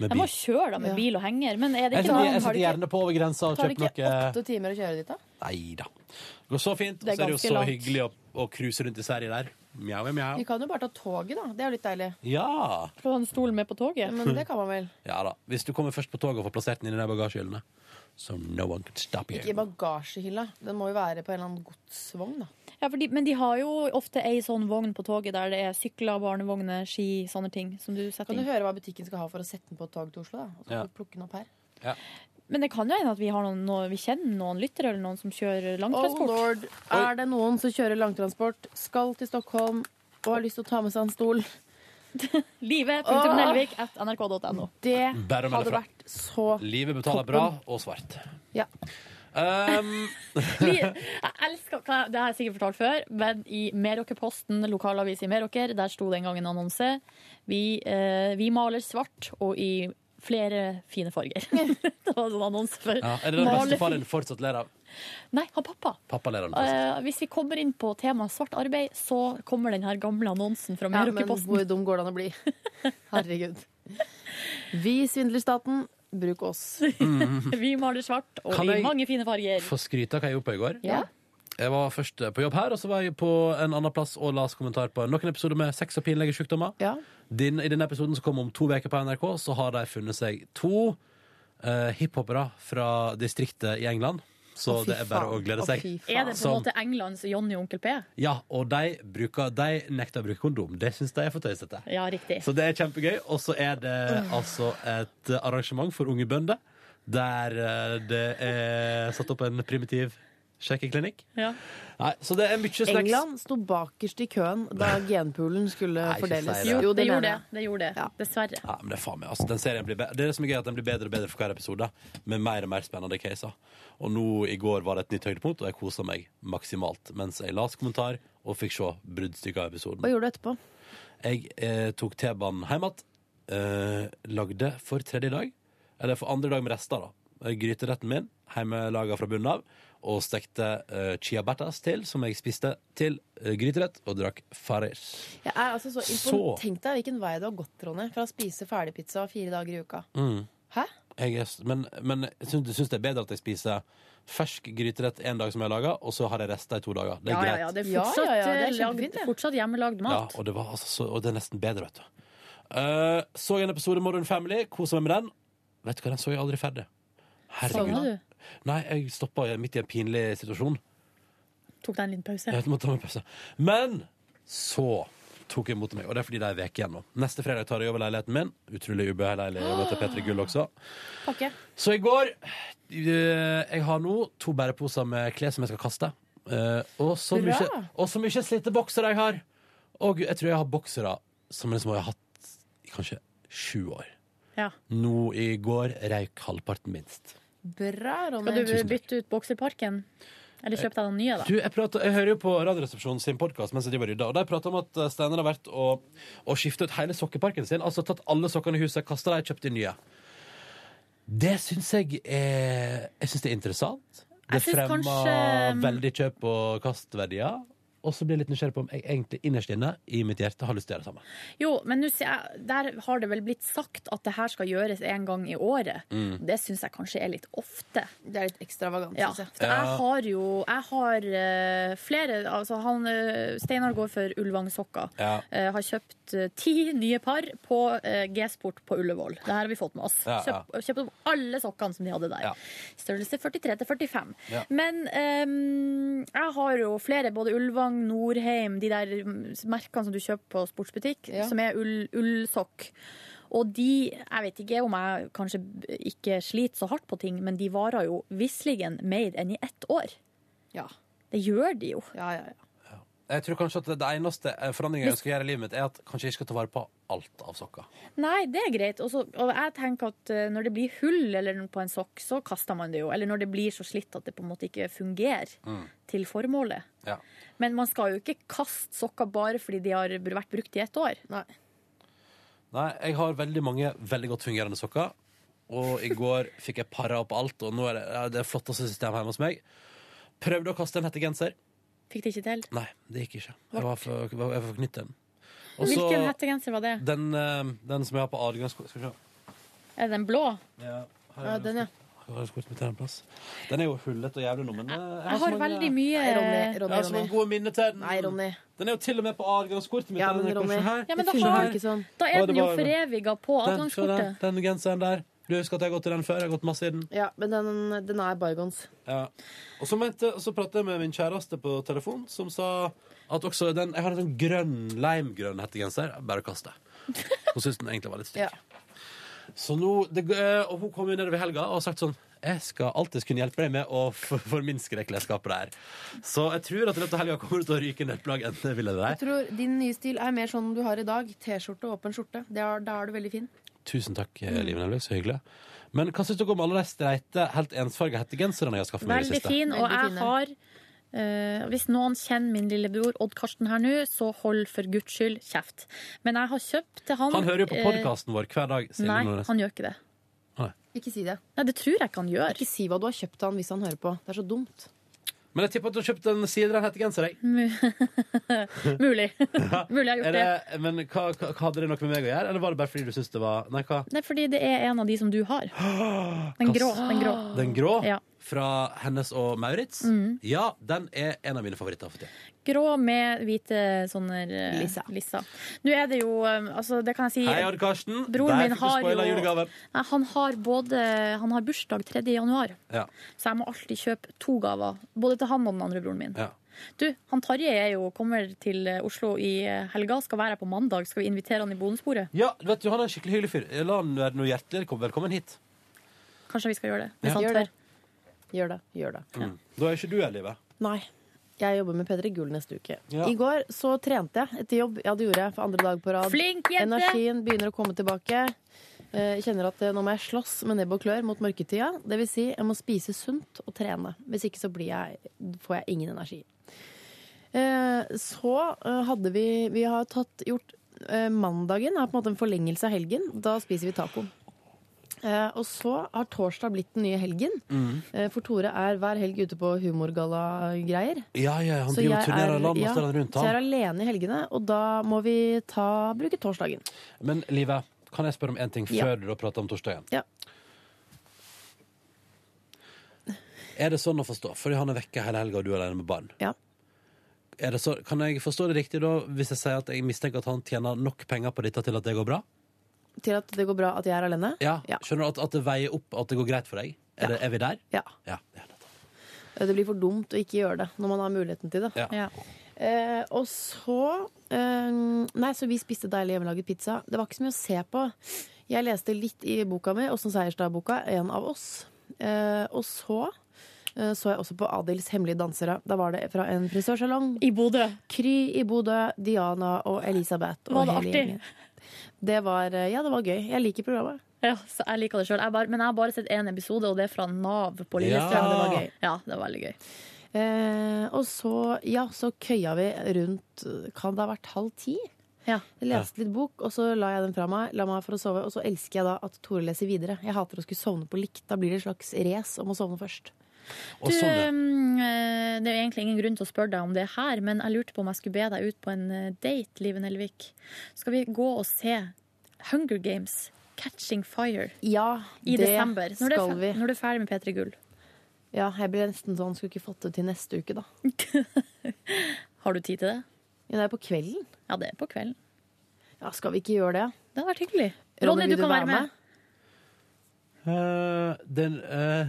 Med
Jeg må
bil.
kjøre da med bil og henger, men er det
Jeg
ikke
sitter,
noe
jeg
har
sitter
du ikke-
gjerne på over grensa og
Tar det
kjøper
ikke åtte
noe
timer å kjøre dit, da?
Nei da. Det går så fint. Og så
Det er
er det jo
ganske
så
langt.
hyggelig å, å cruise rundt i Sverige der. Mjau, mjau,
Vi
mjau.
kan jo bare ta toget, da. Det er jo litt deilig.
Ja.
Få en stol med på toget.
Men det kan man vel.
ja da. Hvis du kommer først på toget og får plassert den inn i de bagasjehyllene, so no one can stop you.
Ikke i bagasjehylla. Den må jo være på en eller annen godsvogn, da.
Ja, for de, men de har jo ofte ei sånn vogn på toget der det er sykler, barnevogner, ski, sånne ting. Som du setter
Kan du
inn.
høre hva butikken skal ha for å sette den på et tog til Oslo, da? Og så
Ja.
kan du plukke den opp her.
Men det kan jo hende at vi, har noen, noen, vi kjenner noen lyttere eller noen som kjører langtransport.
Oh lord, er det noen som kjører langtransport, skal til Stockholm og har lyst til å ta med seg en stol? Ah.
Live.nelvik at nrk.no.
Det
Bare å melde
hadde
fra.
vært så
Livet betaler bra, og svart.
Ja.
Um,
Vi- Jeg elsker, kan jeg- det har jeg sikkert fortalt før, men i Meråkerposten, lokalavis i Meråker, der sto det en gang en annonse. Vi, eh, vi maler svart, og i flere fine farger. det var en sånn annonse for
ja. Er det det
maler-
bestefaren din fortsatt ler av?
Nei, han pappa.
Pappa ler av det.
Eh, hvis vi kommer inn på temaet svart arbeid, så kommer den her gamle annonsen fra
Ja, men
Meråkerposten.
hvor dum går det an å bli? Herregud. Vi svindler staten, bruk oss.
Mhm.
vi maler svart, og
Kan
i
jeg-
mange fine farger.
Få skryte av hva jeg gjorde på i går.
Ja.
Jeg var først på jobb her, og så var jeg på en annen plass og las kommentar på noen episoder med sex og pinlige sykdommer. Din, I denne episoden som kommer om to uker på NRK, så har de funnet seg to eh, hiphopere fra distriktet i England. Så
Å, fy
det er bare
faen.
å glede
Å,
seg.
fy faen. Er det på en
Som-
måte Englands Johnny og Onkel P?
Ja, og de, bruker, de nekter å bruke kondom. Det syns de er for tøysete.
Ja, riktig.
Så det er kjempegøy. Og så er det altså et arrangement for unge bønder der eh, det er satt opp en primitiv sjekkeklinikk. Nei, så det er mye snacks.
England sto bakerst i køen da genpoolen skulle
ikke
fordeles.
si det. Jo,
det gjorde
mener jeg.
det. det, gjorde det. Dessverre.
Ja, men det er faen meg, altså, den serien blir bedre. Det er det som er gøy, at den blir bedre og bedre for hver episode, med mer og mer spennende caser. Og nå i går var det et nytt høydepunkt, og jeg kosa meg maksimalt mens jeg las kommentar og fikk se bruddstykker av episoden.
Hva gjorde du etterpå?
Jeg eh, tok T-banen hjem igjen. Eh, lagde for tredje dag, eller for andre dag med rester, da. eh, Gryteretten min, hjemmelaga fra bunnen av. Og stekte eh, ciabattas til, som jeg spiste til eh, gryterett, og drakk Farris.
Jeg er altså så
Så.
impon- Tenk deg hvilken vei du har gått, Ronny, fra å spise ferdigpizza fire dager i uka.
Mm.
Hæ?
Jeg er, s- men men jeg syns, du syns det er bedre at jeg spiser fersk gryterett en dag som jeg lager, og så har jeg rester i to dager. Det er
Ja, ja,
greit.
ja, det er
Ja,
fortsatt,
ja, ja, det er
eh,
kjempefint,
lagd, fortsatt hjemmelagd
Ja,
mat.
og det, var, altså, så, og det er nesten bedre, vet du. Eh, så jeg en episode av Modern Family, kosa meg med den. Vet du hva, den så jeg aldri ferdig.
Sovna du?
Nei, jeg stoppa midt i en pinlig situasjon.
Tok deg en liten pause?
Jeg måtte ta meg en pause. Men så tok jeg mot meg, og det er fordi det er en uke igjen nå. Neste fredag tar jeg over leiligheten min. Utrolig ubehagelig å til P3 Gull også.
Pakke.
Så i går eh, Jeg har nå to bæreposer med klær som jeg skal kaste. Eh, og så
Hurra!
mye, og så mye slitte boksere jeg har! Og jeg tror jeg har boksere som liksom jeg har hatt i kanskje sju år.
Ja.
Nå i går røyk halvparten minst.
Bra, Ronny.
Skal du
Tusen takk. Eh,
bytte ut Bokserparken? Eller kjøpe deg den nye, da?
Du, jeg, prater, jeg hører jo på Radioresepsjonen sin podkast mens jeg driver og rydder, og de prater om at eh, Steinar har vært og, og skiftet ut hele sokkeparken sin. Altså tatt alle sokkene i huset, kasta dem, kjøpt inn nye. Det syns jeg er Jeg syns det er interessant. Det
Jeg synes
fremmer
kanskje- ehm,
veldig kjøp- og kastverdier. Og så blir jeg litt nysgjerrig på om jeg egentlig innerst inne i mitt hjerte har lyst til å gjøre det samme.
Jo, men nå sier jeg, der har det vel blitt sagt at det her skal gjøres en gang i året.
Mm.
Det syns jeg kanskje er litt ofte.
Det er litt ekstravagant,
ja.
synes jeg.
For
Ja.
jeg har jo jeg har eh, flere altså han, eh, Steinar går for Ulvang-sokker.
Ja.
Eh, har kjøpt eh, ti nye par på eh, G-sport på Ullevål. Det her har vi fått med oss.
Ja, ja.
Kjøpt, kjøpt opp alle sokkene som de hadde der. Størrelse 43 til 45.
Ja.
Men ehm, jeg har jo flere, både Ulvang, Norheim, de der mm, merkene som du kjøper på sportsbutikk, som er ull- ullsokk. og de, jeg vet ikke om jeg kanskje ikke sliter så hardt på ting, men de varer jo visseligen mer enn i ett år. Det gjør de jo.
Jeg tror kanskje at det eneste eh, forandringen jeg
Hvis-
ønsker å gjøre i livet mitt, er at kanskje jeg ikke skal ta vare på alt av sokker.
Nei, det er greit. Også, og jeg tenker at eh, når det blir hull eller noe på en sokk, så kaster man det jo. Eller når det blir så slitt at det på en måte ikke fungerer
Mm.
til formålet.
Ja.
Men man skal jo ikke kaste sokker bare fordi de har vært brukt i ett år.
Nei, jeg har veldig mange veldig godt fungerende sokker. Og i går fikk jeg para opp alt, og nå er det ja, det flotteste systemet hjemme hos meg. Prøvde å kaste en hettegenser.
Fikk det ikke til.
Nei, det gikk ikke. Jeg var for, jeg var for knytt til den. Og så
Hvilken hettegenser var det?
den, eh, den som jeg har på adgangskortet Skal vi se.
Er det den blå?
Ja, her
Ja,
er
den, ja.
Jeg har skort mitt her en plass. Den er jo hullet og jævlig nå, men eh, jeg
Jeg har veldig mye
Nei, Eh, Ronny, Ronny,
Jeg har så mange gode minner til den.
Nei, Ronny.
Den er jo til og med på adgangskortet mitt.
Ja, men
den er
Ronny,
kanskje her.
Ja, men da,
Det fungerer
har,
ikke sånn.
da
Å,
er
det
den jo
var-
foreviga på
Den, se der.
adgangskortet.
den genseren der. Du husker at jeg har gått i den før? Jeg har gått masse i den.
Ja, men den, den er bygons.
Ja. Og så, mente, og så pratet jeg med min kjæreste på telefon, som sa at også den Jeg har en sånn grønn, limegrønn hettegenser. Bare kast det. Hun syntes den egentlig var litt stygg. Så nå, det, g- eh, og hun kom jo nedover i helga og har sagt sånn Jeg skal alltid kunne hjelpe deg med å for- forminske det klesskapet der. Så jeg tror at i løpet av helga kommer det til å ryke en del plagg. Enten jeg vil eller
Jeg
ei.
tror Din nye stil er mer sånn du har i dag. T-skjorte og åpen skjorte. Det er, da er du veldig fin.
Tusen takk,
Mm.
eh, Liv Nelvik. Så hyggelig. Men hva syns dere om alle de streite, helt ensfarga hettegenserne jeg har skaffet meg i det
Veldig
siste?
fin, og jeg har eh, hvis noen kjenner min lillebror Odd Karsten her nå, så hold for guds skyld kjeft. Men jeg har kjøpt til han
Han hører jo på
eh,
podkasten vår hver dag. Silje
Nei,
Nordnes.
han gjør ikke det.
Nei.
Ikke si det.
Nei, Det tror jeg ikke han gjør.
Ikke si hva du har kjøpt av han hvis han hører på. Det er så dumt.
Men jeg tipper at du har kjøpt en sider av en hettegenser, jeg.
Mulig. Mulig
Er
jeg har gjort det.
det, men hva, hva, hva hadde det noe med meg å gjøre, eller var det bare fordi du syntes det var Nei, hva?
Nei, fordi det er en av de som du har. Den grå. Den grå.
Den grå
Ja.
fra Hennes og Maurits?
Mm.
Ja, den er en av mine favoritter for tiden.
Grå med hvite sånne eh,
Lisser.
lisser. Nå er det jo eh, Altså, det kan jeg si
Hei, Odd Karsten.
Broren
Der
min
fikk du
har
spoila
jo-
julegaven.
Nei, han har både Han har bursdag 3. januar,
Ja.
så jeg må alltid kjøpe to gaver. Både til han og den andre broren min.
Ja.
Du, han Tarjei er jo, kommer til eh, Oslo i eh, helga, skal være her på mandag. Skal vi invitere han i bonusbordet?
Ja, vet du, han er en skikkelig hyggelig fyr. La han være noe hjertelig kom- velkommen hit.
Kanskje vi skal gjøre det.
Ja.
Hvis han
Gjør
tør.
det. Gjør det. Gjør det.
Mm. Da er ikke du her, Live.
Nei. Jeg jobber med P3 Gull neste uke.
Ja.
I går så trente jeg etter jobb. Ja, det gjorde jeg for andre dag på rad.
Flink jente!
Energien begynner å komme tilbake. Eh, Jeg kjenner at eh, nå må jeg slåss med nebb og klør mot mørketida. Det vil si, jeg må spise sunt og trene. Hvis ikke så blir jeg, får jeg ingen energi. Eh, Så eh, hadde vi Vi har tatt, gjort eh, Mandagen er på en måte en forlengelse av helgen. Da spiser vi taco. Eh, Og så har torsdag blitt den nye helgen.
Mm.
Eh, For Tore er hver helg ute på humorgalla-greier.
Ja, ja, han
Så
driver og
jeg
turnerer
er-
land og
ja,
strand rundt.
Så jeg er
Han.
alene i helgene, og da må vi ta, bruke torsdagen.
Men Live, kan jeg spørre om en ting før
Ja.
du da prater om torsdagen?
Ja.
Er det sånn å forstå? Fordi han er vekke hele helga, og du er alene med barn.
Ja.
Er det så, kan jeg forstå det riktig da, hvis jeg sier at jeg mistenker at han tjener nok penger på dette til at det går bra?
Til at det går bra at jeg er alene.
Ja, Skjønner du at, at det veier opp, at det går greit for deg? Er, det, er vi der?
Ja.
ja.
Eh, Det blir for dumt å ikke gjøre det når man har muligheten til det.
Ja. Ja.
Eh, og så eh, Nei, så vi spiste deilig hjemmelaget pizza. Det var ikke så mye å se på. Jeg leste litt i boka mi, Åsen Seierstad-boka, En av oss. Eh, og så eh, så jeg også på Adils Hemmelige dansere. Da var det fra en frisørsalong.
I Bodø.
Kry i Bodø, Diana og Elisabeth. og
Var det
hele
artig?
gjengen. Det var, eh, ja, det var gøy. Jeg liker programmet.
Ja, så jeg liker det sjøl. Men jeg har bare sett én episode, og det er fra Nav på Lillestrøm.
Ja, det var gøy.
Ja, det var veldig gøy.
Eh, og så, ja, så køya vi rundt Kan det ha vært halv ti? Jeg leste litt bok, og så la jeg den fra meg, la meg for å sove. Og så elsker jeg da at Tore leser videre. Jeg hater å skulle sovne på likt. Da blir det et slags race om å sovne først.
Du,
sånn,
mm, eh, det er jo egentlig ingen grunn til å spørre deg om det her, men jeg lurte på om jeg skulle be deg ut på en eh, date, Live Nelvik. Skal vi gå og se Hunger Games, Catching Fire,
Ja,
i
det
desember? Når du er
skal
fer-
vi.
Når du er ferdig med P3 Gull.
Ja, jeg blir nesten sånn, skulle ikke fått det til neste uke, da.
Har du tid til det?
Ja, det er på kvelden.
Ja, det er på kvelden.
Ja, skal vi ikke gjøre det?
Det hadde vært hyggelig.
Ronny,
Ronny,
vil
du kan være med.
Eh, den, eh,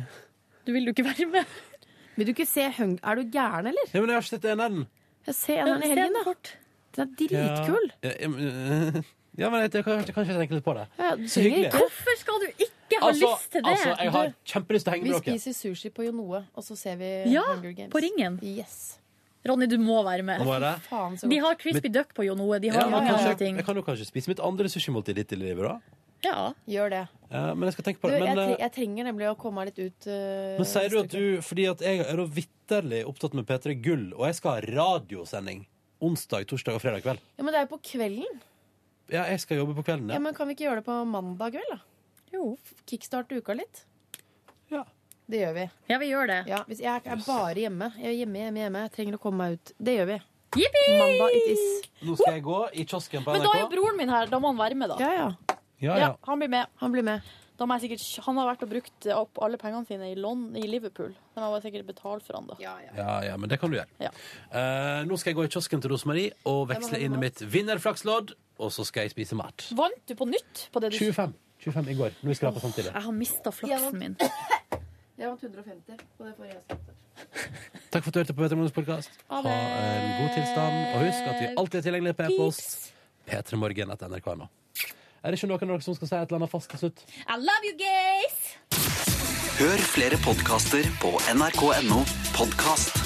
Du vil jo ikke være med.
Vil du ikke se Hung... Er du gæren, eller?
ja, men jeg har ikke sett eneren.
Jeg ser den i
Ja, se
helgen,
den
da. Den er dritkul.
Ja, ja, men, eh, ja, men jeg, jeg, kan- jeg kan ikke tenke litt på det.
Ja, du
Så
trenger
hyggelig.
ikke-
Hvorfor skal du ikke ha
Altså,
lyst til det?
altså, jeg har kjempelyst til å henge
Vi
med dere.
spiser sushi på Jonoe, og så ser vi
Ja,
Hunger Games.
på ringen.
Yes.
Ronny, du må være med.
Nå må jeg det.
Faen, så
De
godt.
har Crispy
Men-
Duck på Jo Noe. De har
Ja, men
mange andre
kanskje,
ting.
jeg kan jo kanskje spise mitt andre sushimåltid ditt i livet, da.
Ja,
gjør det.
Eh, men jeg skal tenke
Du,
på det.
jeg,
Men,
tre-
eh,
jeg trenger nemlig å komme meg litt ut. eh,
men sier du at du Fordi at jeg er da vitterlig opptatt med P3 Gull, og jeg skal ha radiosending onsdag, torsdag og fredag kveld.
Ja, Men det er jo på kvelden.
Ja, jeg skal jobbe på kvelden,
Ja.
ja.
men Kan vi ikke gjøre det på mandag kveld, da?
Jo.
Kickstarte uka litt.
Ja.
Det gjør vi.
ja vi gjør det.
Ja, hvis jeg er bare hjemme. Jeg er hjemme, hjemme, hjemme. Jeg trenger å komme meg ut. Det gjør vi.
Yippee!
Mandag it is.
Nå skal jeg gå i kiosken på
Men da er jo
NRK.
broren min her. Da må han være med, da.
Ja, ja.
Ja, ja.
han blir med.
Han blir med.
Da må jeg sikkert, han har vært og brukt opp alle pengene sine i, Lon- i Liverpool. Da må jeg bare sikkert betale for han, da.
Ja, ja, men det kan du gjøre. Eh, nå skal jeg gå i kiosken til Rosemarie og veksle inn mitt vinnerflakslodd, og så skal jeg spise mat.
Vant du på nytt på det du
25. 25 i går. Nå skrapa samtidig.
Jeg har mista flaksen min.
Jeg vant 150 på det forrige skattet.
Takk for at du hørte på Petter Morgens podkast. Ha
det.
en god tilstand. Og husk at vi alltid er tilgjengelige på e-post. P3morgen etter NRK nå. Er det ikke noen av dere som skal si et eller annet fast til slutt?
I love you guys!
Hør flere podkaster på nrk.no podkast.